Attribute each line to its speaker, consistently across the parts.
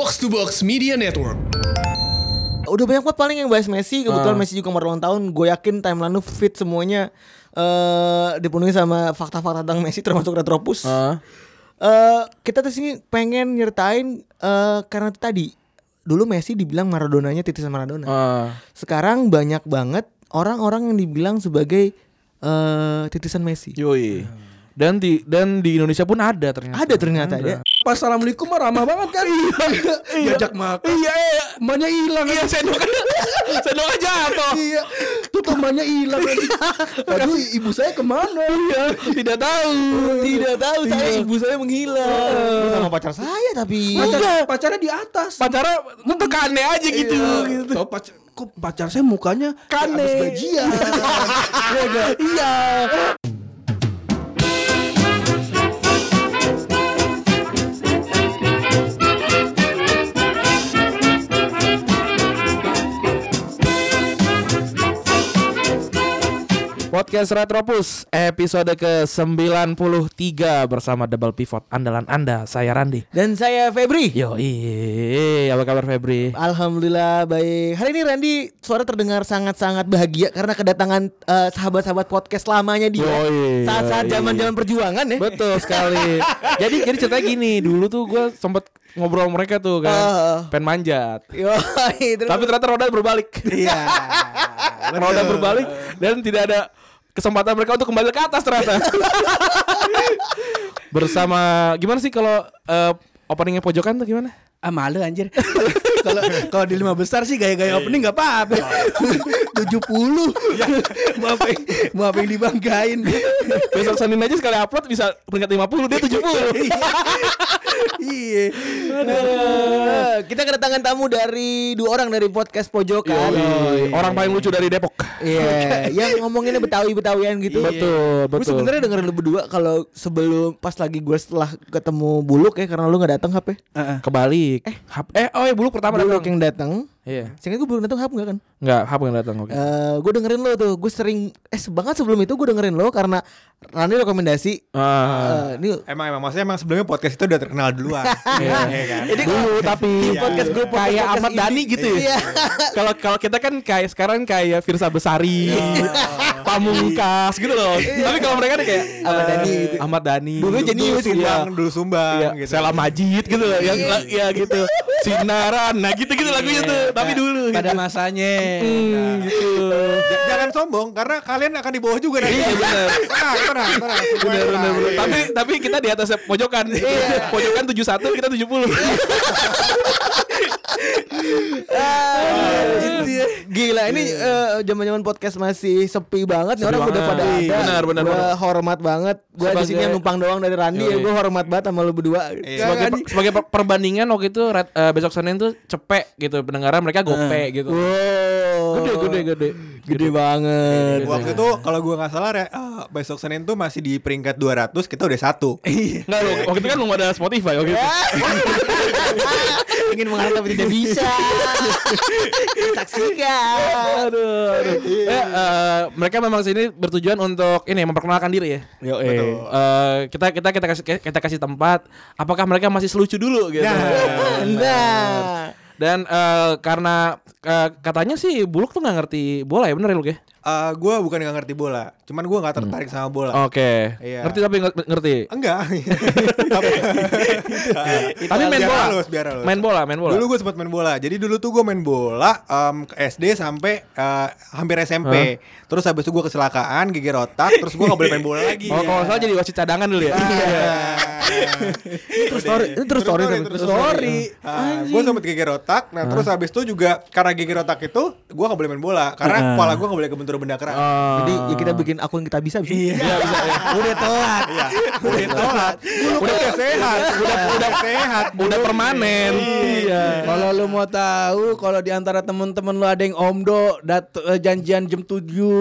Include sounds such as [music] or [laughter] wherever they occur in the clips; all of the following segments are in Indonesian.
Speaker 1: Box to Box Media Network.
Speaker 2: Udah banyak banget paling yang bahas Messi Kebetulan Messi juga mau ulang tahun Gue yakin timeline lu fit semuanya eh Dipenuhi sama fakta-fakta tentang Messi Termasuk Retropus
Speaker 3: Heeh.
Speaker 2: Eh, Kita tuh sini pengen nyertain eh Karena itu tadi Dulu Messi dibilang Maradonanya titisan Maradona
Speaker 4: Ah.
Speaker 3: Heeh.
Speaker 2: Sekarang banyak banget Orang-orang yang dibilang sebagai eh Titisan Messi
Speaker 3: Yoi. Dan di dan di Indonesia pun ada ternyata.
Speaker 2: Ada ternyata ya. ada.
Speaker 1: Pas assalamualaikum mah ramah banget kan? [laughs] iya. Ngajak makan.
Speaker 3: Iya, iya.
Speaker 1: Emaknya hilang. Iya, [laughs]
Speaker 3: Sendoknya sendoknya jatuh.
Speaker 1: Iya. Tuh temannya hilang. lagi. Waduh, ibu saya kemana? Oh, Iya.
Speaker 3: Iya. Tidak tahu.
Speaker 2: Tidak tahu saya ibu saya menghilang sama pacar saya tapi
Speaker 1: Pacar,
Speaker 3: Enggak.
Speaker 1: pacarnya di atas.
Speaker 3: Pacara tekannya aja gitu. gitu.
Speaker 1: Tau pacar, kok pacar saya mukanya kayak
Speaker 3: Kane.
Speaker 1: abis gajian. Iya, enggak?
Speaker 3: [laughs] Iya. Podcast Retropus episode ke-93 bersama Double Pivot andalan Anda saya Randi.
Speaker 2: dan saya Febri.
Speaker 3: Yo, apa kabar Febri?
Speaker 2: Alhamdulillah baik. Hari ini Randy suara terdengar sangat-sangat bahagia karena kedatangan eh, sahabat-sahabat podcast lamanya dia.
Speaker 3: Yoi,
Speaker 2: Saat-saat
Speaker 3: yoi.
Speaker 2: zaman-zaman perjuangan ya.
Speaker 3: Betul sekali. jadi jadi ceritanya gini, dulu tuh gue sempet ngobrol sama mereka tuh kan,
Speaker 2: Ah.
Speaker 3: pengen manjat.
Speaker 2: Yoi, terus-
Speaker 3: Tapi ternyata roda berbalik. Iya. roda berbalik dan tidak ada kesempatan mereka untuk kembali ke atas ternyata. Bersama gimana sih kalau eh, openingnya pojokan tuh gimana?
Speaker 4: Ah malu anjir
Speaker 1: [laughs] Kalau kalau di lima besar sih gaya-gaya
Speaker 3: Iya.
Speaker 1: opening nggak apa-apa. [laughs] 70 [laughs] mau apa yang- mau apa yang
Speaker 3: [laughs]
Speaker 1: dibanggain?
Speaker 3: Besok Senin aja sekali upload bisa peringkat 50 dia 70.
Speaker 1: Iya.
Speaker 2: Eh, kita kedatangan tamu dari dua orang dari podcast pojokan.
Speaker 3: Kan? Yoi, Orang paling lucu dari Depok.
Speaker 2: Iya, yang ngomonginnya Betawi-betawian gitu.
Speaker 3: Betul,
Speaker 2: Gue
Speaker 3: betul.
Speaker 2: sebenarnya dengerin lu berdua kalau sebelum pas lagi gue setelah ketemu Buluk ya karena lu nggak datang HP.
Speaker 3: kebalik. Eh, hap- eh oh ya buluk pertama
Speaker 2: Buluk
Speaker 3: datang.
Speaker 2: yang datang.
Speaker 3: Iya.
Speaker 2: Sehingga gue belum datang hap nggak kan?
Speaker 3: Enggak, hap yang datang oke.
Speaker 2: Eh gue dengerin lo tuh, gue sering eh banget sebelum itu gue dengerin lo karena Rani rekomendasi.
Speaker 3: Ah.
Speaker 2: Eh, ini
Speaker 5: Emang emang maksudnya emang sebelumnya podcast itu udah terkenal
Speaker 3: [laughs]
Speaker 5: duluan. Iya
Speaker 2: [laughs]
Speaker 5: kan?
Speaker 3: dulu tapi
Speaker 2: podcast grup
Speaker 3: kayak Ahmad Dhani gitu ya. [laughs]
Speaker 2: Iya.
Speaker 3: Kalau kalau kita kan kayak sekarang kayak Firsa Besari,
Speaker 2: Iya.
Speaker 3: Pamungkas gitu loh. Tapi kalau mereka ada kayak
Speaker 2: Ahmad
Speaker 3: eh,
Speaker 2: Dhani gitu.
Speaker 3: Ahmad Dhani.
Speaker 2: Dulu
Speaker 5: Dulu
Speaker 2: jenius gitu.
Speaker 5: sumbang, dulu sumbang
Speaker 3: Iya,
Speaker 5: gitu.
Speaker 3: Sela Majid gitu loh yang
Speaker 2: Iya.
Speaker 3: ya gitu. Sinaran. Nah, gitu-gitu lagunya tuh. Tapi dulu gitu.
Speaker 4: Pada masanya
Speaker 3: Hmm, gitu.
Speaker 5: J- Jangan sombong karena kalian akan di bawah juga nanti.
Speaker 3: Iya, benar.
Speaker 5: [laughs] Tenang, tenang, tenang. Semuanya
Speaker 3: Bener, bener,
Speaker 5: tenang.
Speaker 3: bener.
Speaker 5: Iya.
Speaker 3: Tapi tapi kita di atas pojokan.
Speaker 2: Iya.
Speaker 3: pojokan 71, kita 70.
Speaker 2: Ah,
Speaker 3: Iya.
Speaker 2: Gila ini eh, zaman-zaman podcast masih sepi banget nih orang udah pada
Speaker 3: banget.
Speaker 2: ada.
Speaker 3: Benar, benar,
Speaker 2: Gua
Speaker 3: benar.
Speaker 2: hormat banget. Gue di sini
Speaker 3: Sebagai-
Speaker 2: yang numpang doang dari Randi ya
Speaker 3: Yoi. Iya.
Speaker 2: gue hormat banget sama lu berdua.
Speaker 5: Iya.
Speaker 3: sebagai per- sebagai per- perbandingan waktu itu Red- eh, besok Senin tuh cepek gitu pendengaran
Speaker 5: Nah.
Speaker 3: mereka gope gitu.
Speaker 2: Wow.
Speaker 3: Gede gede gede.
Speaker 2: Gede banget.
Speaker 5: Waktu itu kalau gua nggak salah ya, ah, besok Senin tuh masih di peringkat 200, kita udah satu.
Speaker 1: Iya.
Speaker 3: Enggak loh, waktu itu kan belum ada Spotify waktu itu.
Speaker 2: Ingin mengalir tapi tidak bisa. [laughs] Saksikan.
Speaker 3: Aduh, aduh.
Speaker 5: iya.
Speaker 3: Eh, eh, mereka memang sini bertujuan untuk ini memperkenalkan diri ya.
Speaker 5: Betul.
Speaker 3: Eh, kita kita kita kasih kita kasih tempat. Apakah mereka masih selucu dulu gitu?
Speaker 2: Nah.
Speaker 3: Dan eh, karena eh, katanya sih Buluk tuh nggak ngerti bola ya bener ya lu ya?
Speaker 5: Ah, gua bukan nggak ngerti bola, cuman gua nggak tertarik sama
Speaker 3: Hmm.
Speaker 5: bola.
Speaker 3: Oh. Oke.
Speaker 5: Iya.
Speaker 3: Ngerti tapi nggak- ngerti. [laughs]
Speaker 5: Enggak. Tapi
Speaker 3: Tapi main
Speaker 5: Biar
Speaker 3: bola.
Speaker 5: halus, biar halus.
Speaker 3: Main bola, main bola.
Speaker 5: Dulu gue sempat main bola. Jadi dulu tuh gue main bola em, ke SD sampai eh, hampir SMP. Terus habis itu gue kecelakaan, gigit otak, terus gue gak boleh main bola lagi.
Speaker 3: Oh, kalau nggak salah jadi wasit cadangan dulu ya.
Speaker 5: Nah.
Speaker 2: Terus story, ini terus story, tapi.
Speaker 5: terus story. gue sempet gigit otak. Nah, terus habis itu juga karena gigit otak itu gue gak boleh main bola karena kepala gue gak boleh kebentur benda keras.
Speaker 2: Jadi ya kita bikin akun kita bisa bisa.
Speaker 3: Iya, bisa, ya.
Speaker 2: Udah telat.
Speaker 5: Iya. Udah telat. Udah sehat. Udah udah sehat.
Speaker 3: Iya. Udah permanen. Iya.
Speaker 4: Kalau lu mau tahu kalau di antara temen-temen lu ada yang omdo dat eh, janjian jam 7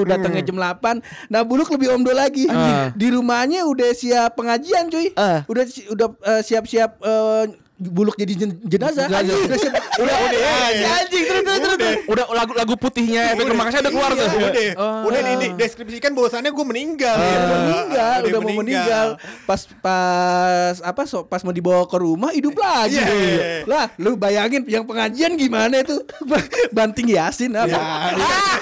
Speaker 4: datangnya jam 8 Nah buluk lebih omdo lagi
Speaker 3: Ah.
Speaker 4: Di rumahnya udah siap pengajian cuy
Speaker 2: Ah.
Speaker 4: Udah si- udah eh, siap-siap eh, buluk jadi jen- jenazah. Anjing, Indonesia-
Speaker 3: Udah, udah,
Speaker 4: Anjing, anjing, terus terus terus. terus.
Speaker 3: udah lagu lagu putihnya efek rumah kasih udah keluar
Speaker 5: Iya,
Speaker 3: tuh.
Speaker 5: Udah, udah di, di- deskripsikan bahwasannya gue meninggal. ya.
Speaker 4: Udah meninggal,
Speaker 5: Dia
Speaker 4: udah mau meninggal. Pas pas apa so, pas mau dibawa ke rumah hidup lagi.
Speaker 5: Iya, iya, iya.
Speaker 4: Lah, lu bayangin yang pengajian gimana itu? [laughs] Banting Yasin
Speaker 5: Ya,
Speaker 4: apa? Ah,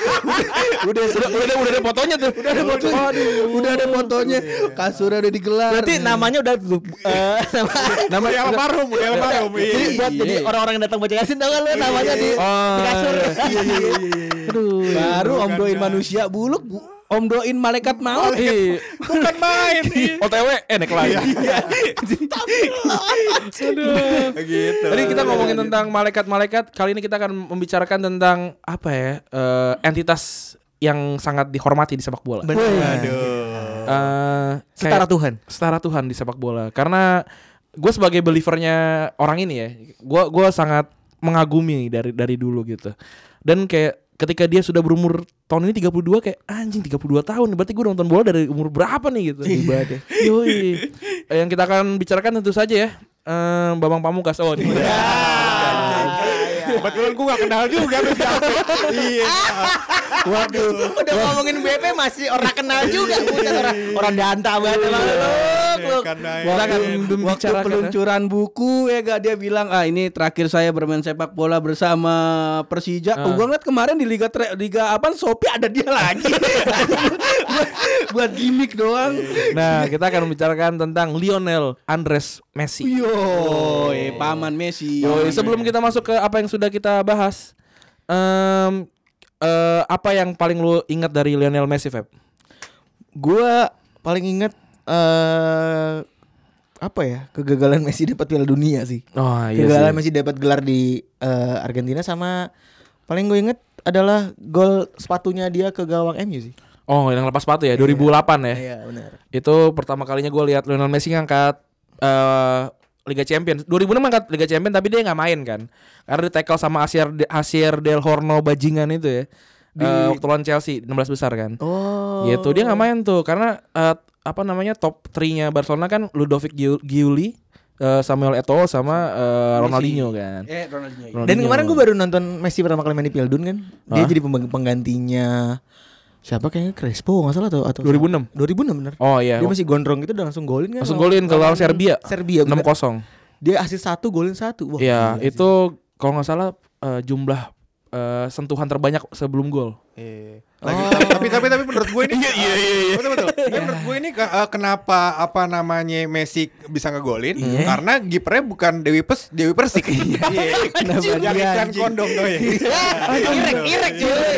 Speaker 3: Udah, udah,
Speaker 5: iya.
Speaker 3: udah, udah ada fotonya tuh.
Speaker 4: Udah ada fotonya. Udah ada fotonya. Kasurnya udah digelar. Iya.
Speaker 2: Berarti namanya udah tuh. eh, nama.
Speaker 5: Nama
Speaker 3: Nama
Speaker 5: yang almarhum, udah almarhum. iya.
Speaker 2: Jadi buat jadi orang-orang yang datang baca yasin tau kan lu namanya di
Speaker 3: Ah,
Speaker 2: di kasur. ya?
Speaker 4: Iya. Baru
Speaker 5: Bukan
Speaker 4: om doin
Speaker 5: dah.
Speaker 4: manusia buluk, bu- om doin malaikat maut.
Speaker 3: Ih,
Speaker 5: Bukan
Speaker 3: [laughs]
Speaker 5: main. Iya.
Speaker 3: OTW eh naik lagi. Aduh.
Speaker 5: gitu.
Speaker 3: Tadi kita ngomongin tentang malaikat-malaikat, kali ini kita akan membicarakan tentang apa ya? eh, entitas yang sangat dihormati di sepak bola.
Speaker 5: Aduh.
Speaker 3: Eh,
Speaker 2: Setara
Speaker 3: kayak
Speaker 2: Tuhan.
Speaker 3: setara Tuhan di sepak bola. Karena gue sebagai believernya orang ini ya, gue gua sangat mengagumi dari dari dulu gitu. Dan kayak ketika dia sudah berumur tahun ini 32 kayak anjing 32 tahun berarti gue nonton bola dari umur berapa nih gitu. Ibadah. Yoi. Eh, Yang kita akan bicarakan tentu saja ya. eh, Bambang Pamungkas oh ini.
Speaker 5: Kebetulan gue gak kenal juga sama siapa. Iya. Waduh.
Speaker 2: Udah ngomongin BP masih orang kenal juga bukan orang orang danta banget emang lu. lu.
Speaker 5: Karena ya,
Speaker 3: Kita akan
Speaker 4: Waktu
Speaker 3: membicarakan ya.
Speaker 4: peluncuran buku ya gak dia bilang ah ini terakhir saya bermain sepak bola bersama Persija.
Speaker 3: Ah.
Speaker 4: Gua ngeliat kemarin di liga Tre- liga apa Sopi ada dia lagi. [laughs] buat, buat gimmick doang.
Speaker 3: Nah, kita akan membicarakan tentang Lionel Andres Messi.
Speaker 4: Yo, eh, paman Messi.
Speaker 3: Yoi, sebelum kita masuk ke apa yang sudah kita bahas, em, eh, apa yang paling lu ingat dari Lionel Messi, Feb?
Speaker 2: Gua paling inget eh apa ya kegagalan Messi dapat Piala Dunia Ah, iya sih.
Speaker 3: Oh
Speaker 2: kegagalan Messi dapat gelar di eh, Argentina sama paling gue inget adalah gol sepatunya dia ke gawang MU sih.
Speaker 3: Oh, yang lepas sepatu ya, 2008 ya.
Speaker 2: Iya benar.
Speaker 3: Itu pertama kalinya gue lihat Lionel Messi ngangkat eh, Liga Champions. 2006 ngangkat Liga Champions tapi dia nggak main kan. Karena di tackle sama Asier Asier Del Horno bajingan itu ya. Eh, waktu lawan Chelsea 16 besar kan.
Speaker 2: Oh.
Speaker 3: Gitu dia nggak main tuh karena eh, apa namanya top 3-nya Barcelona kan Ludovic Giu- Giuli, eh, Samuel Eto'o sama eh, Ronaldinho kan.
Speaker 4: Eh Ronaldinho.
Speaker 2: Dan kemarin gue baru nonton Messi pertama kali main di Piala Dun kan. Dia
Speaker 3: Hah?
Speaker 2: jadi pembang- penggantinya siapa kayaknya Crespo nggak salah atau atau
Speaker 3: 2006.
Speaker 2: 2006 bener.
Speaker 3: Oh iya.
Speaker 2: Dia masih gondrong gitu udah langsung golin kan.
Speaker 3: Langsung
Speaker 2: lawan-
Speaker 3: golin ke
Speaker 2: lawan
Speaker 3: lawan Serbia.
Speaker 2: Serbia.
Speaker 3: 6-0.
Speaker 2: bener. Dia asis satu golin satu. Wah,
Speaker 3: Iya,
Speaker 2: gila sih.
Speaker 3: [laughs] itu kalau nggak salah eh, jumlah eh, sentuhan terbanyak sebelum gol.
Speaker 5: Iya. Lagi, tapi tapi tapi menurut gue ini iya iya iya betul betul Tapi menurut gue ini ke- eh, kenapa apa namanya Messi bisa ngegolin karena gipernya bukan Dewi Pes Dewi Persik [laughs] iya kenapa yang iklan kondom tuh ya
Speaker 2: Irek, Irek cuy.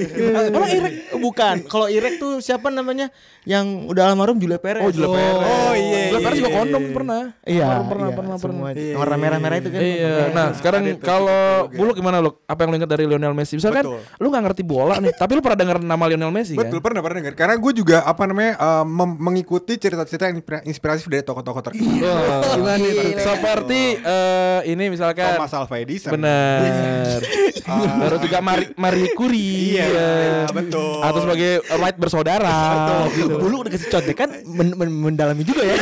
Speaker 3: [laughs]
Speaker 2: Orang Irek bukan. Kalau Irek tuh siapa namanya yang udah almarhum Julia Perez.
Speaker 3: Oh, Julia Perez.
Speaker 5: Oh, iya,
Speaker 3: Julia Perez
Speaker 5: iya,
Speaker 3: juga
Speaker 5: iya,
Speaker 3: kondom
Speaker 5: iya.
Speaker 3: pernah.
Speaker 2: Iya,
Speaker 3: Almarhum pernah
Speaker 2: iya,
Speaker 3: pernah pernah.
Speaker 2: semua. Warna merah-merah itu kan.
Speaker 3: Iya. Nah, sekarang
Speaker 5: Ada tuh,
Speaker 3: kalau
Speaker 5: gitu, gitu.
Speaker 3: Buluk gimana lu? Apa yang lu ingat dari Lionel Messi? Misalkan
Speaker 5: Betul.
Speaker 3: lu nggak ngerti bola nih, tapi lu pernah dengar nama Lionel Messi
Speaker 5: Betul
Speaker 3: kan?
Speaker 5: pernah pernah dengar karena gue juga apa namanya eh, mem- mengikuti cerita-cerita yang inspira- inspiratif dari tokoh-tokoh terkenal
Speaker 3: Gimana Oh, Seperti eh, ini misalkan
Speaker 5: Thomas Alva Edison
Speaker 3: Bener. Baru juga Mari, Marie Curie.
Speaker 5: Iya,
Speaker 3: ya.
Speaker 5: iya, betul.
Speaker 3: Atau sebagai Wright bersaudara. gitu.
Speaker 2: Bulu udah kasih contekan men- men- mendalami juga ya.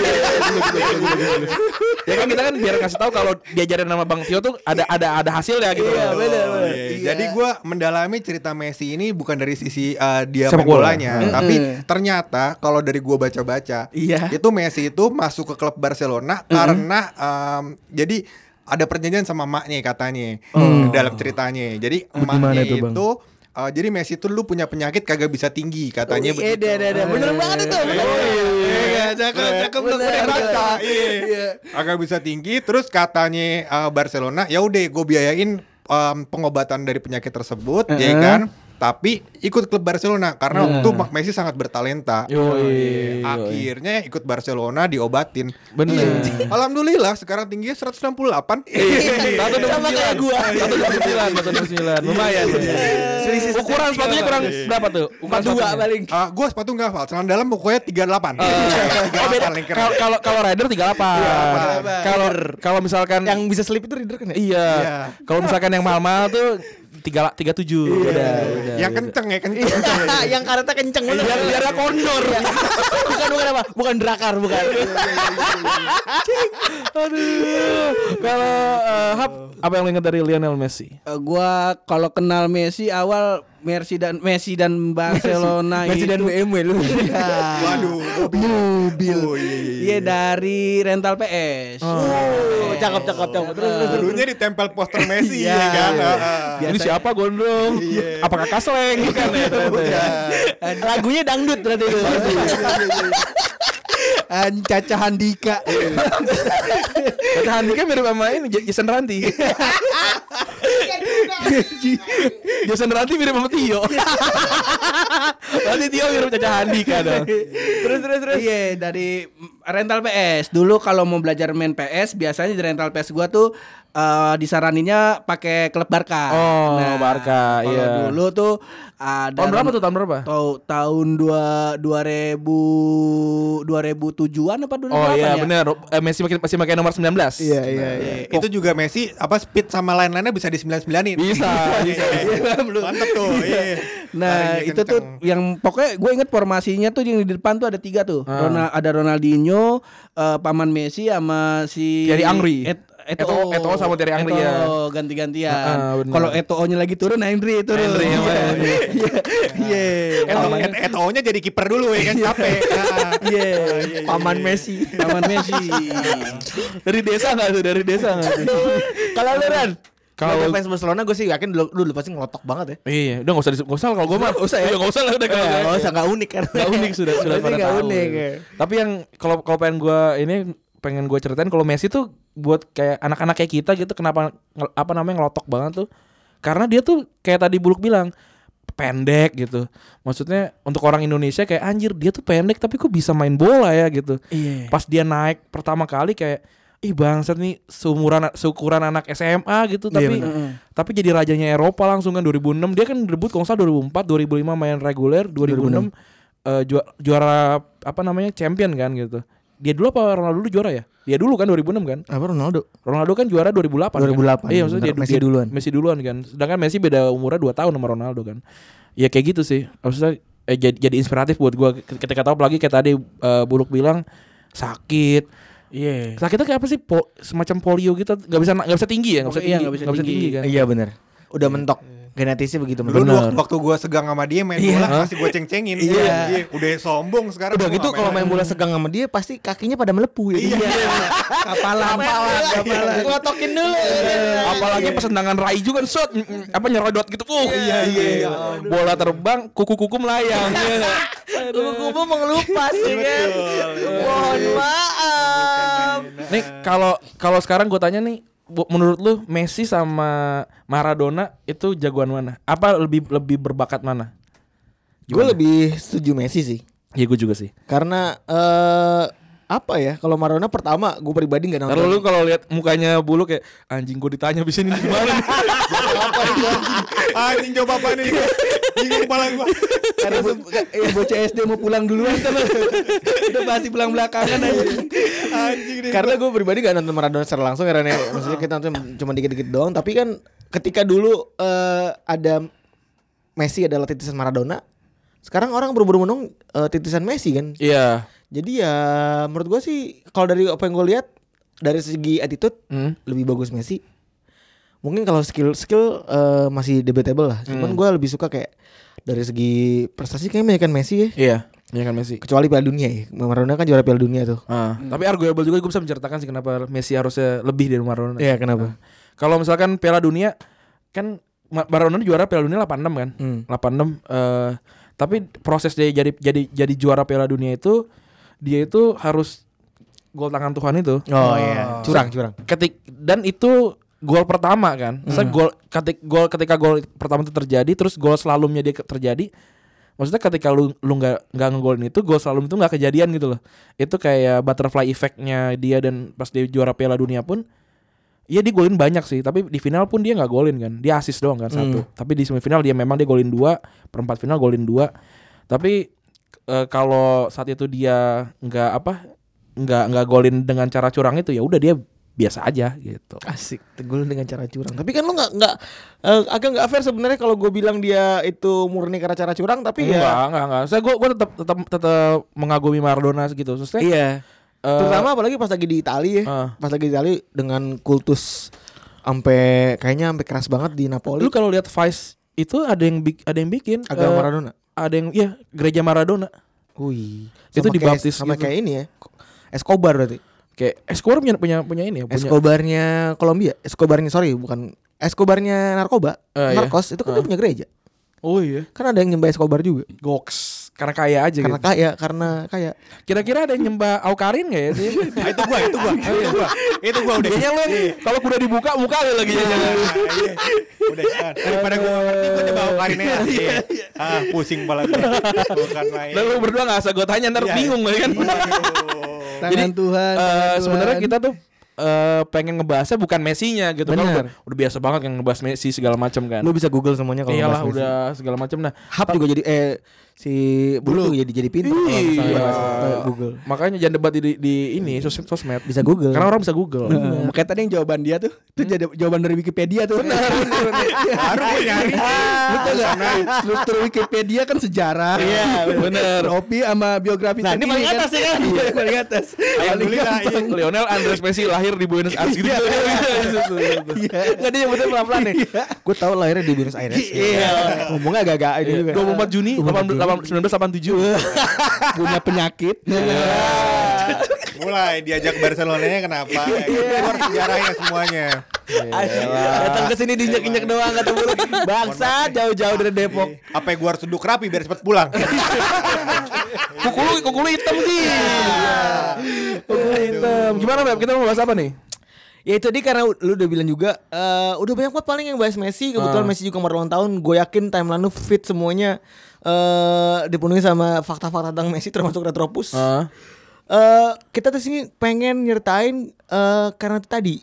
Speaker 3: Ya kan kita kan biar kasih tahu kalau diajarin nama Bang Tio tuh ada ada ada hasilnya gitu. Iya,
Speaker 5: Oh, iya. Jadi gue mendalami cerita Messi ini bukan dari sisi eh, dia
Speaker 3: Sepak
Speaker 5: main
Speaker 3: bola.
Speaker 5: bolanya, tapi ternyata kalau dari gue baca-baca,
Speaker 4: Iya.
Speaker 5: itu Messi itu masuk ke klub Barcelona karena em, jadi ada perjanjian sama maknya katanya dalam ceritanya. Jadi emaknya Oh. itu eh, jadi Messi itu lu punya penyakit kagak bisa tinggi katanya
Speaker 4: Eh,
Speaker 5: begitu.
Speaker 4: deh, deh, deh. Bener banget itu. bener. Iya, cakep, cakep. lu. Bener, bener.
Speaker 5: Baca, iya. Agak bisa tinggi terus katanya uh, Barcelona ya udah gue biayain um, pengobatan dari penyakit tersebut ya kan tapi ikut klub Barcelona karena waktu Ma- Messi sangat bertalenta Iya.
Speaker 3: Yoi.
Speaker 5: akhirnya ikut Barcelona diobatin
Speaker 3: Bener.
Speaker 5: Iya. [laughs] alhamdulillah sekarang tingginya 168
Speaker 3: Iya. Satu dua
Speaker 2: Sama kayak gua.
Speaker 3: Satu dua sembilan, satu dua sembilan. Lumayan. ya. Ukuran sepatunya kurang berapa tuh? Ukuran
Speaker 2: Dua
Speaker 3: sepatunya.
Speaker 2: paling.
Speaker 5: Ah, gue sepatu nggak hafal, celana dalam pokoknya 38
Speaker 3: Oh,
Speaker 5: 38
Speaker 3: beda.
Speaker 5: paling keren.
Speaker 3: Kalau kalau- kalau rider 38. Kalau kalau misalkan
Speaker 2: Yang bisa slip itu reader kan ya?
Speaker 3: Iya.
Speaker 5: Iya.
Speaker 3: Kalau misalkan yang mahal-mahal tuh tiga tiga tujuh beda, beda,
Speaker 5: yang
Speaker 3: beda.
Speaker 5: kenceng ya kenceng.
Speaker 2: yang karetnya kenceng bener.
Speaker 3: Biar biar ada kondor.
Speaker 2: Iya, bukan bukan apa? Bukan drakar, bukan.
Speaker 3: Aduh. Kalau eh, Hap, apa yang lo ingat dari Lionel Messi?
Speaker 4: Eh, gua kalau kenal Messi awal Messi dan Messi dan
Speaker 2: Nah,
Speaker 4: Barcelona
Speaker 1: Messi
Speaker 4: itu
Speaker 1: dan BMW lu.
Speaker 2: Iya.
Speaker 5: Waduh, mobil. Oh, iya, iya, iya.
Speaker 4: Iya dari rental PS.
Speaker 3: Oh.
Speaker 2: Uh, cakep cakep cakep. Terus terus, terus.
Speaker 5: Dulunya ditempel poster Messi
Speaker 4: Iya.
Speaker 5: ya kan. Heeh.
Speaker 3: Ini siapa gondrong? Apa kakak sleng? Bukan ya, ternyata ya.
Speaker 5: Iya,
Speaker 2: Lagunya dangdut berarti itu.
Speaker 4: An Caca [laughs] Handika.
Speaker 3: Kata Handika kan mirip sama ini J- Jason Ranti. Jason Ranti mirip sama Tio. Nanti Tio mirip Caca kan. Handika dong.
Speaker 4: Iya. terus terus terus. Iya dari mm, rental PS. Dulu kalau mau belajar main PS biasanya di rental PS gua tuh eh, disaraninnya pakai klub Barca. Nah,
Speaker 3: Oh, Barca,
Speaker 4: kalau
Speaker 3: iya.
Speaker 4: Dulu tuh ada
Speaker 3: Tahun berapa tuh tahun berapa?
Speaker 4: Tau, tahun 2 2000 2007-an apa 2008
Speaker 3: Oh
Speaker 4: ya?
Speaker 3: iya bener Eh, Messi makin- masih pakai nomor 19
Speaker 1: Iya iya iya.
Speaker 5: Itu juga Messi apa speed sama lain-lainnya bisa disembilan-sembilanin.
Speaker 3: Bisa, bisa.
Speaker 5: Iya, Mantep tuh. iya.
Speaker 4: Nah,
Speaker 5: Larinya
Speaker 4: itu tuh
Speaker 5: kenceng.
Speaker 4: yang pokoknya gue inget formasinya tuh yang di depan tuh ada tiga tuh.
Speaker 3: Ah.
Speaker 4: Ronal- ada Ronaldinho, eh, paman Messi sama si
Speaker 3: Thierry Henry.
Speaker 4: Et-
Speaker 3: Eto'o- Eto'o sama Thierry Henry, ya.
Speaker 4: Eto'o, ganti-gantian.
Speaker 3: Ah, benar.
Speaker 4: Kalau Eto'onya lagi turun, Henry turun.
Speaker 3: Henry,
Speaker 4: Iya.
Speaker 3: iya, iya.
Speaker 4: Iya.
Speaker 5: Eto,
Speaker 4: Iya.
Speaker 5: et- Eto'onya jadi kiper dulu ya kan capek. Nah.
Speaker 4: Iya.
Speaker 2: Paman Messi.
Speaker 4: Paman Messi.
Speaker 3: Dari desa nggak tuh? Dari desa nggak tuh?
Speaker 2: Kalau lu Ran, kalau
Speaker 3: Kalau-
Speaker 2: fans Barcelona gue sih yakin dulu, dulu pasti ngelotok banget ya.
Speaker 3: Iya, udah nggak usah disebut. Nggak usah lah kalau gue mah. Nggak usah ya. Nggak usah lah udah kalau
Speaker 2: Enggak Iya, usah enggak unik kan.
Speaker 3: Gak unik sudah sudah
Speaker 2: Berarti
Speaker 3: pada
Speaker 2: nggak
Speaker 3: tahu.
Speaker 2: unik,
Speaker 3: gitu.
Speaker 2: ya.
Speaker 3: Tapi yang kalau kalau pengen gue ini pengen gue ceritain kalau Messi tuh buat kayak anak-anak kayak kita gitu kenapa ngel- apa namanya ngelotok banget tuh karena dia tuh kayak tadi Buluk bilang pendek gitu maksudnya untuk orang Indonesia kayak anjir dia tuh pendek tapi kok bisa main bola ya gitu
Speaker 2: Eh.
Speaker 4: Iya.
Speaker 3: pas dia naik pertama kali kayak ih bangsat nih seumuran seukuran anak SMA
Speaker 2: Iya,
Speaker 3: gitu tapi tapi jadi rajanya Eropa langsung kan 2006 dia kan debut kalau nggak salah 2004 2005 main reguler 2006, eh, ju- juara apa namanya champion kan gitu dia dulu apa Ronaldo dulu juara ya dia dulu kan 2006 kan
Speaker 2: Apa Ronaldo?
Speaker 3: Ronaldu kan juara 2008 kan?
Speaker 2: 2008,
Speaker 3: Iya maksudnya
Speaker 2: bener.
Speaker 3: dia,
Speaker 2: Messi
Speaker 3: dia-
Speaker 2: duluan.
Speaker 3: Messi duluan kan Sedangkan Messi beda umurnya 2 tahun sama Ronaldo kan Ya kayak gitu sih Maksudnya eh, jadi, jadi inspiratif buat gua Ketika tahu apalagi kayak tadi eh, Buluk bilang Sakit
Speaker 4: Iya.
Speaker 3: Sakitnya kayak apa sih Po- Semacam polio gitu Gak bisa nggak bisa tinggi ya Gak bisa
Speaker 4: Iya,
Speaker 3: tinggi
Speaker 4: nggak bisa
Speaker 3: nggak
Speaker 4: tinggi.
Speaker 3: kan
Speaker 2: Iya benar. Udah mentok. Genetisnya begitu
Speaker 5: Dulu
Speaker 2: mentok.
Speaker 5: waktu, waktu gue segang sama dia main bola masih gue ceng-cengin. Iya. Udah sombong sekarang.
Speaker 2: Udah
Speaker 5: gua
Speaker 2: gitu
Speaker 5: nggak
Speaker 2: kalau
Speaker 5: main
Speaker 2: main bola segang sama dia pasti kakinya pada melepuh ya. Iya.
Speaker 4: Kapalan. Kapalan. Kapalan.
Speaker 3: Iya.
Speaker 2: Ngotokin dulu.
Speaker 3: Apalagi persendangan Rai juga kan shot mm, apa nyerodot gitu. Uh, iya iya. Bola terbang, kuku-kuku melayang. Iya
Speaker 2: [laughs]
Speaker 3: nggak?
Speaker 2: Kubu-kubu mengelupas ya
Speaker 3: Iya,
Speaker 2: kan. Mohon maaf.
Speaker 3: Nah. Nih kalau kalau sekarang gue tanya nih, bu- menurut lu Messi sama Maradona itu jagoan mana? Apa lebih lebih berbakat mana?
Speaker 2: Gue lebih setuju Messi sih.
Speaker 3: Ya gue juga sih.
Speaker 2: Karena eh apa ya kalau Maradona pertama gue pribadi nggak nonton.
Speaker 3: Kalau lu kalau lihat mukanya bulu kayak anjing gue ditanya bisa ini gimana? nih?"
Speaker 5: Ah, Anjing coba apa nih? Bingung kepala gua.
Speaker 4: Karena bo- eh, bocah SD mau pulang duluan kan. Udah pasti pulang belakangan aja.
Speaker 5: Anjing deh.
Speaker 2: Karena gue pribadi gak nonton Maradona secara langsung karena maksudnya kita nonton cuma dikit-dikit doang. Tapi kan ketika dulu eh, ada Messi adalah titisan Maradona, sekarang orang berburu menung eh, titisan Messi kan.
Speaker 3: [laughs] Iya.
Speaker 2: Jadi ya menurut gue sih kalau dari apa yang gue lihat dari segi attitude
Speaker 3: Hmm.
Speaker 2: lebih bagus Messi. Mungkin kalau skill skill eh, masih debatable lah. Cuman gue lebih suka kayak dari segi prestasi kayaknya kan Messi ya.
Speaker 3: Iya. Iya kan Messi.
Speaker 2: Kecuali Piala Dunia ya. Maradona kan juara Piala Dunia tuh.
Speaker 3: Ah, Tapi arguable juga gue bisa menceritakan sih kenapa Messi harusnya lebih dari Maradona.
Speaker 2: Iya kenapa?
Speaker 3: Kalau misalkan Piala Dunia kan Ma- Maradona juara Piala Dunia 86 kan? 86 eh, tapi proses dia jadi jadi jadi juara Piala Dunia itu dia itu harus gol tangan Tuhan itu.
Speaker 2: Oh, iya. Curang curang.
Speaker 3: Ketik dan itu gol pertama kan. Maksudnya gol ketik gol ketika gol pertama itu terjadi terus gol slalomnya dia ke- terjadi. Maksudnya ketika lu lu nggak nggak ngegolin itu gol slalom itu nggak kejadian gitu loh. Itu kayak butterfly effect-nya dia dan pas dia juara Piala Dunia pun Iya dia golin banyak sih, tapi di final pun dia nggak golin kan. Dia asis doang kan satu.
Speaker 2: Hmm.
Speaker 3: Tapi di semifinal dia memang dia golin dua, perempat final golin dua. Tapi eh, kalau saat itu dia nggak apa, nggak nggak golin dengan cara curang itu ya udah dia biasa aja gitu.
Speaker 2: Asik, tegul dengan cara curang. Tapi kan lu nggak nggak eh, agak nggak fair sebenarnya kalau gue bilang dia itu murni karena cara curang, tapi
Speaker 3: Enggak,
Speaker 2: ya
Speaker 3: enggak, enggak. Saya gua gua tetap tetap tetap mengagumi Maradona gitu. Maksudnya
Speaker 1: Iya.
Speaker 3: eh,
Speaker 2: terutama apalagi pas lagi di Italia ya.
Speaker 3: Ah.
Speaker 2: Pas lagi di Italia dengan kultus sampai kayaknya sampai keras banget di Napoli.
Speaker 3: lu kalau lihat Vice itu ada yang bik- ada yang bikin
Speaker 2: agak
Speaker 3: eh,
Speaker 2: Maradona.
Speaker 3: ada yang ya gereja Maradona.
Speaker 2: Wih.
Speaker 3: Itu
Speaker 2: Sama kayak-
Speaker 3: dibaptis
Speaker 2: sama
Speaker 3: gitu.
Speaker 2: kayak ini ya. Escobar berarti.
Speaker 3: Kayak Escobar punya punya, punya ini ya, punya
Speaker 2: Escobarnya Kolombia, Escobarnya sorry bukan Escobarnya narkoba,
Speaker 3: Eh, iya.
Speaker 2: narkos itu kan dia punya gereja.
Speaker 3: Oh iya,
Speaker 2: Kan ada yang nyembah Escobar juga.
Speaker 3: goks karena kaya aja
Speaker 2: Karena
Speaker 3: gitu.
Speaker 2: kaya, Iya, karena kaya.
Speaker 3: Kira-kira ada yang nyembah Aukarin gak ya
Speaker 5: [laughs]
Speaker 3: sih? itu gua, itu gua, itu gua.
Speaker 5: Itu gua udah
Speaker 3: Kayaknya Iya, lu yang- kalau udah dibuka muka lu lagi ya. jangan.
Speaker 5: Iya. Udah kan. Daripada gue ngerti gue coba ukarin aja. Iya. Ah, pusing kepala gue. Bukan main.
Speaker 3: Lalu berdua gak asal gue tanya ntar
Speaker 5: Iya.
Speaker 3: bingung lagi kan.
Speaker 5: Aduh.
Speaker 4: Tangan
Speaker 3: Jadi,
Speaker 4: Tuhan.
Speaker 3: Eh,
Speaker 4: tangan
Speaker 3: sebenarnya
Speaker 4: Tuhan.
Speaker 3: kita tuh eh, pengen ngebahasnya bukan Messi-nya gitu kan udah,
Speaker 2: Bener.
Speaker 3: udah biasa banget yang ngebahas Messi segala macam kan.
Speaker 2: Lu bisa Google semuanya kalau
Speaker 3: Iyalah
Speaker 2: bahas Messi.
Speaker 3: udah segala macam nah.
Speaker 2: Hap juga jadi eh si Bulu juga jadi jadi pintar kalau misalnya
Speaker 3: Iya.
Speaker 2: bahas- bahas Google.
Speaker 3: Makanya jangan debat di, di ini sos sosmed.
Speaker 2: Bisa Google.
Speaker 3: Karena orang bisa Google.
Speaker 2: Iya.
Speaker 4: Nah, makanya tadi yang jawaban dia tuh itu
Speaker 2: Hmm?
Speaker 4: jadi jawaban dari Wikipedia tuh. [laughs] Ah,
Speaker 5: Baru gue nyari.
Speaker 4: Betul gak?
Speaker 2: Nah.
Speaker 4: Struktur Wikipedia kan sejarah. Iya, benar. Kopi sama biografi.
Speaker 2: Nah, ini
Speaker 4: sendiri
Speaker 2: paling atas ya kan?
Speaker 4: Iya, paling atas. Paling
Speaker 5: Alhamdulillah. iya.
Speaker 3: Lionel Andres Messi lahir di Buenos Aires gitu.
Speaker 2: Enggak dia nyebutnya pelan-pelan nih. Gue tahu lahirnya di Buenos Aires. Iya. Ngomongnya agak-agak ini juga.
Speaker 3: 24 Juni 18 1987.
Speaker 4: punya
Speaker 2: [laughs]
Speaker 4: penyakit.
Speaker 5: Mulai diajak Barcelonanya kenapa?
Speaker 3: Iya.
Speaker 5: Gue harus sejarahnya semuanya.
Speaker 2: Datang ke sini diinjak-injak doang kata Bulu. Bangsa jauh-jauh dari Depok.
Speaker 5: Apa yang gue harus duduk rapi biar cepet pulang?
Speaker 3: Kuku lu, kuku lu hitam sih. Kuku lu hitam. Gimana Beb? Kita mau bahas apa nih?
Speaker 2: Ya itu dia karena u- lu udah bilang juga eh, udah banyak banget paling yang bahas Messi kebetulan
Speaker 3: Ah.
Speaker 2: Messi juga kemarin ulang tahun gue yakin timeline lu fit semuanya eh dipenuhi sama fakta-fakta tentang Messi termasuk Retropus.
Speaker 3: Ah.
Speaker 2: Eh, kita tuh sini pengen nyertain eh, karena itu tadi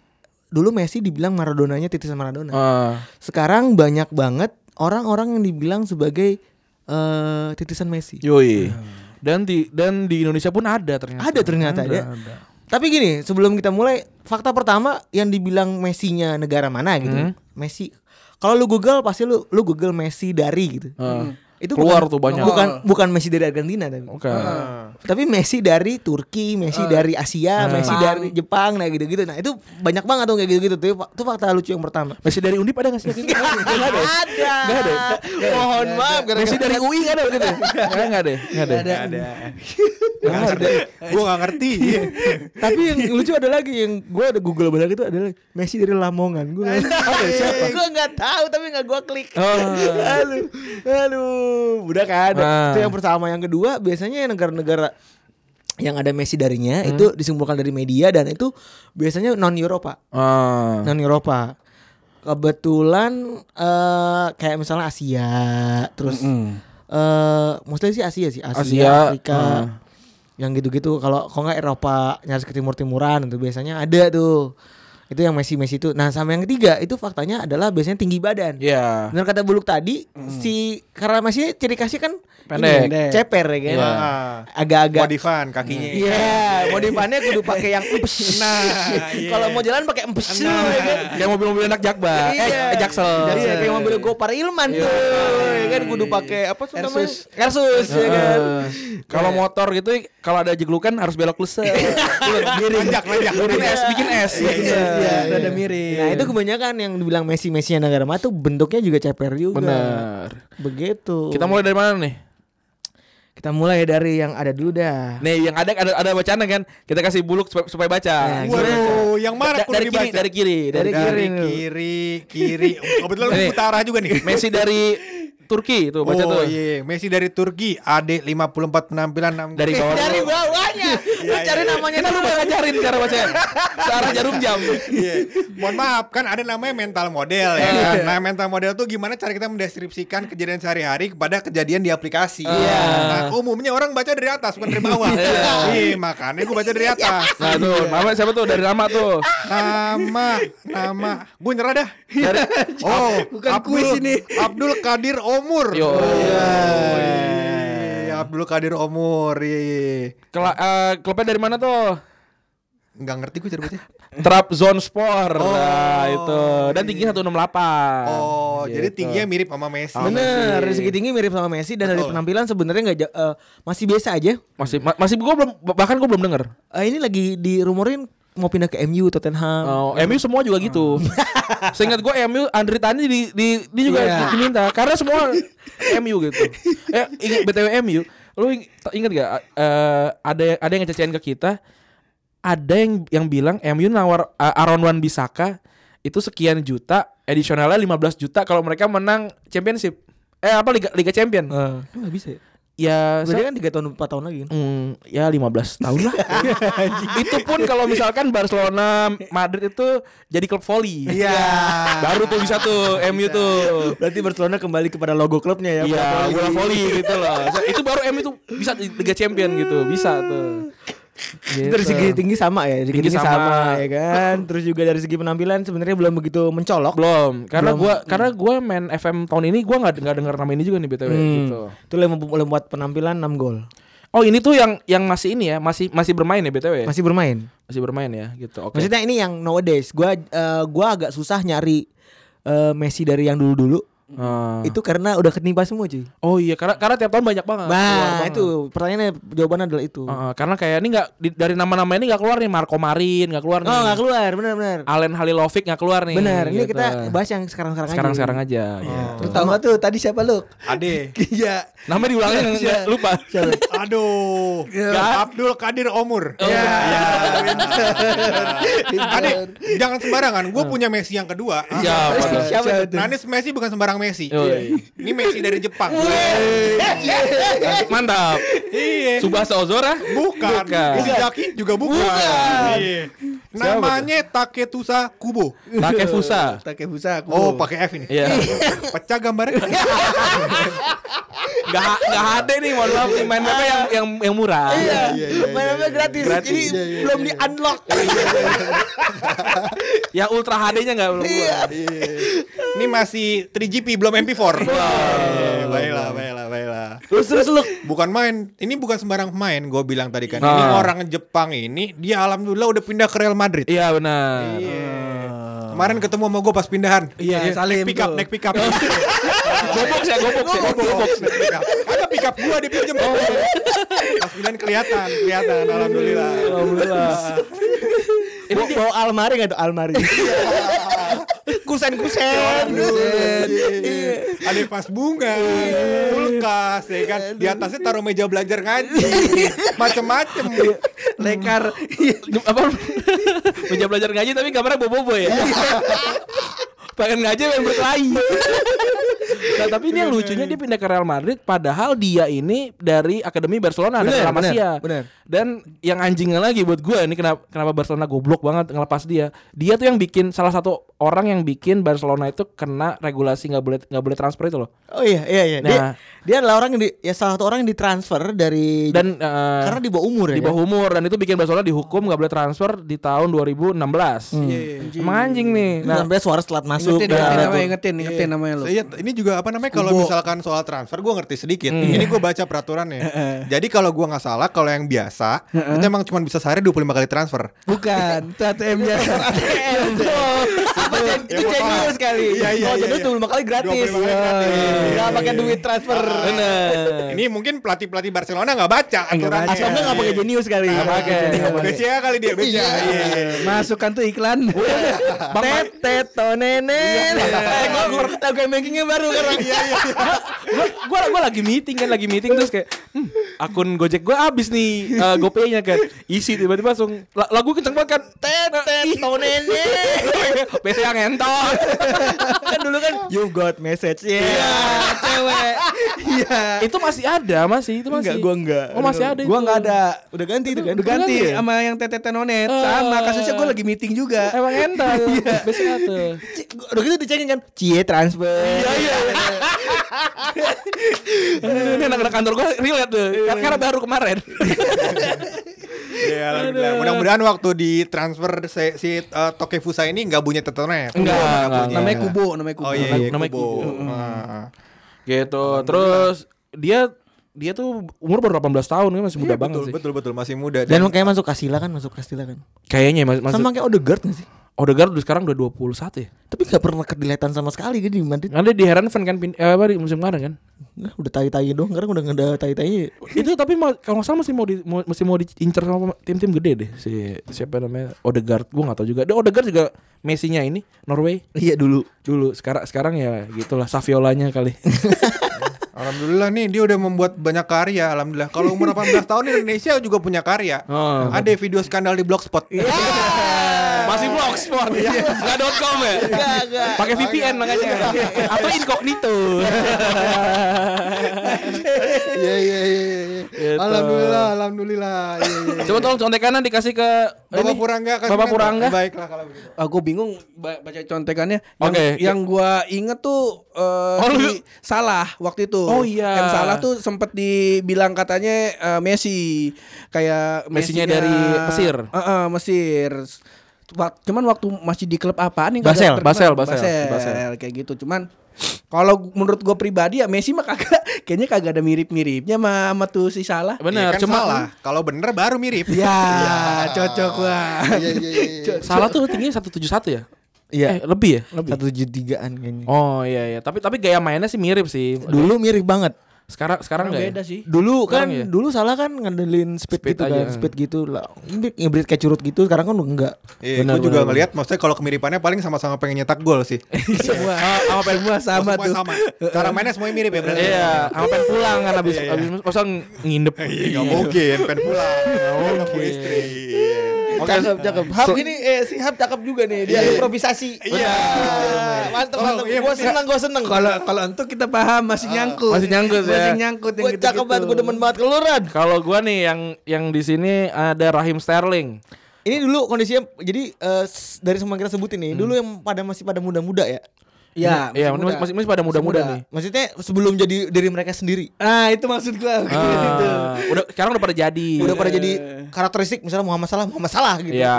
Speaker 2: dulu Messi dibilang Maradonanya titisan Maradona.
Speaker 3: Ah.
Speaker 2: Sekarang banyak banget orang-orang yang dibilang sebagai eh, titisan Messi.
Speaker 3: Yoi. Ah. Dan di dan di Indonesia pun ada ternyata.
Speaker 2: Ada ternyata
Speaker 3: Ada,
Speaker 2: ya.
Speaker 3: ada.
Speaker 2: Tapi gini, sebelum kita mulai, fakta pertama yang dibilang Messi-nya negara mana gitu.
Speaker 3: Hmm.
Speaker 2: Messi. Kalau lu Google pasti lu lu Google Messi dari gitu.
Speaker 3: Hmm.
Speaker 2: Itu
Speaker 3: Keluar
Speaker 2: bukan,
Speaker 3: tuh banyak.
Speaker 2: Bukan bukan Messi dari Argentina tapi.
Speaker 3: Oke.
Speaker 2: Ah.
Speaker 3: [laughs]
Speaker 2: Tapi Messi dari Turki, Messi dari Asia,
Speaker 3: Ah.
Speaker 2: Messi dari Jepang nah gitu-gitu. Nah, itu banyak banget tuh kayak gitu-gitu tuh. Itu fakta lucu yang pertama.
Speaker 3: Messi dari Undip ada
Speaker 2: [laughs]
Speaker 3: gak sih? Gak ada.
Speaker 2: ada.
Speaker 3: Nggak ada. ya?
Speaker 2: Mohon maaf
Speaker 3: Messi dari UI gak ada gitu.
Speaker 2: [laughs]
Speaker 3: Enggak ada. Enggak ada.
Speaker 5: Gak ada. Gak ngerti. Gue gak ngerti.
Speaker 3: Iya.
Speaker 2: Tapi yang lucu ada lagi yang gue ada ya, Google banyak itu adalah Messi dari Lamongan. Gue Gue nggak tahu tapi nggak gue klik. Aduh, aduh, udah kan.
Speaker 3: Ah.
Speaker 2: Itu yang pertama, yang kedua biasanya yang negara-negara yang ada Messi darinya itu disimpulkan dari media dan itu biasanya non Eropa,
Speaker 3: Ah.
Speaker 2: non Eropa. Kebetulan eh kayak misalnya Asia, terus eh mostly sih Asia sih, Asia,
Speaker 3: Asia,
Speaker 2: Afrika.
Speaker 3: ah.
Speaker 2: Yang gitu-gitu kalau kalau nggak Eropa nyaris ke timur-timuran itu biasanya ada tuh. Itu yang Messi-Messi itu. Nah, sama yang ketiga itu faktanya adalah biasanya tinggi badan.
Speaker 3: Iya.
Speaker 2: Benar kata Buluk tadi si karena masih ciri khasnya kan
Speaker 3: Pendek.
Speaker 2: ini, ceper ya kan.
Speaker 3: Iya.
Speaker 2: Agak-agak
Speaker 5: Modifan kakinya.
Speaker 2: Iya, modifannya kudu pakai yang empes.
Speaker 5: Nah,
Speaker 3: iya.
Speaker 2: Kalau mau jalan pakai empes
Speaker 3: Nah.
Speaker 2: dulu ya kan.
Speaker 3: Kayak mobil-mobil anak Jakbar. Eh, eh, Jaksel.
Speaker 2: Iya, kayak mobil Gopar Ilman tuh. Ya kan kudu pakai apa tuh namanya?
Speaker 4: Airsus.
Speaker 2: Airsus ya kan.
Speaker 3: Eh, Kalau motor gitu kalau ada jeglukan harus belok lese.
Speaker 5: Iya.
Speaker 3: Iya,
Speaker 5: Lanjak, lanjak.
Speaker 3: Bikin es, bikin es.
Speaker 4: Iya, iya, rada miring.
Speaker 2: Nah, itu kebanyakan yang dibilang Messi-Messi yang negara mata bentuknya juga ceper juga.
Speaker 3: Benar.
Speaker 2: Begitu.
Speaker 3: Kita mulai dari mana nih?
Speaker 2: Kita mulai dari yang ada dulu dah.
Speaker 3: Nih yang ada ada ada bacaan kan. Kita kasih buluk supaya, supaya
Speaker 5: Iya,
Speaker 3: baca.
Speaker 5: Waduh, yang
Speaker 3: Da-
Speaker 5: mana
Speaker 3: da-
Speaker 5: kudu
Speaker 3: dari kiri,
Speaker 5: dibaca?
Speaker 3: dari kiri, dari
Speaker 5: Dari
Speaker 3: kiri.
Speaker 5: kiri, kiri, kiri. Kebetulan lu
Speaker 3: Nih.
Speaker 5: buta arah juga nih.
Speaker 3: Messi dari Turki tuh baca
Speaker 5: oh
Speaker 3: tuh.
Speaker 5: iya, Messi dari Turki, AD 54 penampilan 6
Speaker 3: Dari bawah.
Speaker 2: Dari bawahnya.
Speaker 4: Iya,
Speaker 2: Lu cari namanya
Speaker 3: Kan lu udah ngajarin cara bacanya. Searah jarum jam.
Speaker 5: Iya. Mohon maaf kan ada namanya mental model ya kan. Nah mental model tuh gimana cara kita mendeskripsikan kejadian sehari-hari kepada kejadian di aplikasi. Nah umumnya orang baca dari atas bukan dari bawah. Iya makanya gue baca dari atas.
Speaker 3: Nah tuh,
Speaker 5: Iya.
Speaker 3: nama siapa tuh dari nama tuh.
Speaker 5: Nama, nama. Gue nyerah dah. Oh,
Speaker 4: Bukan kuis ini.
Speaker 5: Abdul Kadir Omur.
Speaker 3: Yo.
Speaker 5: Iya. Abdul Kadir Omur. Iya.
Speaker 3: Kela- eh, klubnya dari mana tuh?
Speaker 5: Nggak ngerti gue cerbutnya.
Speaker 3: Trabzonspor
Speaker 5: Oh, iya,
Speaker 3: nah itu. Dan tinggi 168.
Speaker 5: Oh, jadi
Speaker 3: Gitu.
Speaker 5: tingginya mirip sama Messi.
Speaker 2: Bener, dari segi tinggi mirip sama Messi dan dari
Speaker 5: Betul.
Speaker 2: penampilan sebenarnya nggak ja- eh, masih biasa aja.
Speaker 3: masih ma- masih gua belum bahkan gua belum denger.
Speaker 2: Eh, ini lagi dirumorin mau pindah ke MU Tottenham.
Speaker 3: Oh, MU semua juga gitu. [laughs] Seingat gue MU Andri Tani di di dia juga
Speaker 2: Iya.
Speaker 3: diminta karena semua MU gitu. Eh ingat BTW MU, lu ing- ingat gak eh, ada ada yang ngececein ke kita ada yang yang bilang MU nawar eh, Aaron Wan Bisaka itu sekian juta, additionalnya 15 juta kalau mereka menang championship. Eh apa Liga Liga Champion?
Speaker 2: Nggak bisa ya?
Speaker 3: Ya
Speaker 2: Berarti kan 3 tahun 4 tahun lagi kan?
Speaker 3: Hmm, ya 15 tahun lah. itu pun kalau misalkan Barcelona, Madrid itu jadi klub volley. Iya. Baru tuh bisa tuh MU tuh.
Speaker 2: Berarti Barcelona kembali kepada logo klubnya ya.
Speaker 3: Iya, bola volley gitu loh. Itu baru MU tuh bisa di Liga Champion gitu, bisa tuh. Gitu.
Speaker 2: Dari segi tinggi sama ya, dari segi
Speaker 3: Tinggi
Speaker 2: tinggi sama.
Speaker 3: sama.
Speaker 2: ya kan. Terus juga dari segi penampilan sebenarnya belum begitu mencolok.
Speaker 3: belum karena
Speaker 2: Belum.
Speaker 3: gua karena gua main FM tahun ini gua nggak nggak dengar nama ini juga nih BTW
Speaker 2: Hmm.
Speaker 3: gitu.
Speaker 2: Itu lah yang mem- membuat penampilan 6 gol.
Speaker 3: Oh, ini tuh yang yang masih ini ya, masih masih bermain ya BTW. ya? Masih,
Speaker 2: Masih bermain.
Speaker 3: bermain ya gitu. Oke.
Speaker 2: Maksudnya ini yang nowadays gua eh, gua agak susah nyari eh, Messi dari yang dulu-dulu.
Speaker 3: Ah.
Speaker 2: Itu karena udah ketimpa semua, cuy.
Speaker 3: Oh iya, karena karena tiap tahun banyak banget. Ah, keluar
Speaker 2: Nah,
Speaker 3: banget. Ah.
Speaker 2: itu pertanyaannya jawabannya adalah itu.
Speaker 3: Heeh, karena kayak ini nggak di- dari nama-nama ini nggak keluar nih Marco Marin nggak keluar nih.
Speaker 2: Oh, nggak keluar, benar-benar.
Speaker 3: Alen Halilovic nggak keluar nih.
Speaker 2: Benar, ini
Speaker 3: Ah, gitu.
Speaker 2: kita Oh. bahas yang sekarang-sekarang aja.
Speaker 3: sekarang-sekarang aja. gitu.
Speaker 2: Tahu nggak tuh tadi siapa lu?
Speaker 5: Ade.
Speaker 2: Iya.
Speaker 3: Namanya diulangin nggak- nggak lupa.
Speaker 5: Aduh. Ya, Abdul Kadir Omur.
Speaker 3: Iya.
Speaker 5: Ade, jangan sembarangan. Gue punya Messi yang kedua.
Speaker 3: Ah.
Speaker 5: Ah.
Speaker 3: Iya,
Speaker 2: Siapa,
Speaker 3: betul.
Speaker 2: tuh?
Speaker 5: Nanis Messi bukan sembarang Messi.
Speaker 3: Yoi.
Speaker 5: Ini Messi dari Jepang.
Speaker 3: Mantap.
Speaker 5: Iya.
Speaker 3: Subasa Ozora?
Speaker 5: Bukan.
Speaker 3: Bukan.
Speaker 5: Ishigaki juga bukan. Iya. Namanya Taketusa Kubo.
Speaker 3: Pakai Fusa.
Speaker 4: Takebusa aku.
Speaker 5: Oh, pakai F ini.
Speaker 3: Iya.
Speaker 5: Pecah gambarnya.
Speaker 3: Nggak nggak HD nih, mohon maaf nih main apa yang yang yang murah.
Speaker 2: Iya,
Speaker 5: Iya, iya,
Speaker 2: main apa gratis.
Speaker 3: Gratis.
Speaker 2: Jadi
Speaker 5: Iya, iya,
Speaker 2: belum di unlock.
Speaker 3: Yang ultra HD-nya nggak belum. keluar.
Speaker 5: Iya. Ini masih 3GP belum MP4. Iya, Baiklah, baiklah, baiklah.
Speaker 2: Terus terus lu.
Speaker 5: Bukan main, ini bukan sembarang pemain. Gue bilang tadi kan, ini
Speaker 3: Nah.
Speaker 5: orang Jepang ini dia alhamdulillah udah pindah ke Real Madrid.
Speaker 3: Iya benar.
Speaker 5: Kemarin ketemu sama gue pas pindahan.
Speaker 4: Iya, Salim.
Speaker 5: Naik pick up,
Speaker 4: tuh.
Speaker 5: naik pick up. Gobok
Speaker 3: Saya gobok saya gobok.
Speaker 5: Naik pick up. Ada pick up gue dipinjem. Pas pindahan kelihatan, kelihatan alhamdulillah.
Speaker 3: Alhamdulillah.
Speaker 2: Ini bawa almari nggak tuh
Speaker 3: [laughs]
Speaker 2: almari? kusen kusen.
Speaker 5: Iya. Ada pas bunga, kulkas, ya kan. Di atasnya taruh meja belajar ngaji, macem-macem.
Speaker 4: Lekar.
Speaker 3: apa meja belajar ngaji tapi gambarnya bobo-bobo [laughs] ya pengen ngaji pengen berkelahi nah tapi ini yang lucunya dia pindah ke Real Madrid padahal dia ini dari akademi Barcelona dari
Speaker 2: Bener,
Speaker 3: La Masia
Speaker 2: bener, bener.
Speaker 3: dan yang anjingnya lagi buat gue ini kenapa kenapa Barcelona goblok banget ngelepas dia dia tuh yang bikin salah satu orang yang bikin Barcelona itu kena regulasi nggak boleh nggak boleh transfer itu loh
Speaker 2: Oh iya iya iya. Dia,
Speaker 3: Nah.
Speaker 2: dia adalah orang yang di, ya salah satu orang yang ditransfer dari
Speaker 3: dan eh,
Speaker 2: karena di bawah umur ya.
Speaker 3: di bawah umur dan itu bikin Barcelona dihukum nggak boleh transfer di tahun 2016
Speaker 2: Hmm.
Speaker 3: Emang anjing nih
Speaker 2: Nah,
Speaker 3: nah,
Speaker 2: sampai suara selat masuk. Nah.
Speaker 4: Ingetin,
Speaker 2: dan-
Speaker 4: ingetin namanya, ingetin, ingetin namanya lu.
Speaker 5: Iya, ini juga apa namanya kalau misalkan soal transfer gue ngerti sedikit. Ini gue baca peraturannya. Jadi kalau gue nggak salah, kalau yang biasa itu emang cuma bisa sehari 25 kali transfer.
Speaker 4: Bukan, itu ATM biasa.
Speaker 2: Apa jen- itu jenius sekali.
Speaker 5: Iya, iya,
Speaker 2: oh,
Speaker 5: iya,
Speaker 2: jadi
Speaker 5: iya.
Speaker 2: dua kali gratis.
Speaker 5: 25 kali gratis.
Speaker 2: Enggak
Speaker 4: Iya,
Speaker 2: pakai duit transfer.
Speaker 4: Ah,
Speaker 3: bener
Speaker 5: Ini mungkin pelatih-pelatih Barcelona nggak baca
Speaker 4: iya.
Speaker 5: aturannya.
Speaker 2: Atau enggak enggak pakai jenius kali.
Speaker 5: Nggak pakai.
Speaker 2: Nggak pakai.
Speaker 5: BCA kali dia BCA. Iya, iya.
Speaker 4: Masukkan tuh iklan.
Speaker 2: Tet tet to nenen. Eh, gua- gua lagu yang bankingnya baru sekarang.
Speaker 4: Iya,
Speaker 3: gua gua gua lagi meeting kan lagi meeting terus kayak hmm, akun Gojek gua habis nih eh, GoPay-nya kan isi tiba-tiba langsung la- lagu kenceng banget kan tet tet [laughs] biasanya yang entot
Speaker 2: [laughs] Kan dulu kan you got message. Iya, cewek. Iya.
Speaker 3: itu masih ada masih itu masih
Speaker 2: Enggak, gua enggak.
Speaker 3: oh masih ada
Speaker 4: Gua
Speaker 3: itu.
Speaker 4: nggak ada.
Speaker 2: Udah ganti itu kan?
Speaker 4: Udah ganti
Speaker 2: Udah
Speaker 4: sama yang Tete Tenonet. Sama kasusnya gue lagi meeting juga.
Speaker 3: emang entot biasanya ada
Speaker 2: C- Udah gitu dicekin kan? Cie transfer. Iya, iya.
Speaker 3: Aduh, [laughs] ini anak-anak kantor gua relate tuh Kar- karena baru kemarin
Speaker 5: Iya, alhamdulillah. Mudah-mudahan waktu ditransfer si, si eh, Tokefusa ini nggak bunyi Oh, tetonet.
Speaker 3: Enggak, enggak.
Speaker 5: bunyi.
Speaker 4: Namanya
Speaker 5: iya,
Speaker 4: Kubo, namanya Kubo.
Speaker 5: Oh iya, iya
Speaker 3: Namanya
Speaker 5: Kubo.
Speaker 3: Kubo.
Speaker 5: Ah.
Speaker 3: gitu terus dia dia tuh umur baru 18 tahun kan masih muda
Speaker 5: Iya,
Speaker 3: banget
Speaker 5: betul,
Speaker 3: sih.
Speaker 5: betul betul masih muda.
Speaker 2: Dan kayak masuk Kasila kan, masuk Kasila kan.
Speaker 3: Kayaknya ya, mas, mas
Speaker 2: Sama kayak Odegaard gak sih?
Speaker 3: Odegaard udah sekarang udah 21 ya.
Speaker 2: Tapi gak pernah kedilatan sama sekali gitu di Madrid.
Speaker 3: Nanti di Herenfen kan pin- eh, apa di musim kemarin kan.
Speaker 2: Nah, udah tai-tai doang, sekarang udah nggak ada tai-tai.
Speaker 3: itu tapi mau, kalau nggak salah masih mau di, mau, masih mau diincar sama pem- tim-tim gede deh si siapa namanya Odegaard gue nggak tahu juga. Dan Odegaard juga Messi-nya ini Norway
Speaker 2: Iya dulu.
Speaker 3: dulu sekarang sekarang ya gitulah Saviolanya kali.
Speaker 5: Alhamdulillah nih dia udah membuat banyak karya. Alhamdulillah. Kalau
Speaker 3: [laughs]
Speaker 5: umur 18 tahun Indonesia juga punya karya.
Speaker 3: Oh. Iya.
Speaker 5: Ada video skandal di Blogspot.
Speaker 3: [laughs]
Speaker 5: [laughs]
Speaker 3: Masih blogspot ya.
Speaker 5: Iya.
Speaker 3: Enggak .com ya.
Speaker 5: Oh,
Speaker 3: Pakai VPN makanya.
Speaker 5: Iya.
Speaker 3: Atau
Speaker 5: [laughs]
Speaker 3: incognito.
Speaker 2: Iya iya iya iya.
Speaker 3: Gitu.
Speaker 5: Alhamdulillah, alhamdulillah. Iya, iya.
Speaker 3: Coba tolong contek kanan dikasih ke
Speaker 5: Bapak
Speaker 3: [laughs] ini.
Speaker 5: Purangga kasih kan,
Speaker 3: Bapak
Speaker 5: minta.
Speaker 3: Purangga.
Speaker 5: Baiklah kalau begitu.
Speaker 4: Aku Ah, bingung ba- baca contekannya. Yang,
Speaker 3: Oke. ya.
Speaker 4: yang gua inget tuh eh,
Speaker 3: Oh,
Speaker 4: si
Speaker 3: lu-
Speaker 4: salah waktu itu.
Speaker 3: Oh, iya.
Speaker 4: M salah tuh sempet dibilang katanya eh, Messi kayak
Speaker 3: Messi-nya dari Mesir.
Speaker 4: Heeh, Mesir. Wa- Cuman waktu masih di klub apaan nih?
Speaker 3: Basel,
Speaker 4: kagak terkenal.
Speaker 3: Basel, Basel, Basel.
Speaker 4: kayak gitu. Cuman kalau gu- menurut gua pribadi ya Messi mah kagak [laughs] kayaknya kagak ada mirip-miripnya sama, sama tuh si
Speaker 3: [laughs]
Speaker 4: salah.
Speaker 5: Iya,
Speaker 3: Benar,
Speaker 5: kan
Speaker 3: cuma Iya.
Speaker 5: salah. Kalau bener baru mirip.
Speaker 4: Ya, cocok wah.
Speaker 5: Iya, iya, iya, iya.
Speaker 3: salah tuh tingginya 171 ya?
Speaker 2: Iya.
Speaker 3: Eh, lebih ya? Lebih.
Speaker 2: Satu tigaan kayaknya.
Speaker 3: Oh iya iya, tapi tapi gaya mainnya sih mirip sih.
Speaker 2: Dulu mirip banget.
Speaker 3: Sekarang sekarang
Speaker 4: Beda
Speaker 3: enggak ya?
Speaker 4: sih.
Speaker 2: Dulu kan
Speaker 3: Sekarang ya?
Speaker 2: dulu salah kan ngandelin speed,
Speaker 3: Speed
Speaker 2: gitu
Speaker 3: aja,
Speaker 2: kan,
Speaker 3: eh.
Speaker 2: speed gitu lah. Ini Ngibrit kayak curut gitu, sekarang kan udah enggak.
Speaker 5: Iya,
Speaker 3: Benar,
Speaker 5: gua juga
Speaker 3: benar,
Speaker 5: ngelihat maksudnya kalau kemiripannya paling sama-sama pengen nyetak gol sih. [laughs]
Speaker 4: Semua sama semua sama
Speaker 5: Semua
Speaker 4: tuh.
Speaker 5: sama. Cara mainnya semuanya mirip ya berarti.
Speaker 3: Iya, sama pengen pulang kan abis abis masa nginep.
Speaker 5: Iya, nggak mungkin pengen pulang. Nggak mungkin. istri.
Speaker 2: Oke, cakep, cakep. Hap ini eh si Hap cakep juga nih, dia improvisasi. Iya.
Speaker 4: Ah,
Speaker 2: Mantap, mantap. Gua seneng, gua seneng.
Speaker 4: Kalau kalau untuk kita paham masih nyangkut.
Speaker 3: masih nyangkut ya.
Speaker 4: Masih nyangkut yang
Speaker 2: Gua
Speaker 4: gitu.
Speaker 2: cakep banget, gua demen banget keluaran.
Speaker 3: Kalau gua nih yang yang di sini ada Rahim Sterling.
Speaker 2: Ini dulu kondisinya jadi eh, s- dari semua yang kita sebutin
Speaker 3: Hmm.
Speaker 2: nih, dulu yang pada masih pada muda-muda ya.
Speaker 4: Ya, masih
Speaker 3: Iya, masih,
Speaker 4: muda.
Speaker 3: masih, masih pada muda-muda
Speaker 4: muda.
Speaker 3: [laughs] nih.
Speaker 2: Maksudnya sebelum jadi diri mereka sendiri.
Speaker 4: Ah, itu maksud gua. Gitu.
Speaker 3: Ah, udah sekarang udah pada jadi.
Speaker 2: Udah pada jadi karakteristik misalnya Muhammad Salah, Muhammad Salah gitu.
Speaker 3: Iya,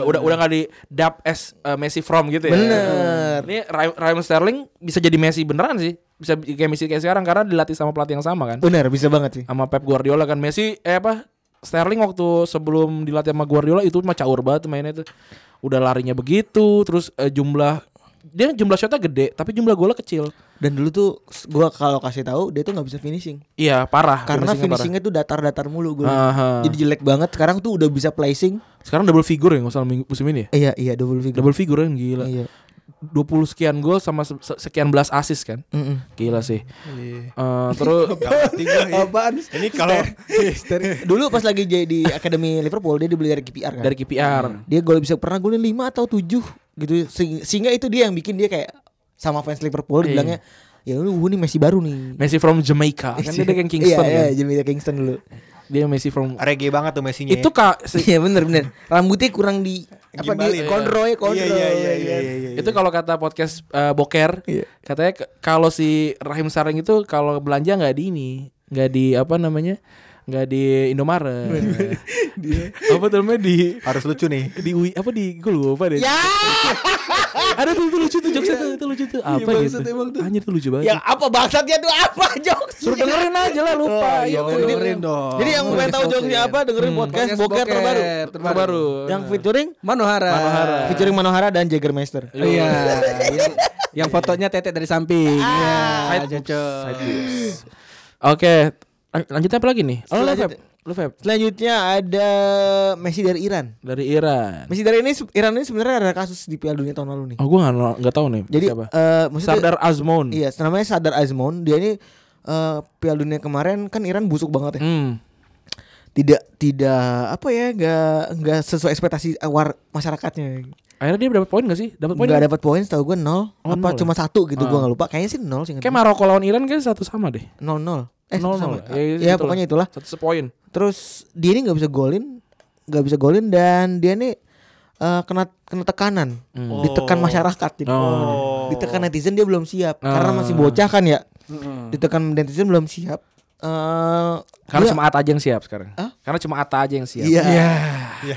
Speaker 3: udah udah udah nggak di dub as uh, Messi from gitu ya.
Speaker 2: Bener.
Speaker 3: Ini Ry- Ryan Sterling bisa jadi Messi beneran sih. Bisa bi- kayak Messi kayak sekarang karena dilatih sama pelatih yang sama kan.
Speaker 2: Benar, bisa banget sih.
Speaker 3: Sama Pep Guardiola kan Messi eh apa Sterling waktu sebelum dilatih sama Guardiola itu mah caur banget mainnya tuh. Udah larinya begitu, terus eh, jumlah dia jumlah shotnya gede, tapi jumlah golnya kecil.
Speaker 2: Dan dulu tuh s- gua kalau kasih tahu dia tuh nggak bisa finishing.
Speaker 3: Iya, parah.
Speaker 2: Karena
Speaker 3: parah.
Speaker 2: finishingnya tuh datar-datar mulu gue.
Speaker 3: Aha.
Speaker 2: Jadi jelek banget. Sekarang tuh udah bisa placing.
Speaker 3: Sekarang double figure ya nggak salah minggu- musim ini ya.
Speaker 2: Iya, iya double figure.
Speaker 3: Double figure yang gila.
Speaker 2: Iya.
Speaker 3: 20 sekian gol sama se- se- sekian belas assist kan.
Speaker 2: Mm-mm.
Speaker 3: Gila sih. Eh, terus
Speaker 5: Nggak ngerti gua, iya.
Speaker 4: [laughs] Apaan?
Speaker 5: Ini kalau
Speaker 2: Dulu pas lagi jadi di akademi Liverpool dia dibeli dari KPR kan.
Speaker 3: dari KPR.
Speaker 2: dia gol bisa pernah golin 5 atau 7 gitu Sehing- sehingga itu dia yang bikin dia kayak sama fans Liverpool
Speaker 3: Iya.
Speaker 2: dibilangnya ya lu ini Messi baru nih
Speaker 3: Messi from Jamaica kan dia kayak
Speaker 2: iya,
Speaker 3: Kingston kan.
Speaker 2: iya, Jamaica Kingston dulu
Speaker 3: Dia Messi from
Speaker 5: reggae banget tuh Messi-nya. ya.
Speaker 3: itu kak se-
Speaker 2: iya bener bener rambutnya kurang di apa
Speaker 5: Gimbalin,
Speaker 2: di
Speaker 5: iya.
Speaker 2: kondroy
Speaker 5: Iya,
Speaker 2: kondroy
Speaker 5: iya, iya,
Speaker 2: kan?
Speaker 5: iya, iya.
Speaker 3: itu kalau kata podcast eh, Boker
Speaker 2: Iya.
Speaker 3: katanya ke- kalau si Rahim Saring itu kalau belanja nggak di ini nggak di apa namanya nggak di Indomaret [laughs] apa tuh namanya di
Speaker 5: harus lucu nih.
Speaker 3: di UI apa di gue lupa deh
Speaker 2: Ya,
Speaker 3: ada tuh, tuh lucu tuh jokesnya
Speaker 2: Iya.
Speaker 3: tuh, itu lucu tuh apa gitu anjir tuh lucu
Speaker 4: Ya.
Speaker 3: banget
Speaker 2: yang ya, apa bangsatnya tuh apa jokes?
Speaker 3: suruh dengerin aja lah lupa Iya,
Speaker 4: Oh,
Speaker 3: jadi-
Speaker 4: dengerin dong.
Speaker 2: Jadi yang mau tahu jokesnya apa dengerin podcast
Speaker 4: Podcast
Speaker 2: Boker
Speaker 4: Boker
Speaker 2: terbaru.
Speaker 4: terbaru.
Speaker 3: terbaru
Speaker 2: Yang featuring
Speaker 4: Manohara.
Speaker 3: Manohara.
Speaker 2: featuring Manohara dan Jagermeister.
Speaker 4: Iya. yang, yang fotonya tetek dari samping. Iya,
Speaker 3: Side
Speaker 4: cocok.
Speaker 3: oke lan- lanjutnya apa lagi nih oh, lu
Speaker 2: Selanjut-
Speaker 3: Feb lu Feb
Speaker 2: Selanjutnya ada Messi dari Iran.
Speaker 3: dari Iran
Speaker 2: Messi dari ini Iran ini sebenarnya ada kasus di Piala Dunia tahun lalu nih.
Speaker 3: Kan. oh gue nggak nggak tahu nih
Speaker 2: Jadi
Speaker 3: siapa
Speaker 2: eh maksudnya
Speaker 3: Sardar Azmoun
Speaker 2: iya namanya Sadar Azmoun dia ini eh Piala Dunia kemarin kan Iran busuk banget ya.
Speaker 3: Hmm.
Speaker 2: Tidak tidak apa ya nggak nggak sesuai ekspektasi awar masyarakatnya.
Speaker 3: Akhirnya dia dapat poin gak sih? Dapat poin.
Speaker 2: Nggak dapat poin setahu gue nol
Speaker 3: Oh,
Speaker 2: apa
Speaker 3: nol Oh.
Speaker 2: cuma satu gitu gua nggak lupa kayaknya sih nol sih nggak
Speaker 3: Kayak
Speaker 2: tahu.
Speaker 3: Maroko lawan Iran kan satu sama deh.
Speaker 2: nol nol eh
Speaker 3: Nol
Speaker 2: satu
Speaker 3: nol.
Speaker 2: sama.
Speaker 3: Ya, ya,
Speaker 2: ya
Speaker 3: itulah.
Speaker 2: pokoknya itulah
Speaker 3: Satu sepoin.
Speaker 2: terus dia ini nggak bisa golin nggak bisa golin dan dia ini eh, kena kena tekanan ditekan masyarakat jadi
Speaker 3: Oh.
Speaker 2: ditekan netizen dia belum siap
Speaker 3: Ah.
Speaker 2: karena masih bocah kan ya ditekan netizen belum siap Eh,
Speaker 3: Karena
Speaker 2: dia- [laughs]
Speaker 3: cuma Ata aja yang siap sekarang. Karena cuma Ata aja yang siap. Nah,
Speaker 2: iya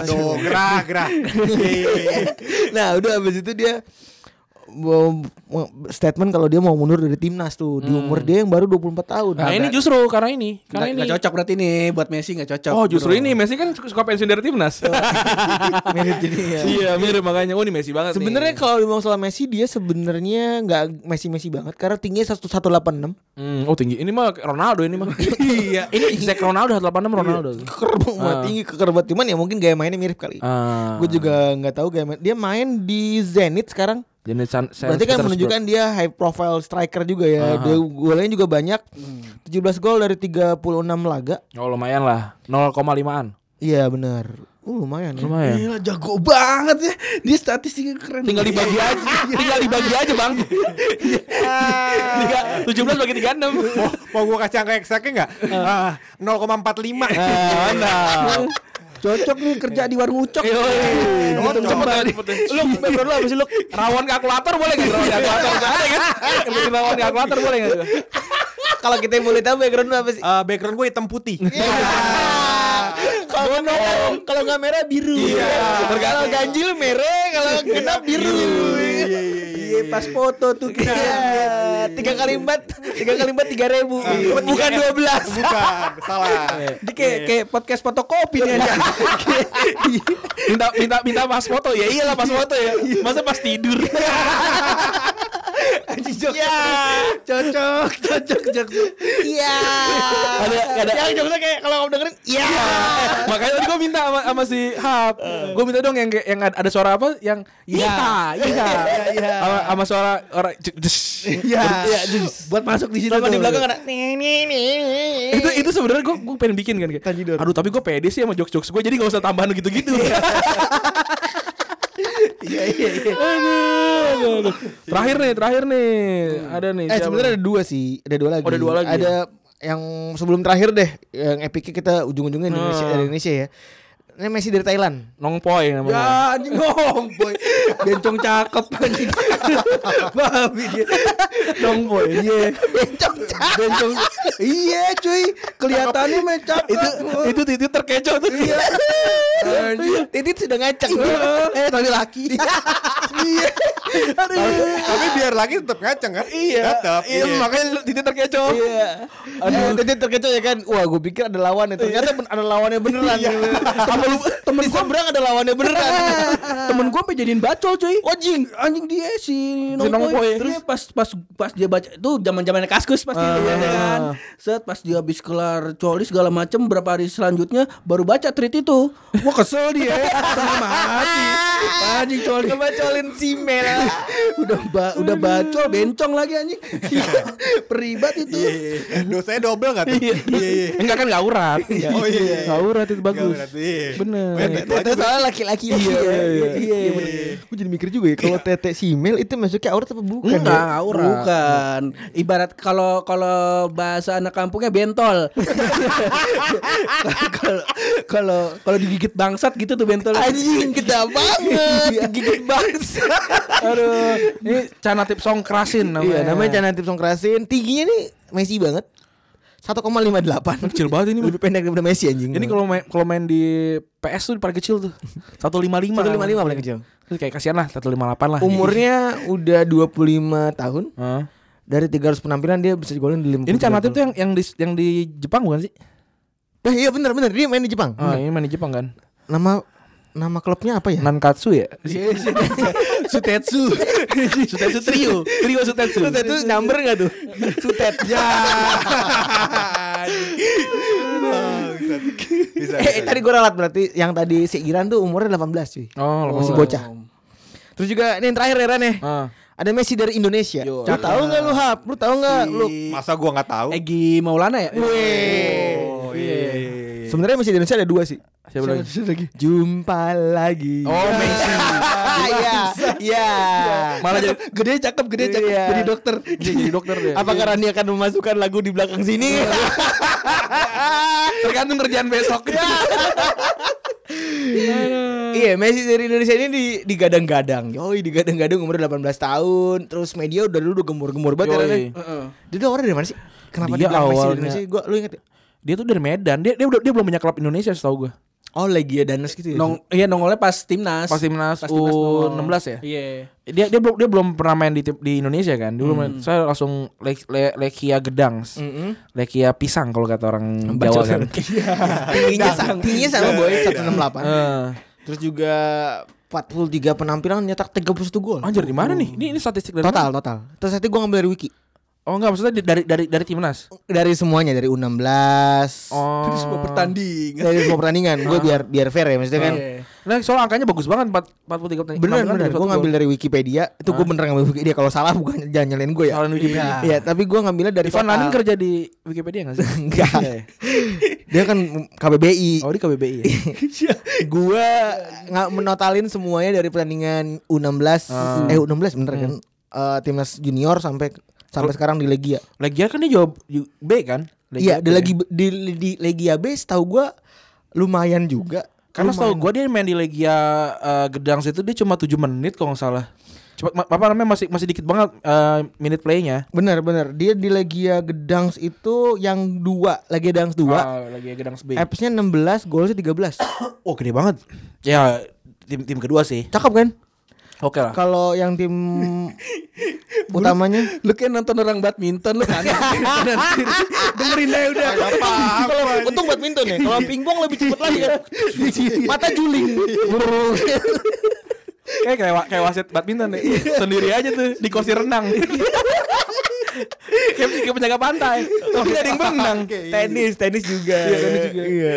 Speaker 5: Aduh, gerah, gerah. Iya, iya, iya.
Speaker 2: nah udah abis itu dia be- me- statement kalau dia mau mundur dari timnas tuh di umur dia yang baru 24 tahun.
Speaker 3: Nah, ini justru karena ini,
Speaker 4: Nggak-
Speaker 3: karena ini.
Speaker 4: nggak cocok berarti nih buat Messi nggak cocok.
Speaker 3: Oh, justru
Speaker 4: bro.
Speaker 3: ini Messi kan suka suka pensiun dari timnas.
Speaker 2: [laughs] mirip jadinya.
Speaker 3: Iya, mirip makanya. Oh, ini Messi banget nih.
Speaker 2: Sebenarnya kalau ngomong soal Messi dia sebenarnya nggak Messi-Messi banget karena tingginya 186.
Speaker 3: Hmm, oh tinggi. Ini mah Ronaldo ini mah. [laughs] Iya, ini exact Ronaldo 86 Ronaldo.
Speaker 2: Keker banget,
Speaker 3: Ah.
Speaker 2: tinggi keker banget cuman ya mungkin gaya mainnya mirip kali.
Speaker 3: Ah.
Speaker 2: Gue juga nggak tahu gaya main. Dia main di Zenit sekarang.
Speaker 3: Jenis san- san-
Speaker 2: Berarti kan
Speaker 3: Petersburg.
Speaker 2: menunjukkan dia high profile striker juga ya. Dia golnya juga banyak. 17 gol dari 36 laga.
Speaker 3: Oh, lumayan lah. 0,5-an.
Speaker 2: Iya benar. Uh, lumayan. ya.
Speaker 3: Lumayan.
Speaker 4: Gila jago banget ya. Dia statistiknya keren.
Speaker 3: Tinggal dibagi aja, tinggal dibagi aja, Bang. Tiga, 17 bagi 36.
Speaker 5: mau, mau gue kasih angka eksaknya nggak? Ah, 0,45
Speaker 3: Mantap.
Speaker 4: Cocok nih kerja di warung ucok.
Speaker 3: Cepet Lu background lu apa sih lu? Rawan kalkulator boleh
Speaker 5: [laughs]
Speaker 3: enggak? Rawan kalkulator Nggak ada kan? Rawan kalkulator boleh enggak?
Speaker 2: Kalau kita boleh tahu background lu apa sih? Iya.
Speaker 5: Ah, background gue hitam putih
Speaker 2: Kalau merah, kalau nggak merah biru. Kalau ganjil merah, kalau genap biru. Iya, pas foto tuh kita
Speaker 4: Iya.
Speaker 2: tiga kali empat, tiga kali empat tiga ribu, bukan dua belas.
Speaker 5: bukan salah
Speaker 4: Dia
Speaker 3: Iya,
Speaker 4: kayak, kayak podcast fotokopi nih aja.
Speaker 2: [laughs]
Speaker 3: Minta minta minta pas foto. Ya iyalah pas foto ya. Masa pas
Speaker 2: [laughs]
Speaker 3: tidur.
Speaker 2: Iya,
Speaker 4: cocok, [laughs] cocok, cocok.
Speaker 2: iya.
Speaker 3: Ada ada
Speaker 2: Yang jokesnya kayak kalau kamu dengerin, iya.
Speaker 3: [laughs] Makanya tadi gue minta sama, sama si Hap. Gue minta dong yang kayak- yang ada, ada suara apa yang iya iya sama, sama suara orang j- jess.
Speaker 4: Iya. [laughs] Buat masuk di situ.
Speaker 2: Sama di
Speaker 4: tuh.
Speaker 2: belakang ada nih nih nih.
Speaker 3: Iya, itu itu sebenarnya gue gue pengen bikin kan kayak. Aduh tapi gue pede sih sama jokes jokes gue jadi gak usah tambahan gitu gitu.
Speaker 4: Iya, iya,
Speaker 3: [laughs]
Speaker 4: iya.
Speaker 3: terakhir nih terakhir nih ada nih.
Speaker 2: Eh
Speaker 3: siapa?
Speaker 2: sebenarnya ada dua sih, ada dua lagi.
Speaker 3: Oh, Iya, ada dua lagi
Speaker 2: Ada yang sebelum terakhir deh, yang epicnya kita ujung-ujungnya di Indonesia,
Speaker 3: Hmm.
Speaker 2: dari Indonesia ya. Ini Messi dari Thailand.
Speaker 3: Nongpoy
Speaker 4: Ya,
Speaker 3: namanya.
Speaker 4: anjing ngomboy. Bencong cakep [laughs] anjing. iya. Babi dia.
Speaker 3: Nongpoy.
Speaker 4: Iya. Bencong cakep. Bencong. Iya, cuy. Kelihatannya main cakep.
Speaker 3: itu itu di Twitter kecoh tuh.
Speaker 4: Iya. Anjing.
Speaker 2: Titit sudah ngacak.
Speaker 4: Eh, tapi laki. Iya.
Speaker 5: tapi, tapi biar lagi tetap ngaceng kan iya tetap
Speaker 3: Iya, makanya lu di Twitter kecoh.
Speaker 2: Iya. Aduh, titit terkecoh ya kan. Wah, gue pikir ada lawannya. Ternyata ben- ada lawannya beneran. Apa lu Iya. temen seberang ada lawannya [laughs] beneran.
Speaker 4: [laughs] Temen gue sampai jadiin bacol cuy. Anjing, kan? anjing dia si
Speaker 3: Nongpoy.
Speaker 4: Nongpoy. Terus pas pas pas dia baca itu zaman-zamannya kaskus pasti
Speaker 3: Ah.
Speaker 4: ya kan. Set pas dia habis kelar coli segala macem berapa hari selanjutnya baru baca tweet itu. Wah kesel dia. Setengah mati. Anjing coli.
Speaker 2: Kebacolin si Mel.
Speaker 4: [laughs] udah ba- udah bacol bencong lagi [laughs] anjing. Peribat itu.
Speaker 2: Iya.
Speaker 5: dosanya double nggak tuh Iya,
Speaker 3: Enggak kan gak urat.
Speaker 5: Oh, iya, iya.
Speaker 3: Gak urat itu bagus.
Speaker 5: Nggak iya. berarti.
Speaker 3: Bener.
Speaker 5: Banyak itu aja.
Speaker 2: Itu soalnya laki-laki iya, iya, iya, Gue jadi mikir juga ya kalau tete si Mel itu masuknya aurat apa bukan?
Speaker 3: Enggak,
Speaker 2: ya?
Speaker 3: nggak urat.
Speaker 4: Bukan. Ibarat kalau kalau bahasa anak kampungnya bentol. Kalau- Kalau kalau digigit bangsat gitu tuh bentol.
Speaker 2: Anjing gede banget, gigit banget.
Speaker 3: Aduh, ini cana tip song krasin namanya.
Speaker 2: Iya, namanya Cana Tip Songkrasin. Tingginya nih Messi banget. 1,58.
Speaker 3: Kecil banget ini, Mas.
Speaker 2: Lebih pendek daripada Messi anjing.
Speaker 3: Ini kalau main kalau main di PS tuh paling kecil tuh. 155.
Speaker 2: 155 paling kecil.
Speaker 3: Terus Kayak kasihan lah 158 lah.
Speaker 2: Umurnya udah 25 tahun.
Speaker 3: Hah?
Speaker 2: Dari 300 penampilan dia bisa digolin di 50.
Speaker 3: Ini cana tip tuh yang yang di yang di Jepang bukan sih?
Speaker 2: Eh iya benar benar dia main di Jepang.
Speaker 3: Ah, ini main di Jepang kan.
Speaker 2: Nama nama klubnya apa ya?
Speaker 3: Nankatsu ya?
Speaker 4: Sutetsu.
Speaker 3: Sutetsu trio. Trio Sutetsu.
Speaker 2: itu number enggak tuh? Sutet.
Speaker 5: bisa
Speaker 2: [laughs] eh, tadi gue ralat berarti yang tadi si Iran tuh umurnya 18 cuy.
Speaker 3: Oh, lepas
Speaker 2: Si
Speaker 3: lah.
Speaker 2: bocah. Terus juga ini yang terakhir ya Ran ya.
Speaker 3: Ah.
Speaker 2: Ada Messi dari Indonesia.
Speaker 3: Yo.
Speaker 2: Lu tahu enggak lu Hap? Lu tahu enggak lu?
Speaker 5: masa gua nggak tahu
Speaker 2: Eh,
Speaker 4: Egi Maulana ya?
Speaker 5: oh iya iya, iya, iya.
Speaker 2: Sebenarnya Messi di Indonesia ada dua sih.
Speaker 3: Siapa lagi?
Speaker 2: Jumpa lagi.
Speaker 3: Oh, Messi.
Speaker 2: [laughs] Iya. Iya.
Speaker 3: Malah jadi
Speaker 4: Gede cakep, gede cakep.
Speaker 2: Iya.
Speaker 4: Jadi dokter.
Speaker 3: jadi jadi dokter deh.
Speaker 2: Apa karena dia akan memasukkan lagu di belakang sini?
Speaker 3: tergantung kerjaan besok.
Speaker 2: iya, Messi dari Indonesia ini di digadang-gadang. Yoi, digadang-gadang umur 18 tahun. Terus media udah dulu udah gemur-gemur banget. ya,
Speaker 3: Yoi.
Speaker 2: Ren.
Speaker 4: Heeh.
Speaker 2: Dia dulu orang dari mana sih? Kenapa
Speaker 3: Dia
Speaker 2: dia bilang Messi dari
Speaker 3: awalnya-
Speaker 2: Indonesia? Gua lu inget ya?
Speaker 3: Dia tuh dari Medan. Dia dia udah dia belum punya klub Indonesia setahu gue.
Speaker 2: Oh Legiodanus gitu ya.
Speaker 4: Nong iya nongolnya pas timnas.
Speaker 3: Pas timnas
Speaker 4: nongol.
Speaker 3: U16 ya?
Speaker 4: Iya.
Speaker 3: dia dia belum dia belum pernah main di tim- di Indonesia kan dulu main- saya langsung le, le- lekia gedang lekia pisang kalau kata orang Jawa kan
Speaker 2: [laughs] tingginya sama, tingginya sama boy 168.
Speaker 3: Eh,
Speaker 2: Terus juga 43 penampilan nyetak 31 gol.
Speaker 3: anjir di mana nih ini ini statistik dari
Speaker 2: Total total. Terus nanti gue ngambil dari wiki.
Speaker 3: mana? oh enggak maksudnya di- dari dari dari timnas
Speaker 2: Dari semuanya dari U16.
Speaker 3: oh
Speaker 4: Itu sebuah pertandingan.
Speaker 2: Dari semua pertandingan. Gue biar biar fair ya maksudnya kan.
Speaker 4: Iya.
Speaker 3: nah soal angkanya bagus banget 4 43 pertandingan.
Speaker 2: Bener
Speaker 3: 16,
Speaker 2: bener. Gue
Speaker 3: 31
Speaker 2: ngambil
Speaker 3: gol.
Speaker 2: dari Wikipedia. Itu gue bener ngambil Wikipedia. Kalau salah bukan jangan nyalain gue ya.
Speaker 3: Soalan Ah. Wikipedia.
Speaker 2: Iya. Iya, tapi gue ngambilnya dari
Speaker 3: Ivan
Speaker 2: total.
Speaker 3: Lanin kerja di Wikipedia
Speaker 2: [laughs]
Speaker 3: enggak sih
Speaker 2: Enggak.
Speaker 3: Iya, ya.
Speaker 2: Dia kan KBBI.
Speaker 3: oh di KBBI
Speaker 2: [laughs]
Speaker 3: ya
Speaker 2: gua nggak menotalin semuanya dari pertandingan U16
Speaker 3: Ah.
Speaker 2: eh U16 bener
Speaker 3: Hmm.
Speaker 2: kan Eh, timnas junior sampai sampai sekarang di Legia.
Speaker 3: Legia kan dia jawab ju- B kan
Speaker 2: Iya,
Speaker 3: B
Speaker 2: di
Speaker 3: ya.
Speaker 2: lagi di, di Legia B setahu gua lumayan juga.
Speaker 3: Karena setahu gue dia main di Legia eh, Gedang situ dia cuma 7 menit kalau nggak salah. Cuma ma- apa namanya masih masih dikit banget eh, minute playnya.
Speaker 2: Bener bener dia di Legia Gedangs itu yang dua Legia Gedangs dua
Speaker 3: Ah, Legia Gedang B.
Speaker 2: Apps-nya 16, golnya 13
Speaker 3: oh gede banget. Ya tim tim kedua sih.
Speaker 2: Cakep kan?
Speaker 3: Oke lah.
Speaker 2: Kalau yang tim utamanya
Speaker 4: Lu kayak nonton orang badminton lu kan. Dengerin aja udah.
Speaker 2: Kalau untung badminton ya. Kalau pingpong lebih cepet lagi kan. [laughs] Mata juling.
Speaker 3: Kayak Eh, kayak, wa- kayak wasit badminton nih. Sendiri aja tuh di kursi renang. kayak, kayak penjaga pantai. Tapi nggak ada yang berenang.
Speaker 4: iya,
Speaker 2: tenis, tenis juga. Iya, tenis juga. Iya.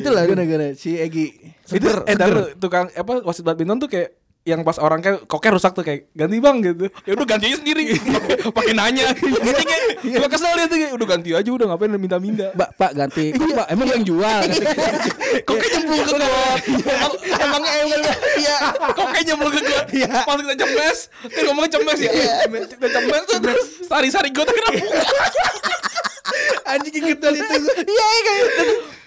Speaker 2: Itulah.
Speaker 4: Gara-gara si Egi.
Speaker 3: Itu eh tapi tukang apa wasit badminton tuh kayak yang pas orang kayak koknya rusak tuh kayak ganti bang gitu ya udah ganti aja sendiri Pakai- pakai nanya Jadi kayak gua kesel dia tuh kayak udah ganti aja udah ngapain minta-minta
Speaker 4: Pak, Pak ganti. Kok, Pak, emang lu yang jual. Iya.
Speaker 3: koknya nyemplung ke got
Speaker 2: Emangnya emang iya.
Speaker 3: koknya nyemplung ke got pas kita cemes kan ngomong cemes ya kita cemes tuh terus sari-sari got kena buka
Speaker 4: Anjing inget dari itu.
Speaker 2: Iya, iya, kayak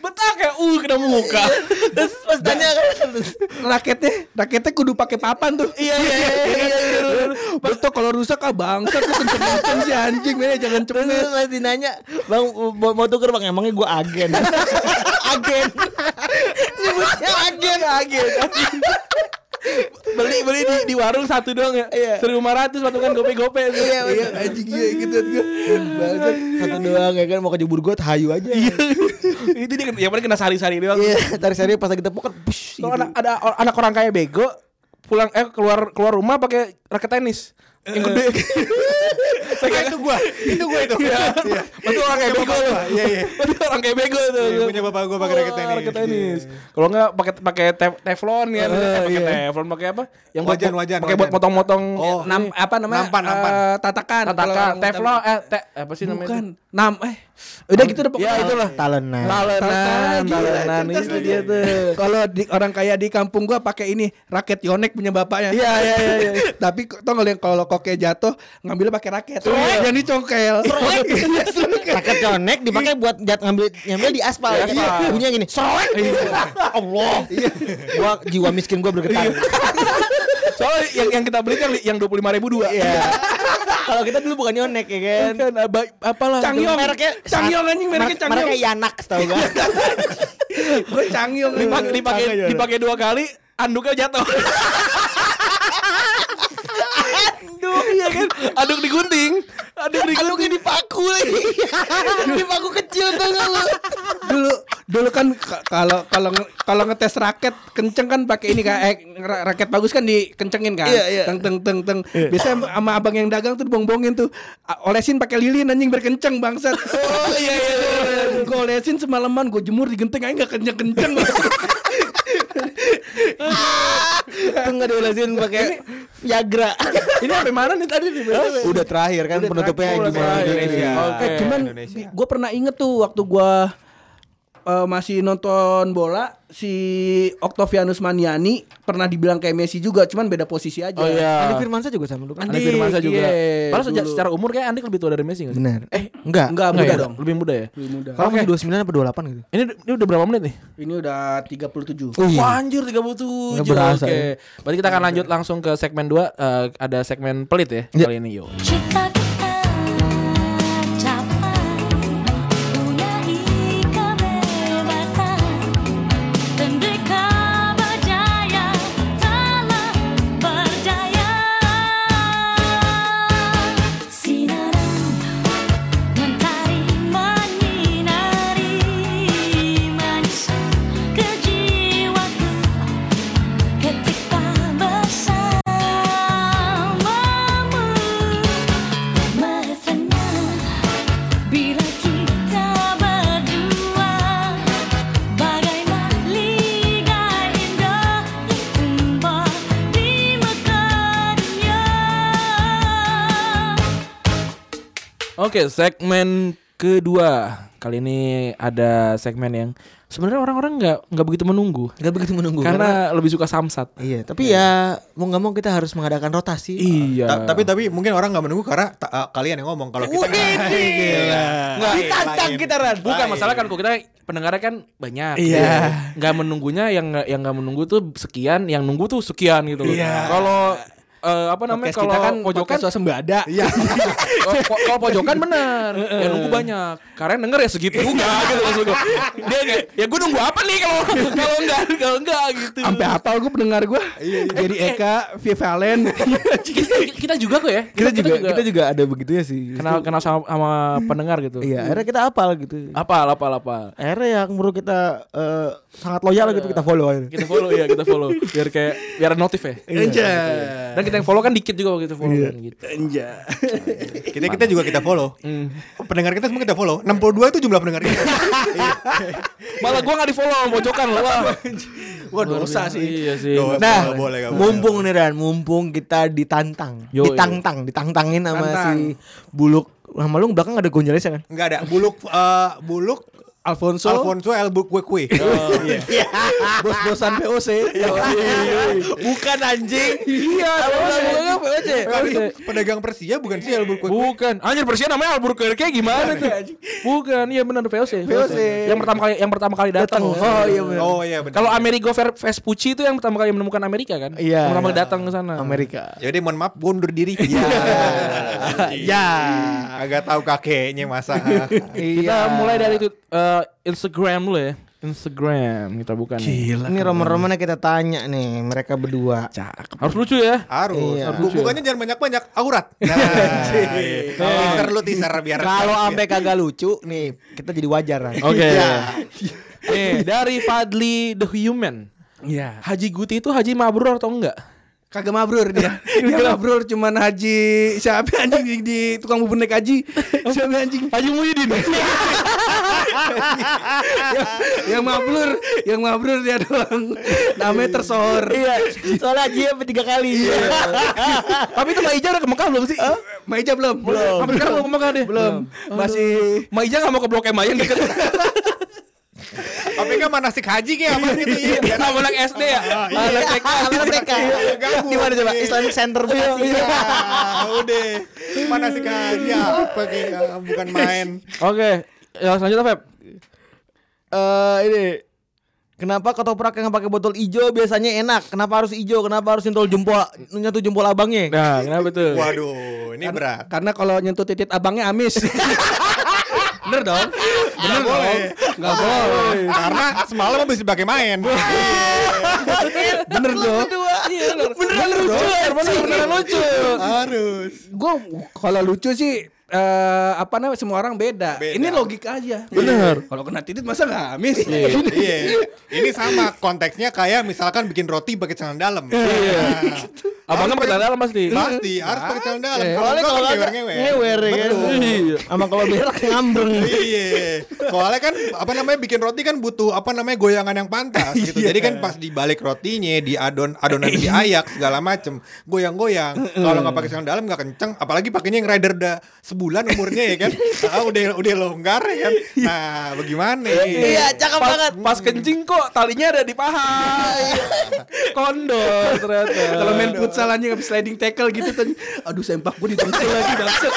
Speaker 3: betah kayak uh kena muka
Speaker 2: [laughs] terus pas tanya kan terus.
Speaker 4: Raketnya, raketnya kudu pakai papan tuh. Iya, iya, iya. Betul kalau rusak ah bangsat lu kenceng-kenceng si anjing, men jangan
Speaker 2: Terus
Speaker 4: cemes.
Speaker 2: pasti nanya, "Bang, mau, mau tuker Bang? Emangnya gua agen." agen. Nyebutnya agen, agen.
Speaker 3: beli beli di, di warung satu doang ya seribu lima ratus patungan gope-gope tuh.
Speaker 2: Iya,
Speaker 4: Iya,
Speaker 2: bener.
Speaker 4: anjing iya inget gue.
Speaker 2: Bangsat, satu doang ya kan mau kejebur gue hayu aja. Iya.
Speaker 3: [laughs] itu dia yang paling kena sari-sari doang
Speaker 4: Iya.
Speaker 2: tarik seri pas lagi tepuk kan. push,
Speaker 3: Kalau
Speaker 2: gitu.
Speaker 3: anak ada or- anak orang kaya bego pulang eh keluar keluar rumah pakai raket tenis yang gede.
Speaker 4: Eh.
Speaker 3: [laughs]
Speaker 5: Nah, itu gua, itu gua itu. Iya.
Speaker 3: Betul orang kayak bego.
Speaker 5: Bapak, iya, iya.
Speaker 3: Betul orang kayak bego tuh.
Speaker 5: Iya, punya bapak gua pakai raket tenis. Iya.
Speaker 3: Raket tenis. Kalau enggak pakai pakai tef- teflon ya,
Speaker 4: Eh,
Speaker 3: pakai
Speaker 4: iya.
Speaker 3: teflon pakai apa? Yang
Speaker 5: Wajan,
Speaker 3: buat
Speaker 5: wajan,
Speaker 3: pakai buat
Speaker 5: wajan.
Speaker 3: potong-motong
Speaker 5: Oh, kan
Speaker 3: nam
Speaker 4: Nam, apa namanya?
Speaker 5: Nampan, nampan.
Speaker 4: Eh, tatakan. Kalau
Speaker 3: tatakan
Speaker 4: orang-
Speaker 3: teflon eh te, apa sih namanya?
Speaker 4: Bukan. Nam eh. Udah gitu udah
Speaker 3: Ya itulah.
Speaker 2: Talenan.
Speaker 3: Talenan,
Speaker 4: Talenan,
Speaker 3: talenan
Speaker 4: gila,
Speaker 3: itu
Speaker 4: cerdas
Speaker 3: dia
Speaker 4: lagi.
Speaker 3: tuh.
Speaker 4: Iya, Kalau di orang kaya di kampung gua pakai ini raket yonek punya bapaknya.
Speaker 3: Iya, iya, iya, iya.
Speaker 4: [laughs] Tapi kok- tau nggak lu yang kalau koknya jatuh ngambil pakai raket. Yang dicongkel. [laughs] Iya, seru kan?
Speaker 2: Paket connect dipakai buat jat ngambil ngambil di aspal ya.
Speaker 3: Iya.
Speaker 2: kan? Bunyinya gini. Sroek.
Speaker 5: Iya.
Speaker 2: Allah. Gua jiwa miskin gua bergetar.
Speaker 3: Soalnya yang yang kita beli kan li- yang 25.000 dua.
Speaker 2: Iya. Kalau kita dulu bukan yonek ya kan.
Speaker 3: Kan apa- apalah.
Speaker 4: Changyong.
Speaker 2: Mereknya
Speaker 4: Changyong anjing
Speaker 2: Mer-
Speaker 4: mereknya Changyong.
Speaker 3: iya.
Speaker 2: Mereknya Yanak tau [laughs] gak?
Speaker 4: Gue Changyong
Speaker 3: dipakai
Speaker 4: dipakai
Speaker 3: dipakai dipakai dua kali anduknya
Speaker 5: [laughs]
Speaker 3: jatuh anduk ya kan anduk digunting anduk digunting
Speaker 2: dipaku [laughs] lagi. dipaku kecil tau gak lu?
Speaker 4: dulu dulu kan ka- kalau kalau nge- kalau ngetes raket kenceng kan pakai ini kan eh, ra- raket bagus kan dikencengin kan teng teng teng teng biasanya am- sama abang yang dagang tuh bongbongin tuh A- olesin pakai lilin anjing berkenceng bangsat [laughs] oh iya iya, [laughs] gue olesin semalaman gue jemur digenteng aja nggak kenceng [laughs] kenceng
Speaker 2: Itu gak diolesin pakai [laughs] Viagra.
Speaker 3: ini sampai mana nih tadi nih
Speaker 2: Udah terakhir kan penutupnya gimana?
Speaker 3: terakhir,
Speaker 4: [laughs]
Speaker 3: udah terakhir.
Speaker 2: Indonesia.
Speaker 3: Oke.
Speaker 4: Eh, cuman
Speaker 5: Indonesia.
Speaker 4: gue pernah inget tuh waktu gue masih nonton bola si Octavianus Maniani pernah dibilang kayak Messi juga cuman beda posisi aja
Speaker 3: oh iya
Speaker 2: Andi Firmansyah juga sama dulu kan?
Speaker 3: Andi Firmansyah juga
Speaker 4: iya,
Speaker 3: padahal sejak
Speaker 4: dulu.
Speaker 3: secara umur kayak Andi kan lebih tua dari Messi nggak sih
Speaker 2: Bener. Eh enggak.
Speaker 4: Enggak, muda
Speaker 3: Nggak ya?
Speaker 4: dong.
Speaker 3: lebih muda ya
Speaker 2: Kalau masih 29 apa 28 gitu.
Speaker 3: ini ini udah berapa menit nih
Speaker 4: Ini udah 37.
Speaker 2: Oh
Speaker 3: Wah anjir 37
Speaker 2: Nggak berasa,
Speaker 3: Oke
Speaker 2: ya.
Speaker 3: Berarti kita akan lanjut langsung ke segmen 2 Ada segmen pelit ya
Speaker 2: Ya.
Speaker 3: Kali ini yo
Speaker 6: Cita kita capai punyai kebebasan
Speaker 3: Oke, segmen kedua. Kali ini ada segmen yang sebenarnya orang-orang nggak nggak begitu menunggu
Speaker 2: Gak begitu menunggu
Speaker 3: karena lebih suka samsat.
Speaker 2: Iya, tapi ya mau nggak mau kita harus mengadakan rotasi.
Speaker 3: Iya.
Speaker 5: Ta- tapi tapi mungkin orang nggak menunggu karena ta- eh, kalian yang ngomong kalau kita Iya.
Speaker 3: Nggak,
Speaker 5: ditantang kita Ran.
Speaker 3: Bukan masalah kan kok kita pendengarnya kan banyak.
Speaker 4: Iya.
Speaker 3: Nggak menunggunya yang nggak- yang nggak menunggu tuh sekian, yang nunggu tuh sekian gitu. loh. Kalau eh, apa namanya
Speaker 4: Iya. Podcast
Speaker 3: kalau
Speaker 4: kita kan
Speaker 3: pojokan
Speaker 4: podcast swasembada. Iya.
Speaker 3: Oh, po- [laughs] kalau pojokan bener yang nunggu banyak karena yang denger ya segitu juga
Speaker 4: Iya.
Speaker 3: gitu maksud gue dia kayak, ya gue nunggu apa nih kalau kalau enggak kalau enggak gitu
Speaker 4: Sampai hafal gue pendengar gue.
Speaker 2: Iya,
Speaker 4: Jadi
Speaker 2: Eh,
Speaker 4: Eka, Via Valen.
Speaker 2: [laughs]
Speaker 3: kita, kita juga kok ya
Speaker 2: Kita juga kita juga ada begitunya sih.
Speaker 3: kenal kenal sama, sama pendengar gitu
Speaker 2: Iya, akhirnya kita apal gitu.
Speaker 3: apal apal apal
Speaker 2: Akhirnya yang menurut kita eh, sangat loyal gitu kita follow aja.
Speaker 3: kita follow ya kita follow biar kayak biar ada notif ya
Speaker 5: Iya.
Speaker 3: dan kita yang follow kan dikit juga waktu itu follow
Speaker 4: Iya.
Speaker 3: kan gitu
Speaker 5: kita kita juga kita follow. Pendengar kita semua kita follow. 62 itu jumlah pendengar kita.
Speaker 3: malah gue nggak di follow sama pojokan loh
Speaker 2: [laughs]
Speaker 3: wah
Speaker 4: Wah dosa sih.
Speaker 3: iya sih
Speaker 5: Doa,
Speaker 2: Nah,
Speaker 5: boleh, boleh, nggak boleh.
Speaker 2: mumpung nih Ran, mumpung kita ditantang,
Speaker 3: Yo,
Speaker 2: ditantang, ditantangin sama si
Speaker 4: Tantang.
Speaker 2: buluk. Sama lu belakang ada gonjalesnya kan?
Speaker 5: Enggak ada buluk eh, buluk
Speaker 4: Alfonso,
Speaker 5: Alfonso El Kue Kue. [laughs] Iya.
Speaker 4: bos-bosan POC.
Speaker 2: Bukan anjing.
Speaker 3: iya
Speaker 5: Pedagang Persia bukan sih El Kue Kue.
Speaker 3: Bukan. Anjir Persia namanya Albuquerque gimana
Speaker 2: Iya,
Speaker 3: tuh? Bukan. Iya benar VOC. VOC. Yang pertama kali yang pertama kali datang.
Speaker 2: Datang. Oh iya benar.
Speaker 5: Oh iya benar.
Speaker 3: Kalau Amerigo Ver- Vespucci itu yang pertama kali menemukan Amerika kan?
Speaker 2: Iya.
Speaker 3: Yang Pertama kali
Speaker 2: Iya.
Speaker 3: datang ke sana.
Speaker 2: Amerika.
Speaker 5: Jadi Ya mohon maaf gua undur diri. Ya.
Speaker 2: Ya.
Speaker 5: Agak tahu kakeknya masa.
Speaker 3: Kita
Speaker 2: Iya.
Speaker 3: mulai dari itu eh, Instagram dulu ya. Instagram kita bukan.
Speaker 2: Ini roman-romannya kita tanya nih mereka berdua.
Speaker 3: Harus lucu
Speaker 2: [laughs]
Speaker 3: ya.
Speaker 5: Harus.
Speaker 2: Iya.
Speaker 5: Bu- Bukannya jangan banyak-banyak aurat. Nah, iya. teaser lu teaser biar
Speaker 2: Kalau sampai kagak lucu nih, kita jadi wajar Ran.
Speaker 3: Oke.
Speaker 2: Iya.
Speaker 3: Nih, dari Fadli The Human.
Speaker 4: Iya.
Speaker 3: Haji Guti itu Haji Mabrur atau enggak?
Speaker 4: Kagak mabrur [laughs] dia. Dia mabrur cuman haji siapa anjing di, di tukang bubur naik haji. Siapa anjing?
Speaker 3: Haji Muhyiddin. [laughs]
Speaker 4: Yang mabrur, yang mabrur dia doang. Namanya tersohor.
Speaker 2: Iya. Soalnya dia sampai tiga kali.
Speaker 3: Iya. Tapi itu Mbak Ija udah ke Mekah belum sih?
Speaker 4: Maija belum?
Speaker 3: Belum. Sampai sekarang belum ke Mekah deh. Belum.
Speaker 4: Masih
Speaker 3: Mbak Ija gak mau ke Blok M aja yang deket
Speaker 5: Tapi kan manasik haji kayak apa gitu ya.
Speaker 3: [laughs] Iya, Sama anak SD ya Anak Iya, TK
Speaker 2: Karena Iya, mereka.
Speaker 5: gabung.
Speaker 2: Di mana coba? Islamic Center
Speaker 3: Iya,
Speaker 2: Bekasi.
Speaker 5: Ya, udah. Manasik haji apa kayak ah, bukan main.
Speaker 3: Oke Ya selanjutnya Feb
Speaker 2: Eh ini Kenapa ketoprak yang pakai botol ijo biasanya enak? Kenapa harus ijo? Kenapa harus nyentol jempol nyentuh jempol abangnya?
Speaker 3: Nah kenapa tuh
Speaker 5: Waduh, ini berat.
Speaker 4: Karena kalau nyentuh titit abangnya [laughs] amis. Bener dong? Bener dong? Gak boleh.
Speaker 5: Karena semalam habis dipakai main.
Speaker 4: Bener dong?
Speaker 3: Iya, bener. Bener lucu Bener bener lucu
Speaker 5: Harus.
Speaker 4: Gue kalau lucu sih eh apa namanya semua orang beda.
Speaker 5: Beda.
Speaker 4: Ini logika aja. Bener. Kalau kena titit masa nggak amis?
Speaker 5: Iya. Ini sama konteksnya kayak misalkan bikin roti pakai celana dalam. Iya.
Speaker 3: Abangnya pernah dalam pasti
Speaker 5: Pasti harus pakai celana dalam. Kalau enggak
Speaker 2: Gitu. Iya. Soalnya kalau
Speaker 5: kan
Speaker 2: ada
Speaker 5: ngewer-ngewer.
Speaker 2: ngewer ya kan.
Speaker 3: Iya.
Speaker 2: Sama kalau berak ngambreng.
Speaker 5: Iya. Soalnya kan apa namanya bikin roti kan butuh apa namanya goyangan yang pantas gitu.
Speaker 2: Iya.
Speaker 5: Jadi kan pas dibalik rotinya di adon adonan diayak segala macem goyang-goyang. Kalau nggak pakai celana dalam nggak kenceng. Apalagi pakainya yang rider udah sebulan umurnya ya
Speaker 2: [laughs]
Speaker 5: kan. Ah, udah udah longgar ya kan. Nah bagaimana?
Speaker 2: Iya, cakep
Speaker 3: Pas-
Speaker 2: banget.
Speaker 3: Pas kencing kok talinya ada di paha [laughs] Iya. Kondor ternyata
Speaker 4: Kalau main futsal aja habis sliding tackle gitu tuh. Aduh sempak gue dipengkul lagi bangsat.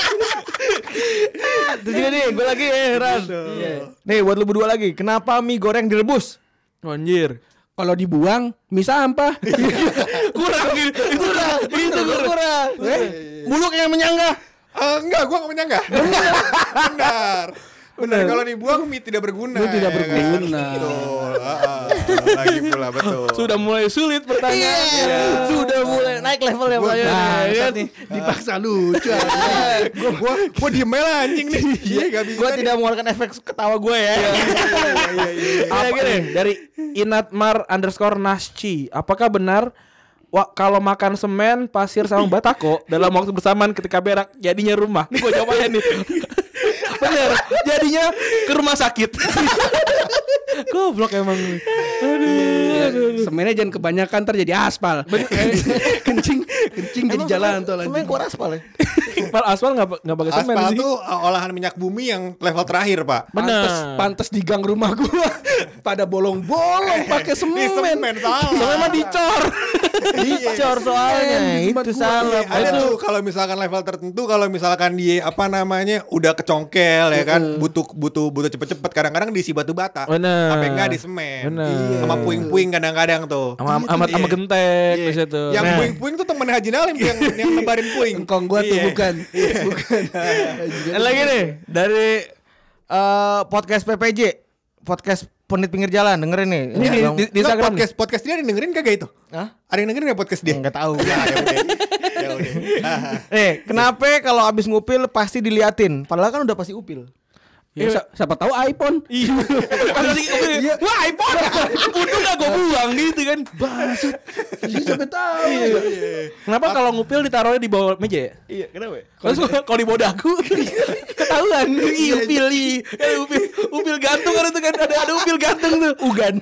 Speaker 2: Terus juga nih, gue lagi eh Ran. Nih buat lu berdua lagi. Kenapa mie goreng direbus?
Speaker 3: Anjir
Speaker 4: Kalau dibuang, mie sampah.
Speaker 3: Kurang gitu Kurang
Speaker 2: Itu kurang. Eh,
Speaker 3: Iya.
Speaker 2: buluk yang menyangga.
Speaker 5: Eh, enggak, gua nggak menyangga. Benar. Benar. Benar. Kalau dibuang mie tidak berguna. Mie
Speaker 4: tidak berguna.
Speaker 5: Betul. Ah, ah. Lagi pula betul.
Speaker 3: Sudah mulai sulit pertanyaan
Speaker 2: Iya.
Speaker 3: Iya.
Speaker 2: Sudah mulai naik level ya Pak.
Speaker 4: Nah, nih dipaksa lucu.
Speaker 5: gua gua gua diem aja lah anjing nih. Iya, enggak bisa.
Speaker 2: Gue
Speaker 5: nih.
Speaker 2: tidak mengeluarkan efek tawa gue ya.
Speaker 5: Iya, iya, iya.
Speaker 3: Apa nih? Dari Inatmar underscore Nasci Apakah benar Wah, kalau makan semen, pasir sama batako dalam waktu bersamaan ketika berak jadinya rumah. Ini gue jawab aja nih. Bener, [laughs] jadinya ke rumah sakit. Goblok emang. Aduh.
Speaker 4: Semennya jangan kebanyakan ntar jadi aspal. [laughs] kencing kencing jadi jalan tol
Speaker 2: Semen
Speaker 4: anjing.
Speaker 2: keluar aspal ya.
Speaker 3: Aspal aspal nggak nggak pakai semen
Speaker 5: Aspal
Speaker 3: sih.
Speaker 5: tuh uh, olahan minyak bumi yang level terakhir pak.
Speaker 3: Benar.
Speaker 4: Pantes, pantes di gang rumah gua pada bolong-bolong pakai
Speaker 5: Ini
Speaker 4: semen.
Speaker 5: semen salah.
Speaker 3: Soalnya mah dicor. Iya.
Speaker 2: Dicor
Speaker 3: Nah,
Speaker 2: soalnya
Speaker 4: Semen,
Speaker 2: itu
Speaker 4: tempat
Speaker 2: salah.
Speaker 5: Ada
Speaker 2: Pak.
Speaker 5: tuh kalau misalkan level tertentu kalau misalkan dia apa namanya udah kecongkel ya kan butuh butuh butuh cepet-cepet kadang-kadang diisi batu bata
Speaker 3: Bener.
Speaker 5: apa enggak di semen
Speaker 3: Bener.
Speaker 5: sama puing-puing kadang-kadang tuh
Speaker 3: Sama sama sama
Speaker 5: Iya.
Speaker 3: genteng
Speaker 5: Iya.
Speaker 3: biasanya tuh.
Speaker 5: yang
Speaker 3: Nah.
Speaker 5: puing-puing tuh temen Haji Nalim tuh yang yang nebarin puing
Speaker 4: Engkong gua tuh
Speaker 5: Iya.
Speaker 4: bukan. Bukan.
Speaker 2: Eh, Lagi nih dari eh, podcast PPJ, podcast penit pinggir jalan dengerin nih.
Speaker 3: Ini di,
Speaker 2: Bang-
Speaker 3: di, di
Speaker 5: Nggak,
Speaker 3: Instagram nih.
Speaker 5: podcast podcast dia ada yang dengerin kagak itu
Speaker 2: Hah?
Speaker 5: ada yang dengerin nggak podcast dia
Speaker 2: Nggak tahu.
Speaker 5: ya ya udah ya udah Ah.
Speaker 2: Nih, Eh, kenapa kalau abis ngupil pasti diliatin? Padahal kan udah pasti upil.
Speaker 4: Ya, si- siapa tahu iPhone.
Speaker 3: Iya. [laughs] Ada sih, iya. Wah iPhone. Untung gak gue buang gitu kan. Iya.
Speaker 4: Bangsat. Jadi siapa tahu.
Speaker 3: Kenapa kalau ngupil ditaruhnya di bawah meja ya? [laughs] Iya, kenapa? Terus kalau- kalau di Iya. bodaku ketahuan
Speaker 4: Iya.
Speaker 3: Ih, upil ih. Eh, upil upil gantung kan itu kan ada ada upil gantung tuh. Ugan.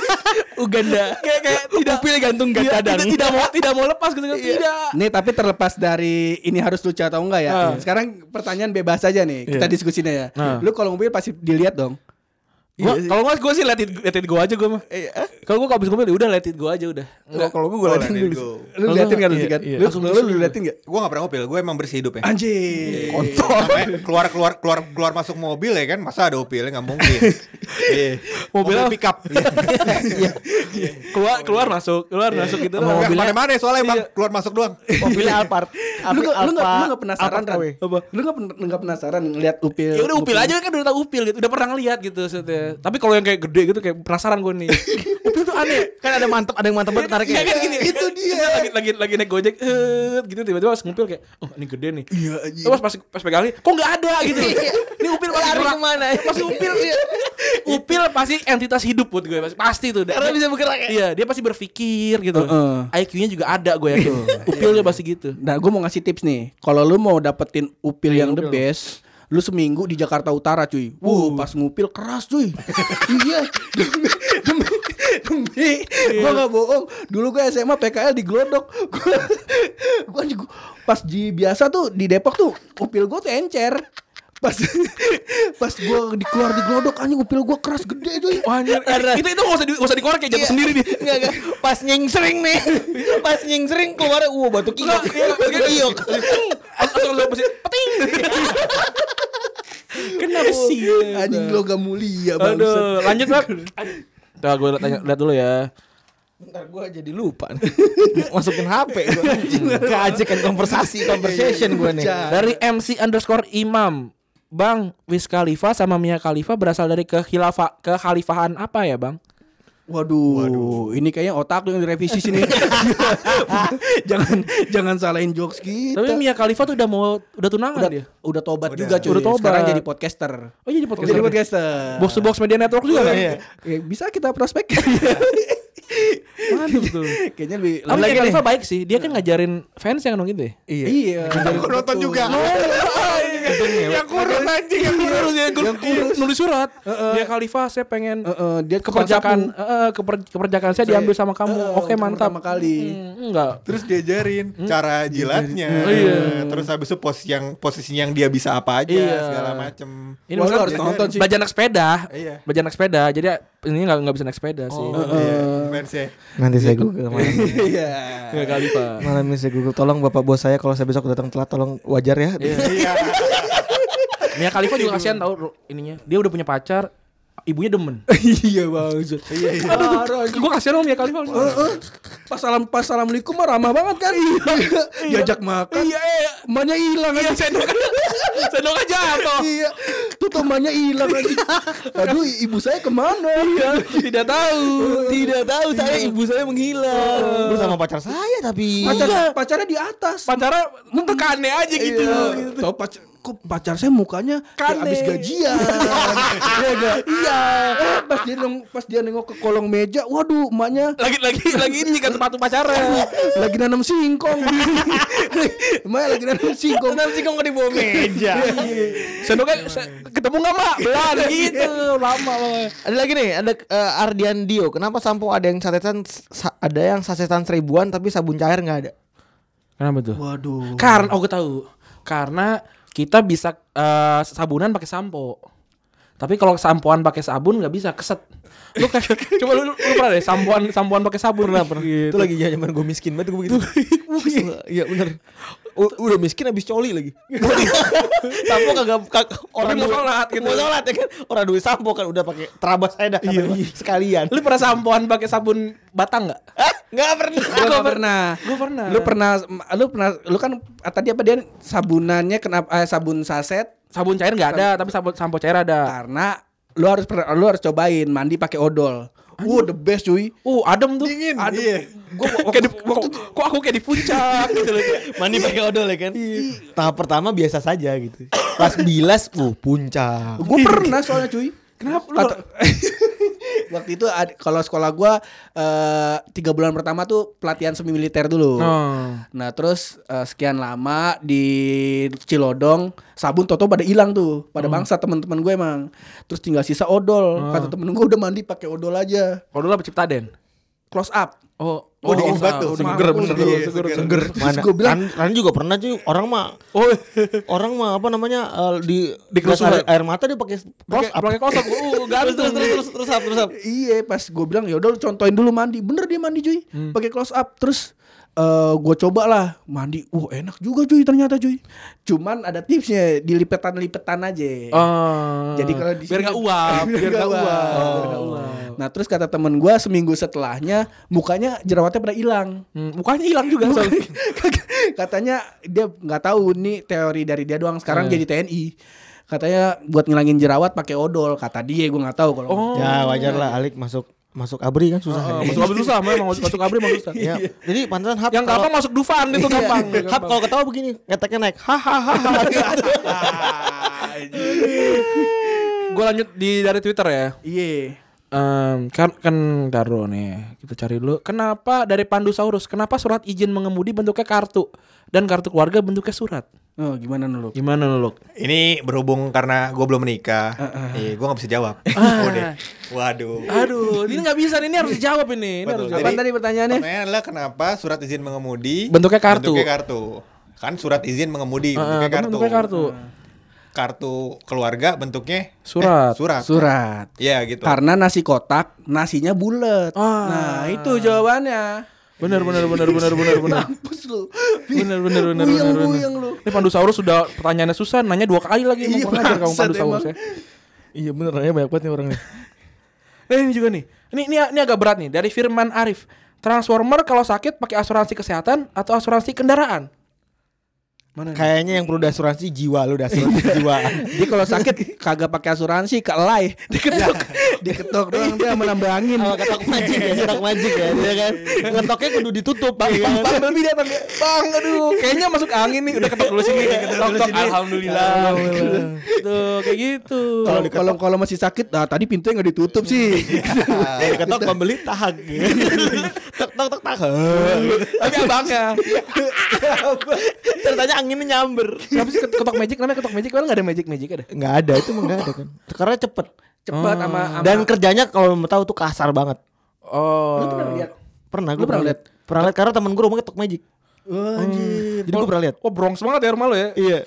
Speaker 3: [laughs] Uganda. Kayak kayak tidak upil gantung gak cadang. Iya, Tidak, tidak mau tidak mau lepas gitu kan. Tidak.
Speaker 4: Iya. Nih tapi terlepas dari ini harus lucu atau enggak ya.
Speaker 3: Ah.
Speaker 4: Sekarang pertanyaan bebas aja nih. Kita
Speaker 3: Iya.
Speaker 4: diskusinya ya.
Speaker 3: Ah.
Speaker 4: Lu kalau mobil pasti dilihat dong.
Speaker 3: Gua, kalau nggak gue Iya sih Iya, eh. let it, let it go aja gue mah. Kalau gue habis ngupil ya udah let it go aja udah.
Speaker 4: Enggak, kalau gue gue
Speaker 5: Oh,
Speaker 4: liatin
Speaker 5: let it
Speaker 4: dulu.
Speaker 5: go.
Speaker 4: Lu liatin kan lu
Speaker 3: Iya,
Speaker 4: sikat?
Speaker 3: iya.
Speaker 4: Lu lu lu liatin enggak?
Speaker 5: gue nggak pernah ngopil gue emang bersih hidupnya
Speaker 4: Anjing.
Speaker 3: Iya.
Speaker 4: Kontol.
Speaker 5: Sampai keluar keluar keluar keluar masuk mobil ya kan masa ada opilnya nggak mungkin Iya.
Speaker 3: Mobil apa?
Speaker 5: pick up
Speaker 3: Keluar keluar masuk, keluar masuk gitu.
Speaker 5: Nggak
Speaker 3: doang.
Speaker 5: kemana-mana soalnya emang keluar masuk doang
Speaker 2: Mobilnya Alphard.
Speaker 4: Lu nggak lu nggak lu
Speaker 2: Alphard-
Speaker 4: nggak penasaran
Speaker 2: Alphard
Speaker 4: kan?
Speaker 2: KW.
Speaker 4: Apa? Lu nggak pen- nggak penasaran ngeliat upil?
Speaker 3: ya udah upil aja kan udah tau upil gitu udah pernah ngeliat gitu maksudnya. tapi kalau yang kayak gede gitu kayak penasaran gue [laughs] nih upil tuh aneh
Speaker 2: Kan ada mantep, ada yang mantep banget
Speaker 3: Iya
Speaker 2: tariknya.
Speaker 3: kan gini itu dia lagi lagi lagi naik gojek eh, gitu tiba-tiba pas ngupil kayak oh ini gede nih iya terus pas pas pegang nih kok nggak ada gitu
Speaker 4: [laughs]
Speaker 3: ini upil pasti
Speaker 2: Lari
Speaker 3: gerak.
Speaker 2: kemana?
Speaker 3: pasti upil upil pasti entitas hidup buat gue pasti pasti tuh
Speaker 2: Karena bisa bergerak ya.
Speaker 3: iya dia pasti berpikir gitu
Speaker 4: Heeh.
Speaker 3: IQ-nya juga ada gue yakin upilnya pasti gitu
Speaker 4: Nah, gue mau ngasih tips nih. Kalau lu mau dapetin upil yang the best, lu seminggu di Jakarta Utara, cuy. Wuh, pas ngupil keras, cuy. iya. Demi, demi, demi. Gue gak bohong. Dulu gue SMA PKL di Glodok. Gue, gue juga- pas di biasa tuh di Depok tuh upil gue tuh encer. Pas pas gue dikeluar di Glodok anjing upil gue keras gede, cuy.
Speaker 3: Anjir,
Speaker 2: eh,
Speaker 3: itu itu nggak usah di, nggak usah dikorek ya jatuh sendiri dia
Speaker 2: Enggak, enggak. Iya. Pas nyingsering nih. Pas nyingsering keluarnya, wah batu kiok. Batu kiok.
Speaker 3: Atau lo mesti [laughs] peting. Kenapa sih?
Speaker 2: Iya,
Speaker 4: Anjing lo gak mulia banget.
Speaker 3: Aduh, lanjut [laughs] bang. Tuh gue tanya lihat dulu ya.
Speaker 2: Ntar gue jadi lupa nih. Masukin HP gue. Keajekan konversasi, conversation gue nih.
Speaker 3: Dari MC underscore Imam. Bang, Wiz Khalifa sama Mia Khalifa berasal dari ke khilafa, kekhalifahan apa ya, Bang?
Speaker 4: Waduh, ini kayaknya otak lu yang direvisi sini. [laughs] jangan jangan salahin jokes kita.
Speaker 3: [laughs] Tapi Mia Khalifa tuh udah mau udah tunangan
Speaker 4: udah,
Speaker 3: dia.
Speaker 4: udah tobat juga cuy.
Speaker 3: Udah tobat.
Speaker 4: Sekarang jadi podcaster.
Speaker 3: Oh, jadi podcast.
Speaker 4: Jadi podcaster.
Speaker 3: Box to box media network juga kan?
Speaker 4: Ya, bisa kita prospek.
Speaker 3: Iya. Mantap tuh.
Speaker 4: kayaknya lebih
Speaker 3: Tapi Mia Khalifa baik sih. Dia kan ngajarin fans yang nonton gitu ya.
Speaker 4: Iya. iya.
Speaker 5: Aku nonton juga.
Speaker 3: Oh,
Speaker 5: yang kurus anjing yang kurus.
Speaker 3: Terus dia nulis- Iya, nulis surat. Mia Khalifa saya pengen
Speaker 4: Eh, eh, dia
Speaker 3: keperjakan
Speaker 4: keperjakaan
Speaker 3: eh, keper- keperjakaan saya diambil sama kamu.
Speaker 4: eh,
Speaker 3: Oke,
Speaker 4: untuk
Speaker 3: mantap.
Speaker 4: pertama kali.
Speaker 3: Hmm, enggak.
Speaker 5: Terus diajarin
Speaker 2: Hmm?
Speaker 5: cara jilatnya.
Speaker 2: Oh, iya.
Speaker 5: Terus habis itu pos yang posisinya yang dia bisa apa aja
Speaker 3: Iya.
Speaker 5: segala macem.
Speaker 4: Wah,
Speaker 3: Ini
Speaker 4: lu
Speaker 3: maksudnya
Speaker 4: harus nonton sih.
Speaker 3: Baja naik sepeda.
Speaker 5: Iya.
Speaker 3: Baja naik sepeda. Jadi ini enggak enggak bisa naik sepeda sih.
Speaker 4: Oh,
Speaker 2: Eh.
Speaker 5: Iya, fansnya.
Speaker 2: Nanti saya google malam.
Speaker 4: Iya.
Speaker 3: Mia Khalifa.
Speaker 2: Malam ini saya google. Tolong bapak bos saya kalau saya besok datang telat tolong wajar ya.
Speaker 5: Iya.
Speaker 3: Mia Khalifa juga kasihan tahu Ru, ininya. Dia udah punya pacar, ibunya demen.
Speaker 4: [laughs] Iya banget. Iya. Aduh,
Speaker 3: Gue kasihan sama Mia Khalifa.
Speaker 4: pas salam pas assalamualaikum mah ramah banget kan iya [laughs] diajak makan iya emaknya hilang iya sendok [laughs]
Speaker 3: Sendoknya jatuh.
Speaker 4: iya tuh temannya hilang [laughs] lagi aduh ibu saya kemana iya
Speaker 3: Tidak tahu.
Speaker 2: Tidak tahu saya ibu saya menghilang. Bersama Iya. pacar saya tapi.
Speaker 4: Pacar, pacarnya di atas
Speaker 3: Pacara nonton aneh aja gitu.
Speaker 4: Tau pac- kok pacar saya mukanya kayak habis [laughs] gajian. Iya, enggak? iya. Pas dia neng- pas dia nengok ke kolong meja, waduh, emaknya
Speaker 3: Lagi lagi lagi ini kan sepatu pacaran.
Speaker 4: lagi nanam [laughs] singkong. Emaknya lagi nanam singkong.
Speaker 3: Nanti kamu di bawah meja. Sendoknya se- ketemu nggak mak? Belan gitu lama banget.
Speaker 2: Ada lagi nih, ada eh, Ardian Dio. Kenapa sampo ada yang sasetan sa- ada yang sasetan seribuan tapi sabun cair nggak ada?
Speaker 3: Kenapa tuh?
Speaker 4: Waduh.
Speaker 3: Karena oh gue tahu. Karena kita bisa eh, sabunan pakai sampo. Tapi kalau sampoan pakai sabun nggak bisa keset. Lu kayak [laughs] coba lu, lu pernah deh sampoan sampoan pakai sabun Gitu. pernah pernah.
Speaker 2: [laughs] Itu lagi zaman gue miskin banget gue
Speaker 5: [laughs]
Speaker 2: begitu. Iya benar. Udah miskin habis coli
Speaker 5: [laughs]
Speaker 2: lagi. sampo kagak kag- orang duit-
Speaker 3: mau sholat gitu.
Speaker 2: Mau sholat ya kan. Orang duit sampo kan udah pakai terabas aja dah
Speaker 5: Iya,
Speaker 2: kata gua. sekalian. [laughs]
Speaker 3: Lu pernah sampoan pakai sabun batang nggak?
Speaker 2: Hah? Enggak pernah.
Speaker 5: Iya.
Speaker 4: Gua nggak pernah.
Speaker 3: Gue pernah.
Speaker 4: Lu pernah lu pernah lu kan ah, tadi apa dia sabunannya kenapa eh, sabun saset
Speaker 3: sabun cair nggak ada, tapi sabun sampo cair ada.
Speaker 4: karena lu harus per- lu harus cobain mandi pakai odol. Wow, the best cuy.
Speaker 3: Uh, adem tuh.
Speaker 5: Dingin,
Speaker 3: Adem.
Speaker 5: iya.
Speaker 3: Gua kayak di, kok, kok aku kayak di puncak gitu loh.
Speaker 2: Mandi pakai odol ya kan. Tahap pertama biasa saja gitu. Pas bilas, uh puncak.
Speaker 4: Gue pernah soalnya cuy. Kenapa lu? [laughs] waktu itu ad- kalau sekolah gue tiga bulan pertama tuh pelatihan semi militer dulu.
Speaker 3: Hmm.
Speaker 4: Nah terus eh, sekian lama di Cilodong sabun toto pada hilang tuh
Speaker 5: Oh.
Speaker 4: pada bangsa teman-teman gue emang. Terus tinggal sisa odol. Kata temen gue udah mandi pakai odol aja.
Speaker 3: Kalau dulu apa Ciptaden?
Speaker 4: Close up.
Speaker 3: Oh,
Speaker 5: Oh, dingin banget tuh.
Speaker 3: Seger
Speaker 5: Mampus,
Speaker 3: bener
Speaker 5: iya,
Speaker 3: tuh, seger.
Speaker 5: seger.
Speaker 2: Seger mana?
Speaker 4: gua bilang-
Speaker 2: Ran, Ran juga pernah cuy. Orang mah
Speaker 3: Oh,
Speaker 2: orang mah apa namanya eh, di
Speaker 3: Di
Speaker 2: gas
Speaker 3: kerusuhan.
Speaker 2: air, air mata dia pakai
Speaker 3: pakai
Speaker 2: cross up.
Speaker 3: pakai kosong. Uh,
Speaker 2: Terus terus
Speaker 3: gantung.
Speaker 2: terus terus terus up, terus up.
Speaker 4: Iya pas gue bilang ya udah lu contohin dulu mandi bener dia mandi cuy
Speaker 5: Hmm.
Speaker 4: pakai close up terus eh gue coba lah mandi wah enak juga cuy ternyata cuy cuman ada tipsnya dilipetan-lipetan aja
Speaker 5: Oh,
Speaker 3: Ah.
Speaker 4: Iya. Jadi kalau di
Speaker 3: biar
Speaker 4: sini-
Speaker 3: nggak uap, biar nggak uap.
Speaker 4: Biar nggak uap. Nah terus kata temen gue seminggu setelahnya mukanya jerawatnya pada hilang.
Speaker 3: Hmm, mukanya hilang juga soalnya.
Speaker 4: [laughs] Katanya dia nggak tahu nih teori dari dia doang. Sekarang jadi TNI. Katanya buat ngilangin jerawat pakai odol. Kata dia gue nggak tahu kalau.
Speaker 3: Oh.
Speaker 2: Ya wajar lah Alik masuk masuk abri kan susah.
Speaker 3: Ah,
Speaker 2: ya.
Speaker 3: Masuk abri susah, memang masuk masuk abri masuk susah.
Speaker 2: Ya, jadi pantesan hap
Speaker 3: Yang gampang masuk Dufan itu
Speaker 2: Iya. [laughs]
Speaker 3: gampang.
Speaker 2: Hap kalau ketawa begini, ngeteknya naik. Hahaha.
Speaker 3: [laughs] Gue lanjut di dari Twitter ya.
Speaker 4: Iya.
Speaker 3: Em, kan kan taruh nih kita cari dulu kenapa dari Pandusaurus kenapa surat izin mengemudi bentuknya kartu dan kartu keluarga bentuknya surat
Speaker 4: Oh gimana nih lu?
Speaker 3: gimana lo Lok?
Speaker 5: Ini berhubung karena gue belum menikah,
Speaker 2: Ah,
Speaker 5: iya gue nggak bisa jawab. Oh, deh. Waduh.
Speaker 3: aduh [laughs] ini nggak bisa nih, ini harus dijawab ini, ini
Speaker 5: Betul.
Speaker 3: harus dijawab.
Speaker 5: Jadi,
Speaker 4: Apaan tadi pertanyaannya?
Speaker 5: Pertanyaannya adalah kenapa surat izin mengemudi
Speaker 3: Iya Bentuknya kartu.
Speaker 5: Bentuknya kartu. Kan surat izin mengemudi
Speaker 3: Ah,
Speaker 5: bentuknya
Speaker 3: tapi
Speaker 5: kartu. Ah.
Speaker 3: bentuknya kartu
Speaker 5: Kartu keluarga bentuknya eh,
Speaker 3: Surat.
Speaker 5: surat.
Speaker 4: Surat.
Speaker 5: Iya gitu.
Speaker 4: Karena nasi kotak, nasinya bulat.
Speaker 3: Ah.
Speaker 4: Nah itu jawabannya.
Speaker 3: bener bener bener bener bener [laughs] bener
Speaker 4: Mampus lu.
Speaker 3: bener bener bener bener bener
Speaker 4: Buyang-buyang lu. Iya,
Speaker 3: ini Pandusaurus sudah pertanyaannya susah nanya dua kali lagi mau kurang ajar kamu
Speaker 4: bangsat
Speaker 3: Pandusaurus ya
Speaker 4: emang.
Speaker 2: Iya bener ya banyak banget nih orangnya.
Speaker 3: [laughs] Eh, ini juga nih. Ini, ini ini agak berat nih dari Firman Arif. Transformer kalau sakit pakai asuransi kesehatan atau asuransi kendaraan? Mana? nih?
Speaker 2: Kayaknya yang perlu asuransi jiwa lu udah asuransi [laughs] jiwa.
Speaker 4: Dia kalau sakit kagak pakai asuransi, kak
Speaker 3: [laughs]
Speaker 4: lay diketok, diketok doang dia menambah angin.
Speaker 2: Kalau ketok magic ya, ketok magic ya, dia kan. Ngetoknya kudu ditutup. ya kan?
Speaker 3: Bumblebee datang dia. Iya. Bang, aduh, kayaknya masuk angin nih. Udah ketok dulu sini. Ketok, ketok. Alhamdulillah. Tuh, kayak gitu.
Speaker 4: Kalau kalau kalau masih sakit, nah tadi pintunya nggak ditutup sih.
Speaker 2: Kalau ketok pembeli [laughs] tahak. Tok tok tok tahak.
Speaker 3: Tapi abangnya.
Speaker 2: Ceritanya anginnya nyamber.
Speaker 3: Kenapa sih ketok magic? Namanya ketok magic. Karena nggak ada magic magic ada.
Speaker 2: Nggak ada itu emang nggak ada kan. Karena cepet.
Speaker 4: Cepat sama sama-
Speaker 2: Dan kerjanya kalau mau tahu tuh kasar banget.
Speaker 3: Oh.
Speaker 4: Lu pernah lihat?
Speaker 2: Pernah
Speaker 4: Lu
Speaker 2: gue
Speaker 4: pernah lihat?
Speaker 2: Pernah lihat Oh, karena temen gue rumahnya tok magic. Hmm. Jadi gue pernah lihat.
Speaker 3: Oh, brongs banget ya rumah lo ya.
Speaker 2: Iya.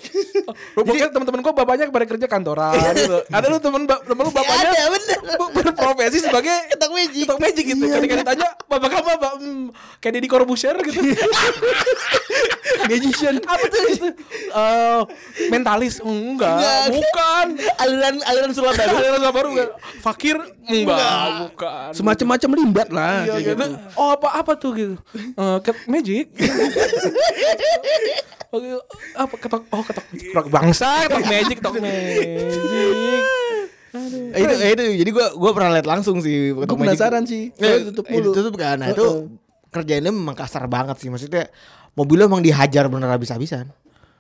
Speaker 3: Lu pokoknya teman-teman gua bapaknya pada kerja kantoran gitu. Ada lu temen ba- temen lu bapaknya
Speaker 2: Iya, Ada, bener.
Speaker 3: bu- berprofesi sebagai
Speaker 2: Ketok magic. Iya.
Speaker 3: ketok magic gitu. Ketika ditanya, "Bapak kamu apa?" Hmm, kayak Deddy Corbuzier
Speaker 2: [laughs]
Speaker 3: gitu. Magician. Apa tuh itu? Eh, mentalis Hmm, enggak,
Speaker 2: Enggak.
Speaker 3: bukan.
Speaker 2: Aliran aliran sulap baru.
Speaker 3: Aliran sama baru enggak? Fakir enggak, bukan.
Speaker 4: semacam-macam limbat lah.
Speaker 3: Iya,
Speaker 4: kayak
Speaker 3: gitu.
Speaker 4: gitu.
Speaker 3: Oh apa apa tuh gitu? Eh, ket magic. [laughs] Oke, apa ketok? Oh ketok, ketok bangsa, ketok magic, ketok magic.
Speaker 2: Eh, itu eh, itu jadi gua gua pernah lihat langsung sih
Speaker 4: Gua penasaran sih. Soalnya tutup mulu.
Speaker 2: Iya, tutup kan nah itu
Speaker 4: Heeh.
Speaker 2: kerjaannya memang kasar banget sih maksudnya mobilnya emang dihajar bener habis-habisan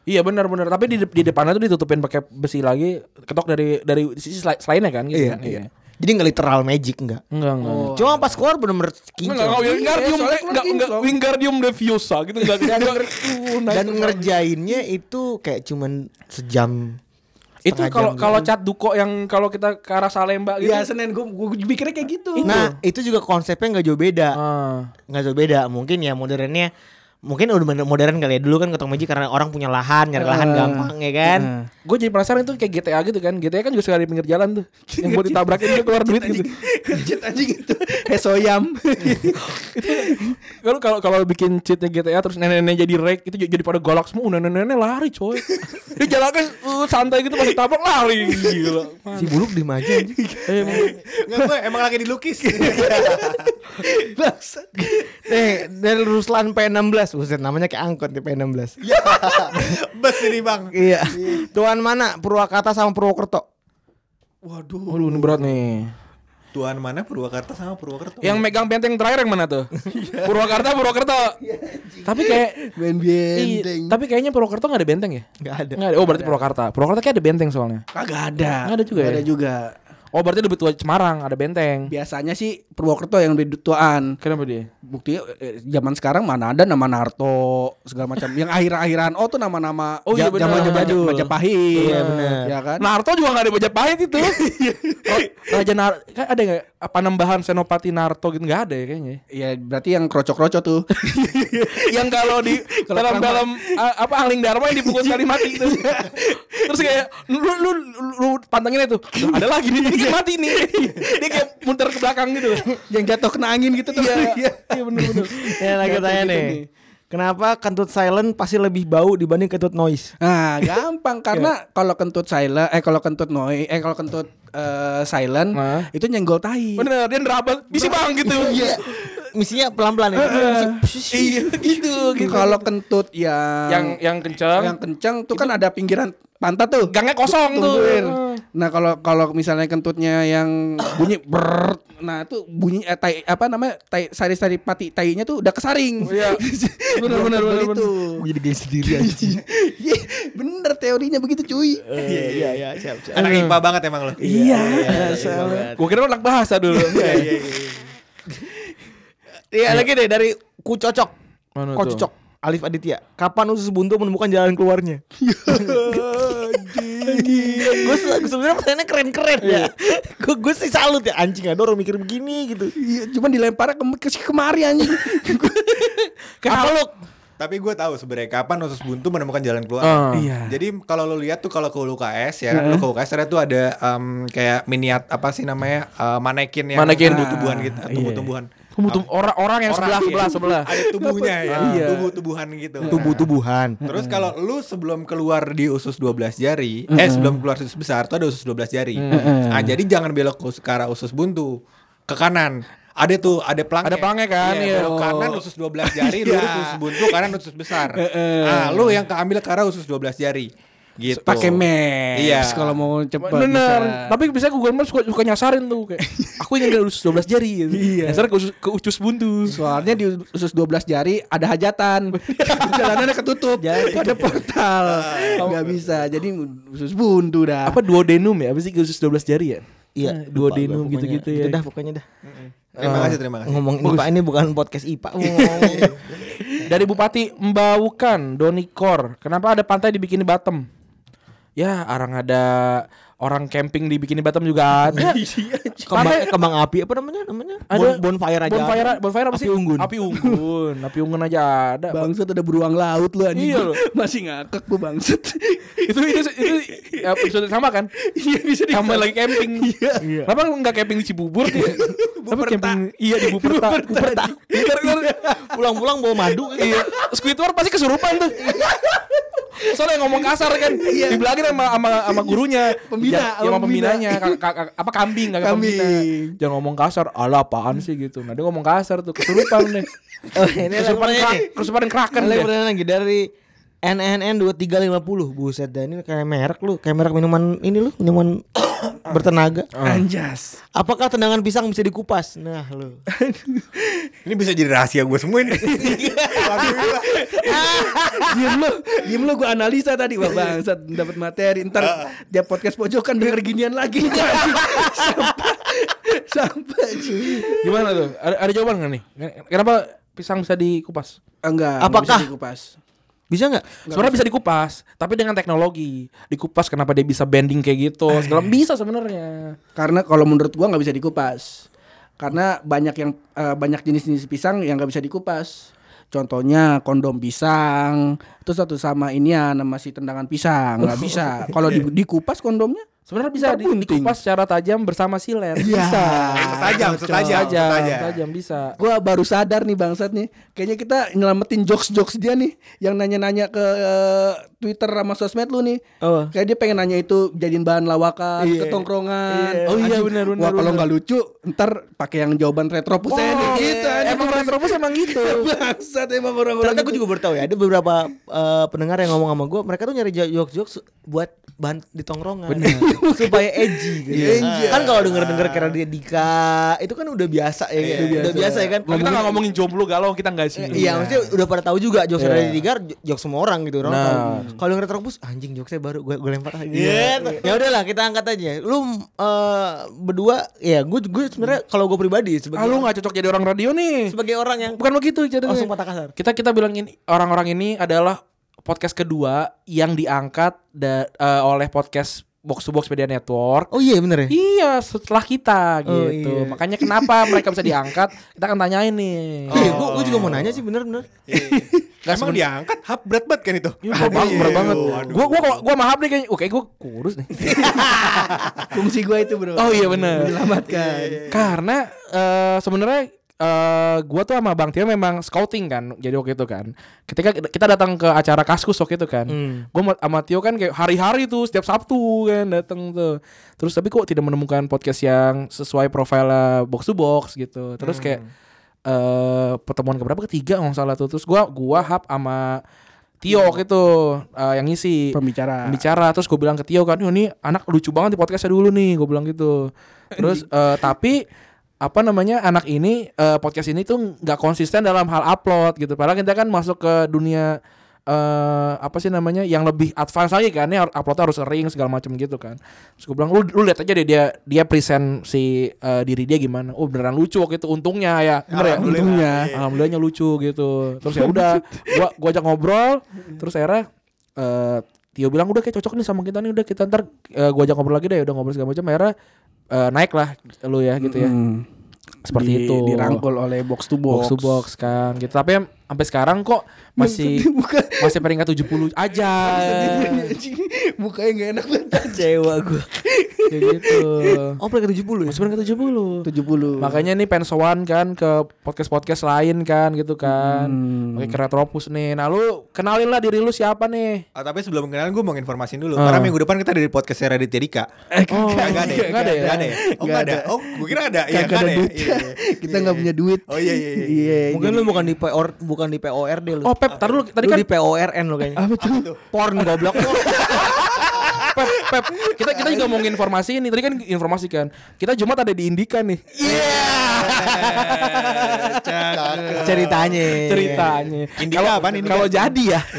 Speaker 3: Iya benar-benar. Tapi di, de- di depannya tuh ditutupin pakai besi lagi, ketok dari dari sisi sel- selainnya kan gitu
Speaker 2: Iya,
Speaker 3: kan.
Speaker 2: iya. Jadi nggak literal magic nggak.
Speaker 3: Enggak, enggak.
Speaker 2: Cuma pas keluar bener-bener
Speaker 3: Enggak,
Speaker 2: kinclong.
Speaker 3: enggak,
Speaker 4: Oh.
Speaker 3: Wingardium,
Speaker 4: Iya, soalnya keluar
Speaker 3: enggak, enggak,
Speaker 4: kinclong.
Speaker 3: Wingardium Leviosa gitu enggak. enggak, enggak.
Speaker 2: Dan ngerjainnya itu kayak cuman sejam.
Speaker 3: itu
Speaker 2: setengah
Speaker 3: kalau
Speaker 2: jam
Speaker 3: kalau
Speaker 2: doang.
Speaker 3: cat duko yang kalau kita ke arah Salemba gitu.
Speaker 4: gitu. Iya Senin gue gue mikirnya kayak gitu. [laughs]
Speaker 2: Nah itu juga konsepnya nggak jauh beda.
Speaker 3: Ah.
Speaker 2: nggak jauh beda mungkin ya modernnya mungkin udah bener- modern kali ya dulu kan ketok magic karena orang punya lahan nyari lahan gampang ya kan
Speaker 3: Gue jadi penasaran tuh kayak GTA gitu kan. GTA kan juga sekali di pinggir jalan tuh. yang buat ditabrakin dia keluar duit
Speaker 2: [laughs]
Speaker 3: gitu.
Speaker 4: Kerjit anjing itu. Hesoyam.
Speaker 3: Kalau kalau kalau bikin cheatnya GTA terus nenek-nenek jadi rek itu jadi pada galak semua. Uh, Nenek-nenek lari
Speaker 2: [laughs]
Speaker 3: coy. dia jalan kan uh, santai gitu pas ditabrak lari. Gila.
Speaker 2: si buluk di mana aja
Speaker 3: Eh, emang-
Speaker 5: Enggak gue emang lagi
Speaker 3: [laughs]
Speaker 5: dilukis. Iya.
Speaker 4: Bangsat.
Speaker 2: [laughs] eh dari Ruslan P16 buset namanya kayak angkot di P16
Speaker 5: Ya. Bes ini bang.
Speaker 2: iya tuan mana Purwakarta sama Purwokerto
Speaker 4: Waduh.
Speaker 3: Waduh ini berat nih.
Speaker 5: Tuan mana Purwakarta sama Purwakarta.
Speaker 3: Yang megang benteng terakhir yang mana
Speaker 2: [laughs]
Speaker 3: tuh? Purwakarta, Purwokerto. Tapi kayak
Speaker 4: Main
Speaker 3: Ih,
Speaker 4: benteng.
Speaker 3: tapi kayaknya Purwokerto gak ada benteng ya?
Speaker 2: nggak ada
Speaker 3: Nggak ada. Oh berarti Purwakarta. Purwakarta kayak ada benteng soalnya.
Speaker 4: Iya. Kagak ada.
Speaker 3: Nggak ada juga
Speaker 4: Nggak
Speaker 3: ya?
Speaker 4: Ada juga.
Speaker 3: Oh berarti lebih tua Semarang ada benteng.
Speaker 4: Biasanya sih Purwokerto yang lebih tuaan.
Speaker 3: Kenapa dia?
Speaker 4: Buktinya eh, zaman sekarang mana ada nama Narto segala macam. yang akhir-akhiran oh tuh nama-nama
Speaker 3: Oh, iya,
Speaker 4: zaman
Speaker 3: benar. Betul.
Speaker 4: Majapahit.
Speaker 2: Iya, benar.
Speaker 4: Ya kan? Iya.
Speaker 3: Naruto juga gak ada Majapahit
Speaker 4: [laughs]
Speaker 3: itu. Ra- Raja Nar kan ada gak Panembahan Senopati Naruto gitu gak ada ya kayaknya.
Speaker 4: Iya berarti yang kroco-kroco tuh.
Speaker 3: Yang kalau di
Speaker 4: [laughs] Kalau
Speaker 3: dalam
Speaker 4: perang- Iya.
Speaker 3: dalam a- apa Angling Dharma yang dipukul sekali mati itu. Terus kayak lu lu, lu, lu pantengin itu. Ada lagi nih dia kayak mati nih.
Speaker 4: Iya.
Speaker 3: Dia kayak muter ke belakang gitu.
Speaker 4: yang jatuh kena angin gitu tuh. [laughs]
Speaker 3: Iya. Iya benar-benar.
Speaker 2: ya lagi tanya nih kenapa kentut silent pasti lebih bau dibanding kentut noise
Speaker 4: Nah, gampang
Speaker 3: Iya.
Speaker 4: karena kalau kentut silent eh kalau kentut noi eh kalau kentut eh, silent
Speaker 3: Nah.
Speaker 4: itu nyenggol tai.
Speaker 3: Bener dia nerabas bisi bang gitu.
Speaker 2: misinya pelan-pelan ya
Speaker 4: Iya,
Speaker 3: [laughs]
Speaker 4: gitu gitu. Kalau kentut yang
Speaker 3: Yang yang kenceng.
Speaker 4: yang kencang tuh kan ada pinggiran pantat tuh.
Speaker 3: Gangnya kosong tuh.
Speaker 4: Tungguin.
Speaker 3: Heeh.
Speaker 4: Nah, kalau kalau misalnya kentutnya
Speaker 3: [coughs]
Speaker 4: yang bunyi ber nah itu bunyi eh, tai apa namanya? tai sari-sari pati tainya tuh udah kesaring.
Speaker 3: Iya.
Speaker 4: bener bener bener itu.
Speaker 2: jadi geli sendiri aja
Speaker 4: [laughs] Iya, bener teorinya begitu cuy.
Speaker 2: iya iya iya siap siap
Speaker 5: Anak IPA banget emang lo.
Speaker 4: Iya, soalnya.
Speaker 3: Gua kira lu anak bahasa dulu.
Speaker 2: Iya lagi deh dari ku cocok.
Speaker 3: Mana
Speaker 2: Ku
Speaker 3: tuh?
Speaker 2: cocok. Alif Aditya. Kapan usus buntu menemukan jalan keluarnya? gue sebenarnya pertanyaannya keren-keren ya. Gue gue sih salut ya anjing ada orang mikir begini gitu.
Speaker 4: Iya, cuman dilempar ke, ke kemari anjing.
Speaker 3: [laughs]
Speaker 2: Apa lu?
Speaker 5: Tapi gue tahu sebenarnya kapan usus buntu menemukan jalan keluar.
Speaker 3: Ah.
Speaker 4: Iya.
Speaker 5: Jadi kalau lo lihat tuh kalau ke UKS ya, lu ke UKS ada tuh ada em, kayak miniat apa sih namanya eh, manekin yang
Speaker 3: Manekin. Ah, iya.
Speaker 5: tumbuh-tumbuhan gitu, tumbuh-tumbuhan.
Speaker 3: Kemudian orang-orang yang sebelah sebelah sebelah.
Speaker 5: [laughs] Ada tubuhnya ya,
Speaker 4: Iya.
Speaker 5: tubuh-tubuhan gitu.
Speaker 2: Tubuh-tubuhan.
Speaker 5: Terus kalau lu sebelum keluar di usus 12 jari, eh sebelum keluar usus besar tuh ada usus 12 jari. Ah, jadi jangan belok ke, us- ke arah usus buntu, ke kanan. Ada tuh, ada pelangnya.
Speaker 3: Ada pelangnya kan,
Speaker 5: Iya,
Speaker 3: iya.
Speaker 5: belok kanan usus
Speaker 3: [laughs]
Speaker 5: 12 jari, lurus usus buntu, kanan usus besar. Ah, lu yang keambil ke arah usus 12 jari. Gitu.
Speaker 4: Pakai maps
Speaker 5: Iya.
Speaker 4: kalau mau cepet
Speaker 3: Bener.
Speaker 4: bisa.
Speaker 3: Tapi biasanya Google Maps suka, suka nyasarin tuh
Speaker 2: [laughs]
Speaker 3: kayak aku ingin ke usus 12 jari gitu.
Speaker 4: Iya.
Speaker 3: Nyasar ke usus ke usus buntu.
Speaker 2: Iya.
Speaker 4: soalnya di usus 12 jari ada hajatan. [laughs] Jalanannya ketutup. Kok ada portal. Enggak bisa. Jadi usus buntu dah.
Speaker 3: Apa duodenum ya? Apa sih ke usus 12 jari ya?
Speaker 2: Iya,
Speaker 3: Dua
Speaker 2: lupa
Speaker 3: denum
Speaker 2: gua
Speaker 3: gitu-gitu
Speaker 2: pokoknya.
Speaker 3: ya.
Speaker 2: Itu dah pokoknya dah.
Speaker 3: Oh.
Speaker 5: Terima kasih, terima kasih.
Speaker 2: Ngomong IPA ini bukan podcast IPA. mau [laughs] ngomong.
Speaker 3: Dari Bupati Mbaukan Donikor, kenapa ada pantai dibikin di Batam? Ya, orang ada orang camping dibikin di Batam juga
Speaker 2: [laughs]
Speaker 3: ada.
Speaker 2: Kembang, kembang api apa namanya? Namanya?
Speaker 3: Ada-
Speaker 2: Iya. Bon, bonfire aja.
Speaker 3: bonfire, bonfire apa
Speaker 2: Api
Speaker 3: sih?
Speaker 2: unggun. [laughs]
Speaker 3: Api unggun, api unggun aja ada.
Speaker 4: Bangsat ada beruang laut lu anjing.
Speaker 3: Iya, lu.
Speaker 4: [laughs] Masih ngakak lu bangsat.
Speaker 3: itu itu itu
Speaker 2: [laughs]
Speaker 3: ya, episode sama kan?
Speaker 4: [laughs] Iya bisa di
Speaker 3: Sama lagi camping. Iya. Kenapa enggak camping di Cibubur? Tapi camping iya di Buperta. Buperta. Ntar- ntar
Speaker 2: Iya. Pulang-pulang bawa madu. kan?
Speaker 3: Iya, Squidward pasti kesurupan tuh. Soalnya ngomong kasar kan, dibilangin sama sama sama gurunya,
Speaker 4: Pembina,
Speaker 3: ya, ya sama
Speaker 4: sama pembina.
Speaker 3: pembinanya, Kak- kak- kak- apa kambing, kakak
Speaker 4: Kambing.
Speaker 3: pembina. Jangan ngomong kasar, ala apaan sih gitu. Nah dia ngomong kasar tuh, kesurupan deh.
Speaker 2: Oh, ini ada
Speaker 3: kesurupan
Speaker 2: pertanyaan
Speaker 3: krak,
Speaker 2: nih.
Speaker 3: kesurupan kraken
Speaker 2: Ada
Speaker 3: deh.
Speaker 2: pertanyaan lagi dari NNN 2350 Buset dan ini kayak merek lu Kayak merek minuman [coughs] ini lu Minuman bertenaga.
Speaker 4: Ah. Anjas.
Speaker 2: Apakah tendangan pisang bisa dikupas? Nah, lu.
Speaker 5: Ini bisa jadi rahasia gue semua
Speaker 3: [laughs]
Speaker 5: ini.
Speaker 4: Diem lu, diem lu gua analisa tadi Wah bangsat dapat materi Ntar tiap podcast pojokan denger ginian lagi [laughs] Sampai Sampai cuy
Speaker 3: Gimana tuh? Ada, ada jawaban nggak nih? Kenapa pisang bisa dikupas?
Speaker 4: Eh, Enggak
Speaker 2: Apakah?
Speaker 4: nggak bisa dikupas.
Speaker 2: Bisa nggak?
Speaker 3: Sebenarnya bisa dikupas, tapi dengan teknologi dikupas kenapa dia bisa bending kayak gitu? Segala bisa sebenarnya.
Speaker 4: Karena kalau menurut gua nggak bisa dikupas. Karena banyak yang eh, banyak jenis-jenis pisang yang nggak bisa dikupas. Contohnya kondom pisang, itu satu sama ini ya nama si tendangan pisang nggak bisa. Kalau di- dikupas kondomnya
Speaker 3: Sebenarnya bisa
Speaker 4: Ntar
Speaker 3: di-
Speaker 4: bunting.
Speaker 3: dikupas secara tajam bersama silet.
Speaker 4: bisa.
Speaker 5: Setajam, setajam,
Speaker 3: Iya. Tajam,
Speaker 5: setajam.
Speaker 3: tajam bisa.
Speaker 4: Gua baru sadar nih bangsat nih. Kayaknya kita nyelamatin jokes-jokes dia nih yang nanya-nanya ke eh, Twitter sama sosmed lu nih.
Speaker 2: Oh.
Speaker 4: Kayak dia pengen nanya itu jadiin bahan lawakan,
Speaker 2: Iya.
Speaker 4: ketongkrongan.
Speaker 2: Iya. Oh iya,
Speaker 4: Anjing,
Speaker 2: benar, benar,
Speaker 4: Wah, kalau
Speaker 2: benar.
Speaker 4: nggak lucu, ntar pakai yang jawaban retropus aja nih. Gitu anjing.
Speaker 3: Emang Retropus emang [laughs] gitu.
Speaker 4: Bangsat emang orang-orang
Speaker 2: Ternyata gue juga baru tahu ya. Ada beberapa eh, pendengar yang ngomong sama gue, mereka tuh nyari jokes-jokes buat bahan di tongkrongan. [laughs] Supaya edgy gitu.
Speaker 4: Iya.
Speaker 2: Kan kalau denger-denger kira dia Dika, itu kan udah biasa ya. kan? Udah biasa ya kan.
Speaker 3: Kalau kita nggak Iya, ngomongin jomblo galau kita nggak sih.
Speaker 2: Iya, maksudnya udah pada tahu juga jokes
Speaker 3: Iya.
Speaker 2: dari tiga jokes semua orang gitu orang.
Speaker 3: Nah. Iya.
Speaker 2: tahu. Kalau yang retrobus anjing jokesnya baru gue gue lempar lagi. Ya udahlah kita angkat aja. Lu eh, berdua ya gue gue sebenarnya kalau gue pribadi
Speaker 3: Ah, lu
Speaker 2: sebagai
Speaker 3: nggak cocok jadi orang radio nih.
Speaker 2: sebagai orang yang
Speaker 3: Bukan begitu ceritanya.
Speaker 2: langsung patah kasar.
Speaker 3: Kita kita bilangin orang-orang ini adalah podcast kedua yang diangkat da- eh, oleh podcast Box to Box Media Network.
Speaker 2: Oh iya bener ya.
Speaker 3: Iya, setelah kita
Speaker 2: Oh,
Speaker 3: gitu.
Speaker 2: iya.
Speaker 3: Makanya kenapa mereka bisa diangkat? Kita akan tanyain nih.
Speaker 4: Oh.
Speaker 2: Iya, gue gue juga mau nanya sih bener-bener.
Speaker 5: Iya. Emang diangkat, hap berat banget kan itu?
Speaker 3: Ini berat banget, berat Iya, banget. Gua gua gua mahap nih kayaknya. Oke, gua kurus nih.
Speaker 4: [laughs] Fungsi gue itu bro
Speaker 3: Oh iya benar.
Speaker 4: Menyelamatkan
Speaker 3: kan. Karena eh, sebenarnya eh gua tuh sama Bang Tio memang scouting kan. Jadi waktu itu kan. Ketika kita datang ke acara Kaskus waktu itu kan. Gua sama- sama Tio kan kayak hari-hari tuh setiap Sabtu kan datang tuh. Terus tapi kok tidak menemukan podcast yang sesuai profil box to box gitu. Terus kayak eh pertemuan keberapa ketiga nggak salah tuh. Terus gua gua hap sama Tio waktu itu eh, yang ngisi
Speaker 4: Pembicara
Speaker 3: bicara terus gue bilang ke Tio kan "Yo, ini anak lucu banget di podcastnya dulu nih gue bilang gitu terus eh, tapi apa namanya anak ini eh, podcast ini tuh nggak konsisten dalam hal upload gitu padahal kita kan masuk ke dunia eh apa sih namanya yang lebih advance lagi kan ini har- uploadnya harus sering segala macam gitu kan terus gue bilang lu, lu lihat aja deh dia dia present si eh, diri dia gimana oh beneran lucu waktu itu untungnya ya bener ya
Speaker 4: Untungnya
Speaker 3: alhamdulillahnya lucu gitu
Speaker 4: [laughs]
Speaker 3: terus ya udah gua gua ajak ngobrol terus akhirnya eh, Tio bilang udah kayak cocok nih sama kita nih udah kita ntar eh, gua ajak ngobrol lagi deh udah ngobrol segala macam akhirnya eh, naik lah lu ya gitu ya
Speaker 4: Hmm.
Speaker 3: seperti
Speaker 4: Di-
Speaker 3: itu
Speaker 4: Dirangkul oleh box to box
Speaker 3: box to box kan gitu tapi em- sampai sekarang kok masih
Speaker 4: [laughs] Bukan
Speaker 3: masih peringkat 70 aja
Speaker 4: [laughs] Mukanya gak enak banget
Speaker 2: Kecewa gue.
Speaker 3: kayak gitu
Speaker 2: Oh peringkat 70 ya?
Speaker 3: masih peringkat 70
Speaker 4: 70
Speaker 3: Makanya nih pensoan kan ke podcast-podcast lain kan gitu kan. Pakai ke Retropus nih. Nah, lu kenalin lah diri lu siapa nih?
Speaker 5: Ah, tapi sebelum kenalan gue mau nginformasin dulu Karena minggu depan kita ada di podcastnya Raditya Dika
Speaker 3: Oh,
Speaker 5: Nggak Ah. ada ya?
Speaker 3: nggak ada ya?
Speaker 5: Nggak ada ya? Oh nggak ada Oh gue kira ada Iya nggak ada ya? Iya, iya, [laughs] iya.
Speaker 4: [laughs] Kita nggak punya duit
Speaker 5: Oh iya iya iya
Speaker 4: Iya
Speaker 2: Mungkin lu bukan di POR bukan di PORD lu.
Speaker 3: Oh, Pep, tar dulu tadi
Speaker 2: lu
Speaker 3: kan
Speaker 2: di PORN lu kayaknya. Apa tuh? Porn goblok.
Speaker 3: [laughs] Pep, Pep, kita kita juga mau informasi ini. Tadi kan informasi kan. Kita Jumat ada di Indika nih
Speaker 5: Iya.
Speaker 2: Ceritanya.
Speaker 3: ceritanya.
Speaker 5: Indika apaan Indika?
Speaker 3: Kalau jadi ya.
Speaker 2: [laughs]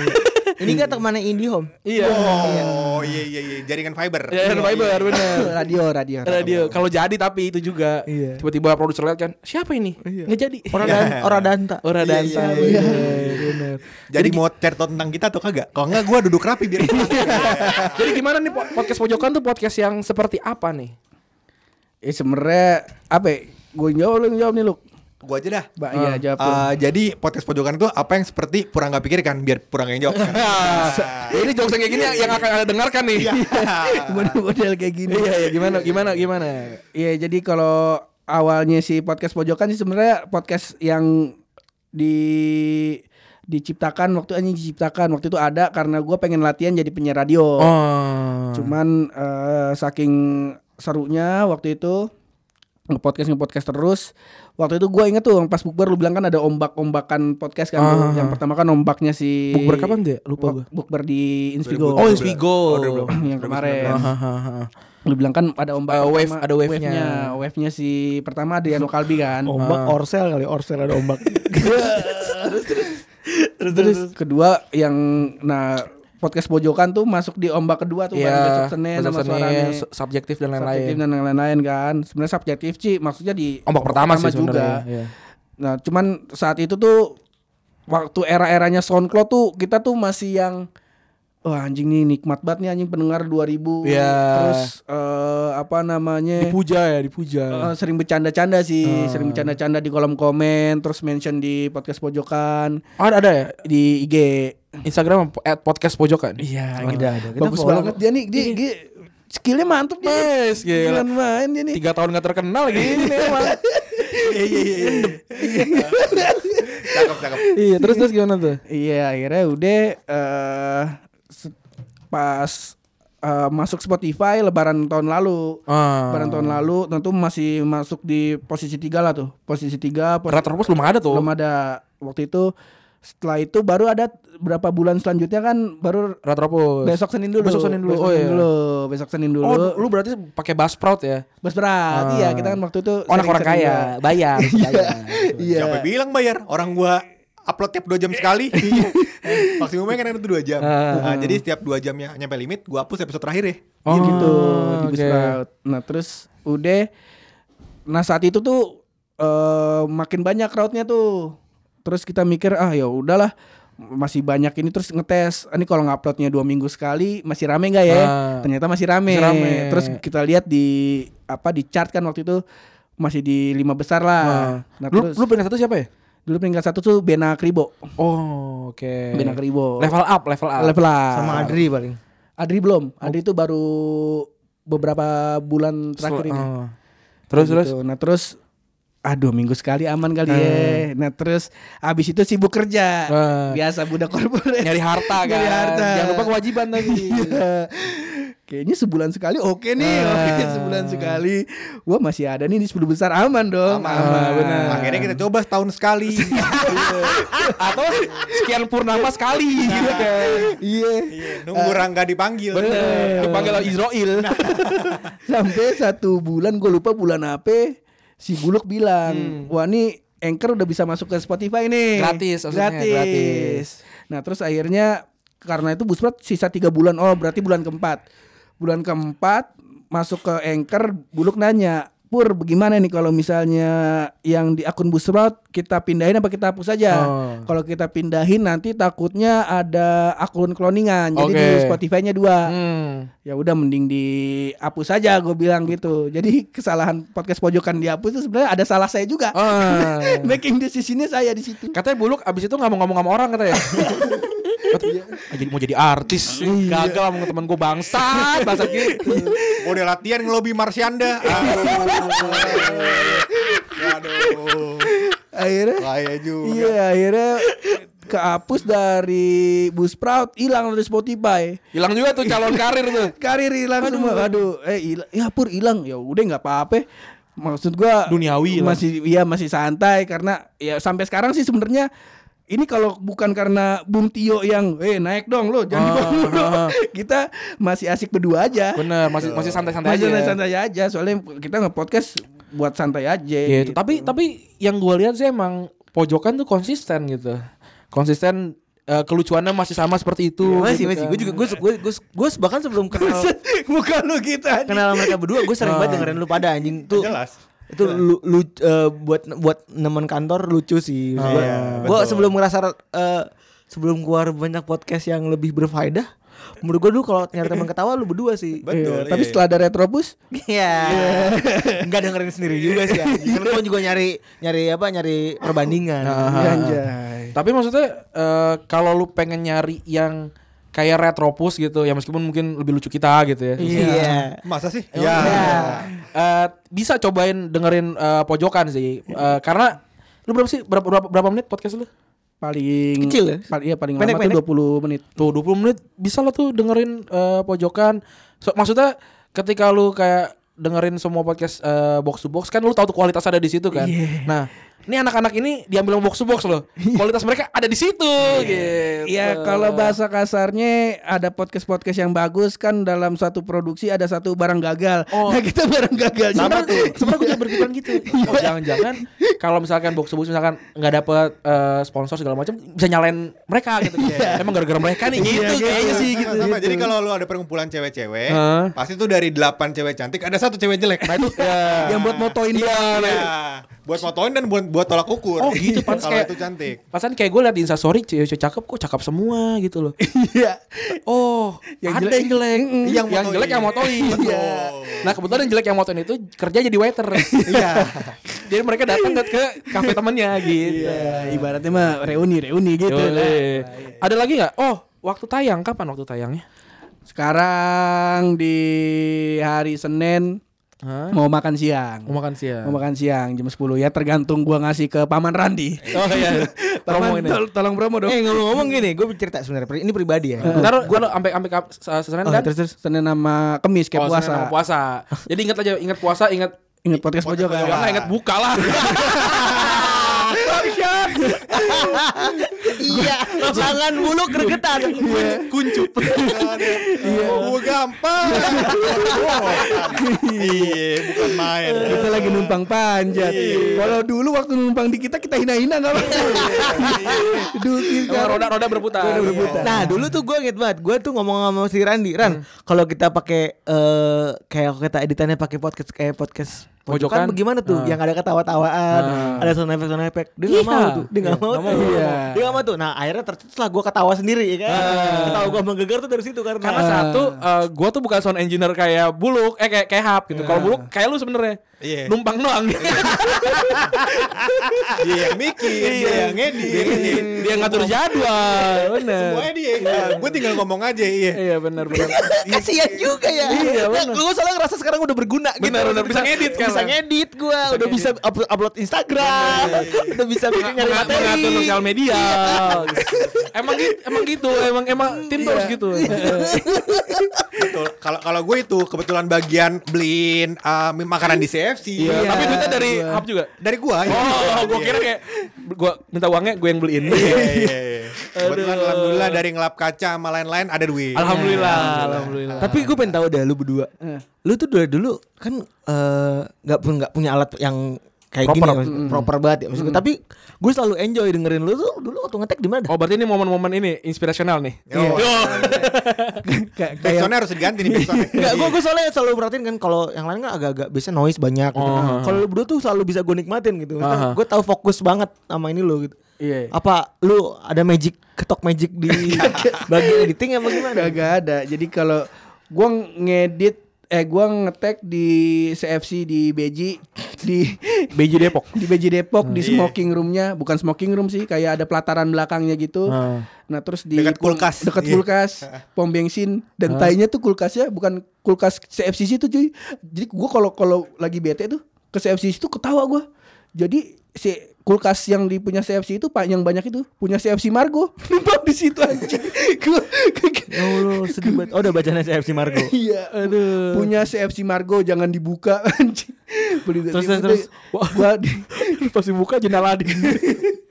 Speaker 2: Ini kan temannya Indie Home.
Speaker 3: Iya.
Speaker 5: Oh iya iya iya Jaringan fiber
Speaker 3: Ya, dan
Speaker 2: iya.
Speaker 3: Fiber bener.
Speaker 4: Radio radio
Speaker 3: Radio. Kalau jadi tapi itu juga tiba-tiba produser lihat kan, siapa ini? Nggak jadi.
Speaker 2: Iya.
Speaker 3: Iya.
Speaker 2: Orang dan [laughs] orang danta.
Speaker 3: Ora dansa. Iya, bener.
Speaker 5: Jadi mau cerita tentang kita atau kagak? Kalau enggak gue duduk rapi [laughs] biar
Speaker 3: [laughs] Jadi gimana nih po- podcast pojokan tuh podcast yang seperti apa nih?
Speaker 4: Eh sebenernya Apa ya Gue jawab lu yang jawab nih lu
Speaker 5: Gue aja dah
Speaker 4: Mbak iya jawab lu.
Speaker 5: Ah, jadi podcast pojokan itu apa yang seperti pura nggak pikirkan biar pura nggak yang
Speaker 4: [laughs]
Speaker 5: jawab. kan?
Speaker 2: Ah.
Speaker 3: ya ini jokes yang kayak gini yang, yang akan ada dengarkan nih.
Speaker 5: Iya.
Speaker 2: Iya.
Speaker 3: [laughs]
Speaker 4: Model-model kayak gini
Speaker 3: Iya, iya, gimana gimana gimana.
Speaker 4: Iya, jadi kalau awalnya si podcast pojokan sih sebenarnya podcast yang di diciptakan waktu anjing diciptakan waktu itu ada karena gue pengen latihan jadi penyiar radio.
Speaker 3: Oh.
Speaker 4: Cuman eh, saking serunya waktu itu ngepodcast ngepodcast terus waktu itu gue inget tuh yang pas bukber lu bilang kan ada ombak ombakan podcast kan lu.
Speaker 3: Ah.
Speaker 4: yang pertama kan ombaknya si
Speaker 3: Bukber kapan tuh ya? Lupa
Speaker 4: Buk-
Speaker 3: gua.
Speaker 4: bukber di Inspigo
Speaker 3: Oh, Inspigo.
Speaker 4: yang
Speaker 5: 2019.
Speaker 4: kemarin
Speaker 3: Hahaha.
Speaker 4: lu bilang kan ada ombak
Speaker 3: Eh, wave,
Speaker 4: pertama,
Speaker 3: ada wave-nya. Oh,
Speaker 4: wave-nya si pertama ada Yano Kalbi kan
Speaker 1: Ombak
Speaker 2: Ah.
Speaker 1: Orsel kali Orsel ada ombak.
Speaker 4: terus, terus kedua yang nah podcast pojokan tuh masuk di ombak kedua tuh bareng Besok
Speaker 3: Iya,
Speaker 4: Senin
Speaker 3: besok
Speaker 4: sama suaranya
Speaker 3: Senin, su- subjektif dan
Speaker 4: subjektif
Speaker 3: lain-lain.
Speaker 4: dan yang lain-lain kan sebenarnya subjektif sih maksudnya di
Speaker 3: Ombak pertama sih
Speaker 4: juga
Speaker 3: sebenarnya. Iya.
Speaker 4: nah cuman saat itu tuh waktu era-eranya SoundCloud tuh kita tuh masih yang wah anjing nih nikmat banget nih anjing pendengar 2000
Speaker 3: Iya.
Speaker 4: terus eh, apa namanya
Speaker 3: Dipuja ya, dipuja.
Speaker 4: Eh, sering bercanda-canda sih, sering bercanda-canda di kolom komen, terus mention di podcast pojokan,
Speaker 3: ada ada ya
Speaker 4: di IG.
Speaker 3: Instagram at podcast pojokan.
Speaker 4: Iya,
Speaker 3: gitu.
Speaker 4: ada, Bagus banget dia nih, dia, dia skillnya
Speaker 3: Iya.
Speaker 4: mantep dia.
Speaker 3: Yes, gila.
Speaker 4: Gila main dia nih. Iya,
Speaker 3: Tiga tahun gak terkenal lagi Iya. ini emang.
Speaker 5: Cakep cakep.
Speaker 3: Iya, terus terus gimana tuh?
Speaker 4: Iya, akhirnya udah eh, se- pas eh, masuk Spotify Lebaran tahun lalu.
Speaker 3: Ah.
Speaker 4: Lebaran tahun lalu tentu masih masuk di posisi tiga lah tuh, posisi tiga. Posisi
Speaker 3: Retropos belum ada tuh.
Speaker 4: belum ada waktu itu setelah itu baru ada berapa bulan selanjutnya kan baru
Speaker 3: Retropos.
Speaker 4: besok Senin dulu
Speaker 3: Besok Senin dulu,
Speaker 4: besok
Speaker 3: oh
Speaker 4: Senin
Speaker 3: iya.
Speaker 4: dulu, besok Senin dulu
Speaker 3: Oh, lu berarti pakai Buzzsprout ya?
Speaker 4: Bas berat
Speaker 3: Ah.
Speaker 4: iya kita kan waktu itu
Speaker 3: Orang-orang
Speaker 4: sering-sering
Speaker 3: kaya,
Speaker 4: juga.
Speaker 3: bayar, bayar.
Speaker 4: [laughs] iya
Speaker 5: Siapa bilang bayar? Orang gua upload tiap 2 jam
Speaker 4: [laughs]
Speaker 5: sekali.
Speaker 4: Iya.
Speaker 5: Maksimumnya kan itu 2 jam.
Speaker 4: Ah.
Speaker 5: Nah, jadi setiap 2 jamnya nyampe limit, gua hapus episode terakhir ya.
Speaker 4: Iya gitu di
Speaker 3: Oh, oke.
Speaker 4: Bas berat nah terus udah nah saat itu tuh eh, makin banyak crowdnya tuh terus kita mikir ah ya udahlah masih banyak ini terus ngetes "Ah, ini kalau nguploadnya dua minggu sekali masih rame nggak ya
Speaker 3: Ah.
Speaker 4: ternyata masih rame.
Speaker 3: Masih rame.
Speaker 4: Terus kita lihat di apa di chart kan waktu itu masih di lima besar lah. Nah,
Speaker 3: Ah. Lu
Speaker 4: terus
Speaker 3: lu peringkat satu siapa ya?
Speaker 4: dulu peringkat satu tuh Bena Kribo.
Speaker 3: Oh, oke.
Speaker 4: Bena Kribo.
Speaker 3: Level up, level up. Oh.
Speaker 4: Level lah.
Speaker 2: sama Adri paling.
Speaker 4: Adri belum. Adri itu baru beberapa bulan terakhir ini.
Speaker 3: Oh. Terus
Speaker 4: Gitu.
Speaker 3: terus.
Speaker 4: Nah, terus aduh minggu sekali aman kali
Speaker 3: Eh.
Speaker 4: ya. Nah, terus abis itu sibuk kerja.
Speaker 3: Ah.
Speaker 4: Biasa budak korporat.
Speaker 3: Nyari harta
Speaker 4: [laughs]
Speaker 3: kan.
Speaker 4: Nyari harta.
Speaker 3: Jangan lupa kewajiban [laughs] tadi.
Speaker 4: Iya. [laughs] Kayaknya sebulan sekali oke nih,
Speaker 3: Eh.
Speaker 4: oke sebulan sekali. Wah masih ada nih di 10 besar aman dong. Aman, ah, benar.
Speaker 5: Akhirnya kita coba setahun sekali.
Speaker 3: Atau sekian purnama sekali gitu kan.
Speaker 4: [laughs] Iya.
Speaker 5: Iya, Nunggu Rangga dipanggil.
Speaker 3: Bener. Nah. Dipanggil sama Israel.
Speaker 4: Sampai satu bulan gue lupa bulan apa si Buluk bilang, wah nih Anchor udah bisa masuk ke Spotify nih.
Speaker 3: Hmm. Gratis, maksudnya,
Speaker 4: gratis.
Speaker 3: gratis.
Speaker 4: Nah terus akhirnya karena itu Busprat sisa tiga bulan. Oh berarti bulan keempat. Bulan keempat masuk ke Anchor, Buluk nanya, Pur bagaimana nih kalau misalnya yang di akun Busprat kita pindahin apa kita hapus aja?
Speaker 3: Oh.
Speaker 4: Kalau kita pindahin nanti takutnya ada akun kloningan. Jadi
Speaker 3: Oke.
Speaker 4: di Spotify-nya dua
Speaker 3: Hmm.
Speaker 4: ya udah mending dihapus aja gue bilang gitu jadi kesalahan podcast pojokan dihapus itu sebenarnya ada salah saya juga
Speaker 3: Ah.
Speaker 4: [laughs] making decisionnya saya di situ
Speaker 3: Katanya buluk abis itu nggak mau ngomong sama orang katanya. Katanya, "Ah, jadi mau jadi artis gagal sama temen gue bangsa bangsa gitu
Speaker 5: Udah latihan ngelobi
Speaker 4: [laughs]
Speaker 5: Marsyanda. Aduh.
Speaker 4: akhirnya
Speaker 5: Bahaya juga.
Speaker 4: iya akhirnya kehapus dari Buzzsprout hilang dari Spotify
Speaker 3: hilang juga tuh calon karir tuh
Speaker 4: karir hilang semua aduh eh hilang ya pur hilang ya udah nggak apa-apa maksud gua
Speaker 3: Duniawi hilang.
Speaker 4: masih iya masih santai karena ya sampai sekarang sih sebenarnya ini kalau bukan karena Bung Tio yang eh naik dong lo
Speaker 3: Ah,
Speaker 4: jangan dibangun lo." [laughs] kita masih asik berdua aja
Speaker 3: bener masih masih santai-santai
Speaker 4: masih
Speaker 3: aja
Speaker 4: santai-santai aja soalnya kita nge-podcast buat santai aja gitu.
Speaker 3: gitu. Tapi tapi yang gue lihat sih emang pojokan tuh konsisten gitu. Konsisten eh, kelucuannya masih sama seperti itu.
Speaker 2: [laughs] Iya, Masih
Speaker 3: gitu
Speaker 2: masih.
Speaker 3: kan.
Speaker 2: Gue juga gue gue gue gue bahkan sebelum kenal
Speaker 4: muka lu kita anjing.
Speaker 2: kenal mereka berdua gue sering banget dengerin lu pada anjing tuh.
Speaker 5: Jelas.
Speaker 2: Itu lu, lu eh, buat buat nemen kantor lucu sih. gue
Speaker 5: iya,
Speaker 2: gua
Speaker 5: betul.
Speaker 2: sebelum ngerasa eh, sebelum keluar banyak podcast yang lebih berfaedah menurut gue dulu kalau nyari teman ketawa lu berdua sih.
Speaker 5: Betul.
Speaker 4: tapi
Speaker 5: iya.
Speaker 4: setelah ada retrobus
Speaker 2: Iya. Enggak dengerin sendiri juga sih. Kan gua juga nyari nyari apa nyari perbandingan.
Speaker 3: Ah. Tapi maksudnya eh, kalau lu pengen nyari yang kayak retropus gitu ya meskipun mungkin lebih lucu kita gitu ya.
Speaker 2: Iya.
Speaker 5: Masa sih?
Speaker 3: Eh, bisa cobain dengerin eh, pojokan sih. Eh, karena lu berapa sih berapa berapa, berapa menit podcast lu?
Speaker 4: paling
Speaker 2: Kecil ya?
Speaker 4: pal- iya paling
Speaker 2: Pendek,
Speaker 4: lama
Speaker 2: pendek.
Speaker 4: tuh 20 menit
Speaker 3: Tuh 20 menit bisa lo tuh dengerin eh, pojokan. So, maksudnya ketika lu kayak dengerin semua podcast eh, box to box kan lu tahu tuh kualitas ada di situ kan.
Speaker 4: Iya.
Speaker 3: Nah, ini anak-anak ini diambil sama box to box loh. Kualitas mereka ada di situ gitu.
Speaker 4: Iya kalau bahasa kasarnya ada podcast-podcast yang bagus kan dalam satu produksi ada satu barang gagal.
Speaker 3: Oh.
Speaker 4: Nah kita barang gagal.
Speaker 3: sama
Speaker 4: Sebenarnya-
Speaker 3: tuh. Sebenarnya gue juga berpikiran [laughs] gitu. Oh, jangan-jangan kalau misalkan box to box misalkan nggak dapet eh, sponsor segala macam bisa nyalain mereka gitu.
Speaker 4: Iya.
Speaker 3: Emang gara-gara mereka nih gitu kayaknya sih gitu.
Speaker 5: Sama, Jadi kalau lu ada perkumpulan cewek-cewek,
Speaker 3: Heeh. Iya.
Speaker 5: pasti tuh dari 8 cewek cantik ada satu cewek jelek. Nah
Speaker 3: [laughs]
Speaker 5: itu
Speaker 4: yang buat motoin
Speaker 3: nah,
Speaker 4: doang.
Speaker 5: Iya, buat motoin dan buat buat tolak ukur.
Speaker 3: Oh, gitu, pantes
Speaker 5: [laughs] Kalau
Speaker 3: kayak-
Speaker 5: itu cantik.
Speaker 3: Pasan kayak gue liat di instastory cewek-cewek cakep kok cakep semua gitu loh.
Speaker 4: Iya.
Speaker 3: Oh, yang ada yang jelek. Yang,
Speaker 5: motoin.
Speaker 3: jelek yang motoin.
Speaker 5: Betul.
Speaker 3: [laughs] Iya. Nah, kebetulan yang jelek yang motoin itu kerja jadi waiter. Iya. jadi mereka datang ke, ke kafe temennya gitu.
Speaker 4: Iya, ibaratnya mah reuni-reuni gitu. lah.
Speaker 3: Yole. Ada lagi nggak? Oh, waktu tayang kapan waktu tayangnya?
Speaker 4: Sekarang di hari Senin
Speaker 3: Hah?
Speaker 4: mau makan siang.
Speaker 3: Mau makan siang.
Speaker 4: Mau makan siang jam 10 ya tergantung gua ngasih ke Paman
Speaker 3: [laughs]
Speaker 4: Randi.
Speaker 3: Oh iya.
Speaker 4: Paman
Speaker 3: Promoin.
Speaker 4: tol- tolong promo dong.
Speaker 2: Eh ngomong-ngomong gini, gue cerita sebenarnya pri- ini pribadi ya.
Speaker 3: Ntar gue sampai sampai kap- se- Senin
Speaker 4: Oh,
Speaker 3: kan?
Speaker 4: terus terus Senin sama Kemis kayak
Speaker 3: Oh, Senin
Speaker 4: puasa.
Speaker 3: sama puasa. Jadi ingat aja, ingat puasa, ingat
Speaker 4: Ingat podcast ya? pojokan.
Speaker 5: Pojokan.
Speaker 3: Jangan lah, ingat buka lah.
Speaker 2: iya, jangan mulu gregetan.
Speaker 5: [laughs] Kuncup. Iya. Oh, gampang. Iya, bukan main.
Speaker 4: [laughs] Kita lagi numpang panjat.
Speaker 3: Iya.
Speaker 4: Kalau dulu waktu numpang di kita kita hina-hina nggak apa-apa. kan? Dulu kita
Speaker 3: iya. Roda roda berputar. Oh.
Speaker 2: Nah dulu tuh gue inget banget, gue tuh ngomong sama si Randi,
Speaker 3: Hmm.
Speaker 2: Ran, kalau kita pakai eh kayak kita editannya pakai podcast kayak podcast
Speaker 3: Pojokan.
Speaker 2: bagaimana tuh?
Speaker 3: Ah.
Speaker 2: Yang ada ketawa-tawaan,
Speaker 3: Ah.
Speaker 2: ada sound effect sound effect. Dia nggak
Speaker 3: Iya.
Speaker 2: mau tuh, dia nggak
Speaker 3: Iya,
Speaker 2: mau
Speaker 3: nggak
Speaker 2: tuh,
Speaker 3: mau.
Speaker 2: Iya. dia nggak mau tuh. Nah akhirnya tercetuslah gue ketawa sendiri, ya kan? Ketawa gue menggegar tuh dari situ karena.
Speaker 3: Ah. Karena
Speaker 2: [laughs]
Speaker 3: satu, eh, gua tuh bukan sound engineer kayak Buluk, eh kayak kayak Hap gitu. Kalau Buluk kayak lu sebenarnya
Speaker 5: Iya.
Speaker 3: numpang doang.
Speaker 5: Dia yang mikir, dia yang edit.
Speaker 3: [laughs] Dia ngatur jadwal.
Speaker 5: Semuanya
Speaker 3: Bener.
Speaker 5: dia. Gue tinggal ngomong aja, iya.
Speaker 3: Iya benar benar.
Speaker 2: Kasian juga ya.
Speaker 3: Iya,
Speaker 2: Nah,
Speaker 3: bener.
Speaker 2: Lu soalnya ngerasa sekarang udah berguna gitu.
Speaker 3: Bener, bener. Bisa ngedit
Speaker 2: kan. Bisa
Speaker 3: sekarang. Iya,
Speaker 2: ngedit gua, udah bisa up- upload Instagram, [laughs] udah bisa bikin nyari
Speaker 3: Menga-
Speaker 2: materi.
Speaker 3: mengatur sosial media. emang gitu, emang gitu, emang emang tim tuh harus gitu.
Speaker 5: Betul. Kalau kalau gue itu kebetulan bagian beliin uh, makanan di CFC.
Speaker 3: Iya, Tapi
Speaker 5: Tapi
Speaker 3: duitnya dari Hap juga.
Speaker 5: dari gua ya.
Speaker 3: Oh, gue kira kayak gue minta uangnya gue yang beliin.
Speaker 5: Iya, iya, iya. Kebetulan alhamdulillah dari ngelap kaca sama lain-lain ada duit.
Speaker 3: Alhamdulillah, alhamdulillah.
Speaker 2: Tapi gue pengen tahu dah lu berdua. Lu tuh dulu dulu kan eh, nggak pun nggak punya alat yang kayak
Speaker 3: Proper. Hmm.
Speaker 2: gini, maksud- proper banget ya. Maksud gue. Tapi gue selalu enjoy dengerin lu tuh dulu waktu ngetek di mana? dah?
Speaker 3: Oh, berarti ini momen-momen ini inspirasional nih.
Speaker 5: Yo.
Speaker 4: kayak kayak
Speaker 5: Backsoundnya harus diganti nih backsoundnya.
Speaker 3: Iya,
Speaker 2: Enggak, gue gue soalnya selalu perhatiin kan kalau yang lain kan agak-agak biasanya noise banyak gitu.
Speaker 3: Oh.
Speaker 2: Kalau lu berdua tuh selalu bisa gue nikmatin gitu.
Speaker 3: Aha.
Speaker 2: Gue tahu fokus banget sama ini lu gitu.
Speaker 4: Iya.
Speaker 2: Apa lu ada magic ketok magic [laughs] di bagian editing apa gimana?
Speaker 4: kagak ada. Jadi kalau gua ngedit eh gua ngetek di CFC di Beji di
Speaker 3: BJ Depok.
Speaker 4: di BJ Depok di smoking roomnya bukan smoking room sih kayak ada pelataran belakangnya gitu
Speaker 3: Ah.
Speaker 4: nah terus di
Speaker 5: Dekat
Speaker 4: pom-
Speaker 5: kulkas.
Speaker 4: dekat
Speaker 5: Iya. [laughs]
Speaker 4: kulkas pom bensin dan tainya tuh kulkasnya bukan kulkas CFCC tuh cuy jadi gua kalau kalau lagi bete tuh ke CFCC tuh ketawa gua jadi si kulkas yang dipunya CFC itu pak yang banyak itu punya CFC Margo [laughs] numpang di situ [laughs] aja
Speaker 2: Ya Allah, sedih banget. Oh, udah bacanya CFC Margo.
Speaker 4: Iya, aduh. Punya CFC Margo jangan dibuka [laughs] anjing. Beli
Speaker 3: Terus,
Speaker 4: Jadi,
Speaker 3: terus, terus.
Speaker 4: gua- gua di
Speaker 3: [laughs] Pas dibuka jendela di.
Speaker 4: [laughs]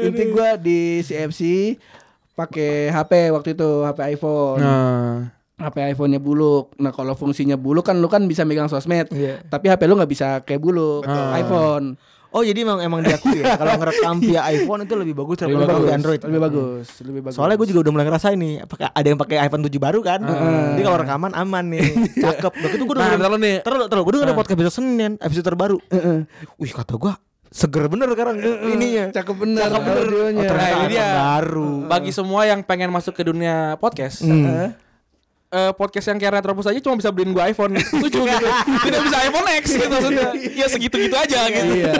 Speaker 4: inti gua di CFC pakai HP waktu itu, HP iPhone.
Speaker 3: Nah.
Speaker 4: HP iPhone-nya buluk. Nah, kalau fungsinya buluk kan lu kan bisa megang sosmed.
Speaker 2: Iya.
Speaker 4: Tapi HP lu nggak bisa kayak buluk Ah. iPhone.
Speaker 2: Oh, jadi emang emang diakui ya kalau ngerekam [laughs] via iPhone itu lebih bagus daripada
Speaker 3: Lebih
Speaker 2: pakai
Speaker 3: bagus,
Speaker 2: Android.
Speaker 4: Lebih bagus, lebih bagus.
Speaker 2: Soalnya gue juga udah mulai ngerasain nih, apakah ada yang pakai iPhone 7 baru kan? Jadi kalau rekaman aman
Speaker 3: [laughs]
Speaker 2: nih, cakep. Begitu gue
Speaker 3: Ah. Nah, ntar lu nih. Nah.
Speaker 2: terus terus gue dengerin podcast besok Senin, episode terbaru. Wih kata gue seger bener sekarang ininya.
Speaker 4: cakep bener.
Speaker 2: Cakep bener.
Speaker 4: audionya.
Speaker 2: Oh, ternyata
Speaker 3: Nah, ini dia.
Speaker 2: iPhone baru.
Speaker 3: Bagi semua yang pengen masuk ke dunia podcast,
Speaker 4: Heeh.
Speaker 3: eh, podcast yang kayak Retropus aja cuma bisa beliin gua
Speaker 4: [laughs]
Speaker 3: iPhone 7 gitu. Tidak bisa iPhone X gitu maksudnya. Ya segitu-gitu aja gitu.
Speaker 4: Iya.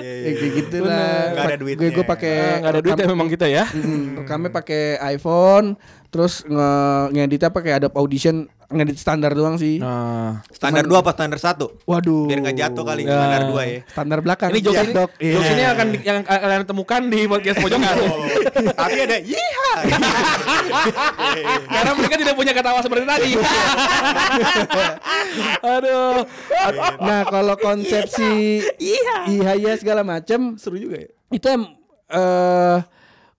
Speaker 5: Iya,
Speaker 4: Ya,
Speaker 5: iya.
Speaker 4: kayak gitu lah.
Speaker 5: Nggak ada
Speaker 4: Pak-
Speaker 5: duitnya.
Speaker 4: Gue pakai
Speaker 3: Eh, nggak ada duit ya memang kita ya.
Speaker 4: Hmm, rekamnya pakai iPhone, terus nge ngeditnya pakai Adobe Audition ngedit standar doang sih.
Speaker 3: Nah,
Speaker 5: Standar dua apa standar satu?
Speaker 4: Waduh.
Speaker 5: Biar nggak jatuh kali standar dua ya.
Speaker 4: Standar belakang.
Speaker 3: ini jokes ini,
Speaker 4: Dok. Iya. Oh.
Speaker 3: jokes ini akan di- yang kalian temukan di podcast
Speaker 4: [laughs]
Speaker 3: pojokan.
Speaker 5: Tapi ada iya.
Speaker 3: Karena mereka tidak punya ketawa seperti tadi. Aduh.
Speaker 4: Nah, kalau konsepsi iya iya segala macam seru juga ya. Itu em eh,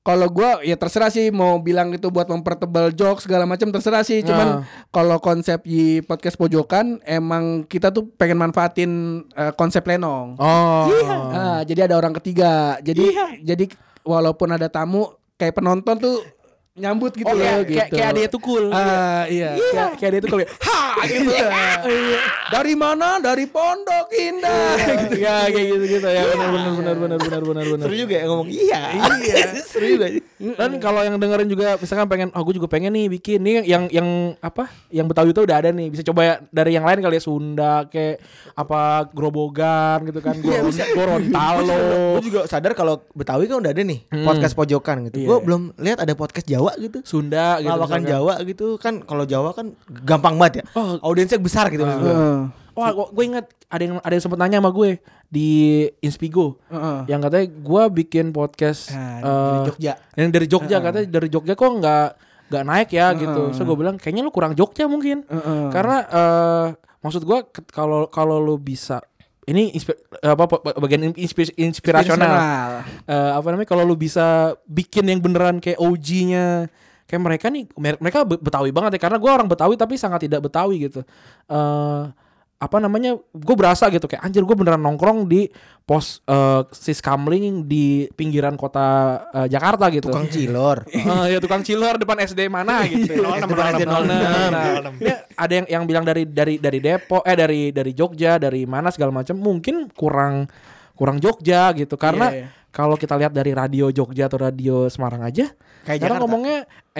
Speaker 4: kalau gua ya terserah sih mau bilang itu buat mempertebal jokes segala macam terserah sih. Cuman kalau konsep di podcast pojokan emang kita tuh pengen manfaatin eh, konsep lenong.
Speaker 3: [laughs] Oh.
Speaker 4: Ah, jadi ada orang ketiga. Jadi jadi walaupun ada tamu kayak penonton tuh nyambut gitu
Speaker 3: Oh,
Speaker 2: Iya,
Speaker 3: kayak,
Speaker 4: loh
Speaker 3: kayak,
Speaker 4: gitu.
Speaker 3: kayak dia tuh cool.
Speaker 4: Ah, iya. Kayak, kayak dia itu kalau [laughs] ha gitu. [laughs] Iya. Dari mana? Dari Pondok Indah. [laughs] gitu.
Speaker 3: ya kayak gitu gitu
Speaker 4: Iya.
Speaker 3: ya benar benar benar benar benar benar benar.
Speaker 2: Seru juga ya ngomong iya. Iya. [laughs] Seru juga.
Speaker 3: Dan kalau yang dengerin juga misalkan pengen oh gue juga pengen nih bikin nih yang yang apa yang Betawi itu udah ada nih bisa coba ya dari yang lain kali ya Sunda kayak apa Grobogan gitu kan Goron, Gorontalo
Speaker 2: Gue juga sadar kalau Betawi kan udah ada nih
Speaker 3: Hmm.
Speaker 2: podcast pojokan gitu. Gue belum lihat ada podcast Jawa gitu.
Speaker 3: Sunda Iya. gitu
Speaker 2: Lawakan
Speaker 3: misalkan.
Speaker 2: Jawa gitu kan kalau Jawa kan gampang banget ya.
Speaker 3: Oh.
Speaker 2: Audiensnya besar gitu maksud
Speaker 3: Ah.
Speaker 2: gua.
Speaker 3: Wah, gua, gue inget ada yang ada yang sempat nanya sama gue di Inspigo,
Speaker 4: Heeh.
Speaker 3: yang katanya gue bikin podcast
Speaker 4: Ah,
Speaker 3: eh,
Speaker 2: Jogja.
Speaker 3: yang dari Jogja katanya dari Jogja kok nggak nggak naik ya gitu. So gue bilang kayaknya lu kurang Jogja mungkin,
Speaker 4: Heeh.
Speaker 3: karena eh, maksud gue ke- kalau kalau lu bisa ini inspi- apa po- bagian inspi-
Speaker 4: Ya,
Speaker 3: inspirasional Eh, apa namanya kalau lu bisa bikin yang beneran kayak OG-nya kayak mereka nih mer- mereka Be- betawi banget ya karena gue orang betawi tapi sangat tidak betawi gitu Eh apa namanya gue berasa gitu kayak anjir gue beneran nongkrong di pos eh, siskamling di pinggiran kota eh, Jakarta gitu
Speaker 2: [laughs] Tukang cilor.
Speaker 3: Eh, ya tukang cilor depan SD mana gitu.
Speaker 2: Depan SD 06.
Speaker 3: Nah, ini ada yang yang bilang dari dari dari Depok eh dari dari Jogja, dari mana segala macam mungkin kurang kurang Jogja gitu karena
Speaker 4: Iya, iya.
Speaker 3: kalau kita lihat dari radio Jogja atau radio Semarang aja
Speaker 2: Kayak
Speaker 3: karena
Speaker 2: Jakarta.
Speaker 3: ngomongnya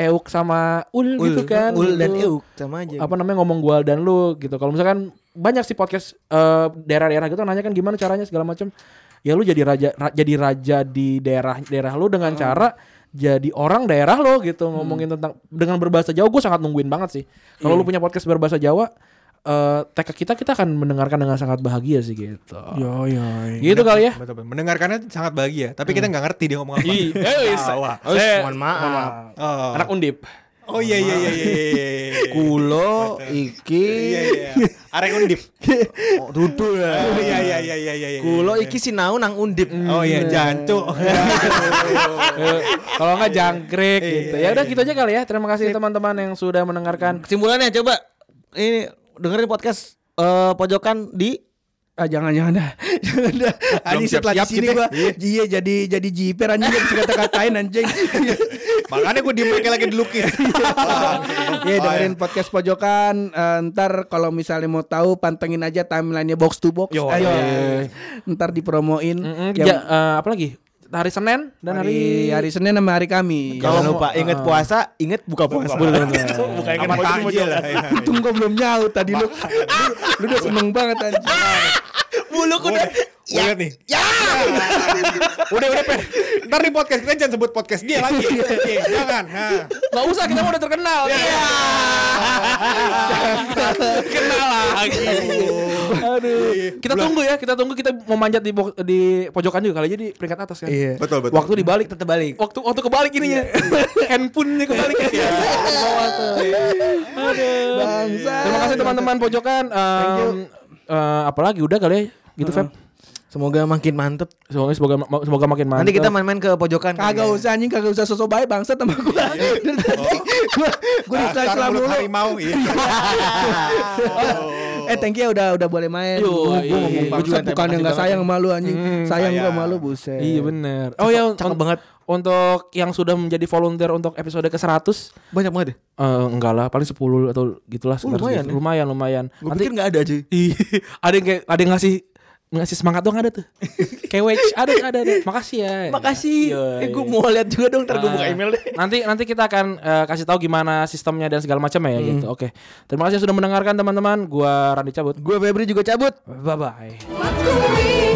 Speaker 3: euk sama ul, gitu kan.
Speaker 2: Ul dan
Speaker 3: gitu.
Speaker 2: Euk sama aja.
Speaker 3: Apa namanya ngomong gua dan lu gitu. Kalau misalkan banyak sih podcast eh, daerah-daerah gitu nanya kan gimana caranya segala macam. Ya lu jadi raja ra- jadi raja di daerah-daerah lu dengan cara jadi orang daerah lo gitu ngomongin tentang dengan berbahasa Jawa gue sangat nungguin banget sih. Kalau lu punya podcast berbahasa Jawa eh tag kita kita akan mendengarkan dengan sangat bahagia sih gitu.
Speaker 4: Yo yo.
Speaker 3: Gitu kali ya. Hmm.
Speaker 5: Betul, betul. Mendengarkannya sangat bahagia, tapi kita nggak ngerti dia ngomong apa.
Speaker 3: Ih, eh,
Speaker 5: Tawa.
Speaker 2: Aus,
Speaker 4: iya.
Speaker 3: saya-
Speaker 2: mohon maaf.
Speaker 5: Oh.
Speaker 3: anak undip.
Speaker 5: Oh iya iya iya iya. iya, iya.
Speaker 2: Kulo iki
Speaker 5: Iya iya. Arek undip.
Speaker 2: dudul
Speaker 5: Oh
Speaker 2: ya.
Speaker 5: iya iya iya iya iya. iya.
Speaker 2: Kulo iki sinau nang undip.
Speaker 5: Oh iya jancuk.
Speaker 3: Eh, Kalau nggak jangkrik
Speaker 4: Iya.
Speaker 3: gitu. Ya udah gitu aja kali ya. Terima kasih teman-teman yang sudah mendengarkan.
Speaker 2: Kesimpulannya coba ini dengerin podcast eh, pojokan di
Speaker 4: Ah jangan jangan dah. [laughs] jangan dah. Ani setelah di
Speaker 5: siap-siap
Speaker 4: sini
Speaker 5: kita.
Speaker 4: gua iya jadi jadi jiper anjing gak bisa kata-katain anjing. [laughs]
Speaker 5: Makanya gue diem kayak lagi dilukis. Oh,
Speaker 4: Iya
Speaker 3: Oh,
Speaker 4: dengerin podcast pojokan Eh, ntar kalau misalnya mau tahu pantengin aja timelinenya box to box.
Speaker 3: Yo,
Speaker 4: Ayo.
Speaker 3: iya.
Speaker 4: Ntar dipromoin.
Speaker 3: Mm-mm,
Speaker 4: Yang
Speaker 3: ja- eh, apa lagi? Hari Senin dan
Speaker 4: hari hari
Speaker 3: hari
Speaker 4: Senin sama hari Kamis.
Speaker 2: Jangan lupa eh. inget puasa, inget buka puasa. [laughs] Gitu.
Speaker 5: Bukan kan aja lah. iya, iya.
Speaker 4: Untung gue belum nyaut tadi
Speaker 3: [laughs]
Speaker 4: lu. lu. lu udah seneng banget anjing.
Speaker 2: Bulu kuda.
Speaker 5: Gua liat nih. Ya. Udah udah pen. Ntar di podcast kita jangan sebut podcast dia lagi. Iya, Jangan. Nah.
Speaker 3: Gak usah kita udah terkenal. Iya. Kenal lagi. Aduh. Kita tunggu ya, kita tunggu kita memanjat di bo- di pojokan juga kali aja di peringkat atas kan.
Speaker 4: Iya.
Speaker 5: Betul betul.
Speaker 2: Waktu dibalik tetap balik.
Speaker 3: Waktu waktu kebalik ininya. [laughs] Handphonenya kebalik. Iya. Aduh. Terima kasih teman-teman pojokan. Em, eh, apalagi udah kali ya gitu Feb.
Speaker 2: Semoga makin mantep.
Speaker 3: Semoga semoga semoga makin mantap.
Speaker 2: Nanti kita main-main ke pojokan.
Speaker 4: Kagak
Speaker 3: Iya.
Speaker 2: Kayaknya.
Speaker 4: usah anjing, kagak usah sosok baik bangsa sama gua. [laughs] Dari tadi
Speaker 3: Oh.
Speaker 4: gua gua
Speaker 3: Ah,
Speaker 5: Dasar
Speaker 4: disela-sela
Speaker 5: mulut
Speaker 4: mulu.
Speaker 5: harimau. Iya.
Speaker 4: [laughs] Eh thank you ya udah udah boleh main.
Speaker 3: Yo,
Speaker 4: Gua-
Speaker 3: iya,
Speaker 4: gua ngomong
Speaker 2: iya.
Speaker 4: bangsat
Speaker 2: Gua juga
Speaker 4: bukan yang
Speaker 2: terima
Speaker 4: enggak
Speaker 2: kasih
Speaker 4: sayang sama lu anjing. sayang gua
Speaker 5: sayang.
Speaker 4: sama lu buset.
Speaker 3: Hmm, ah, Iya bener. Oh ya
Speaker 2: cakep
Speaker 3: un-
Speaker 2: banget.
Speaker 3: Untuk yang sudah menjadi volunteer untuk episode ke 100
Speaker 2: Banyak banget. ya?
Speaker 3: eh enggak lah paling 10 atau gitulah sekitar
Speaker 2: lumayan
Speaker 3: segitu.
Speaker 2: ya.
Speaker 3: lumayan lumayan
Speaker 2: Gue
Speaker 3: nanti
Speaker 2: pikir nggak ada aja.
Speaker 3: Ih, [laughs] ada yang kayak ada yang ngasih ngasih semangat dong ada
Speaker 2: [laughs]
Speaker 3: tuh kayak wedge ada ada ada makasih ya
Speaker 2: Makasih.
Speaker 3: Iya,
Speaker 2: Eh, gue
Speaker 3: iya.
Speaker 2: mau lihat juga dong. Ntar gue buka
Speaker 3: Ah,
Speaker 2: email deh.
Speaker 3: Nanti nanti kita akan eh, kasih tahu gimana sistemnya dan segala macam ya gitu.
Speaker 2: Hmm.
Speaker 3: Oke. Terima kasih sudah mendengarkan teman-teman. Gua Randi cabut.
Speaker 2: Gue Febri juga cabut.
Speaker 3: Bye bye.
Speaker 6: What could we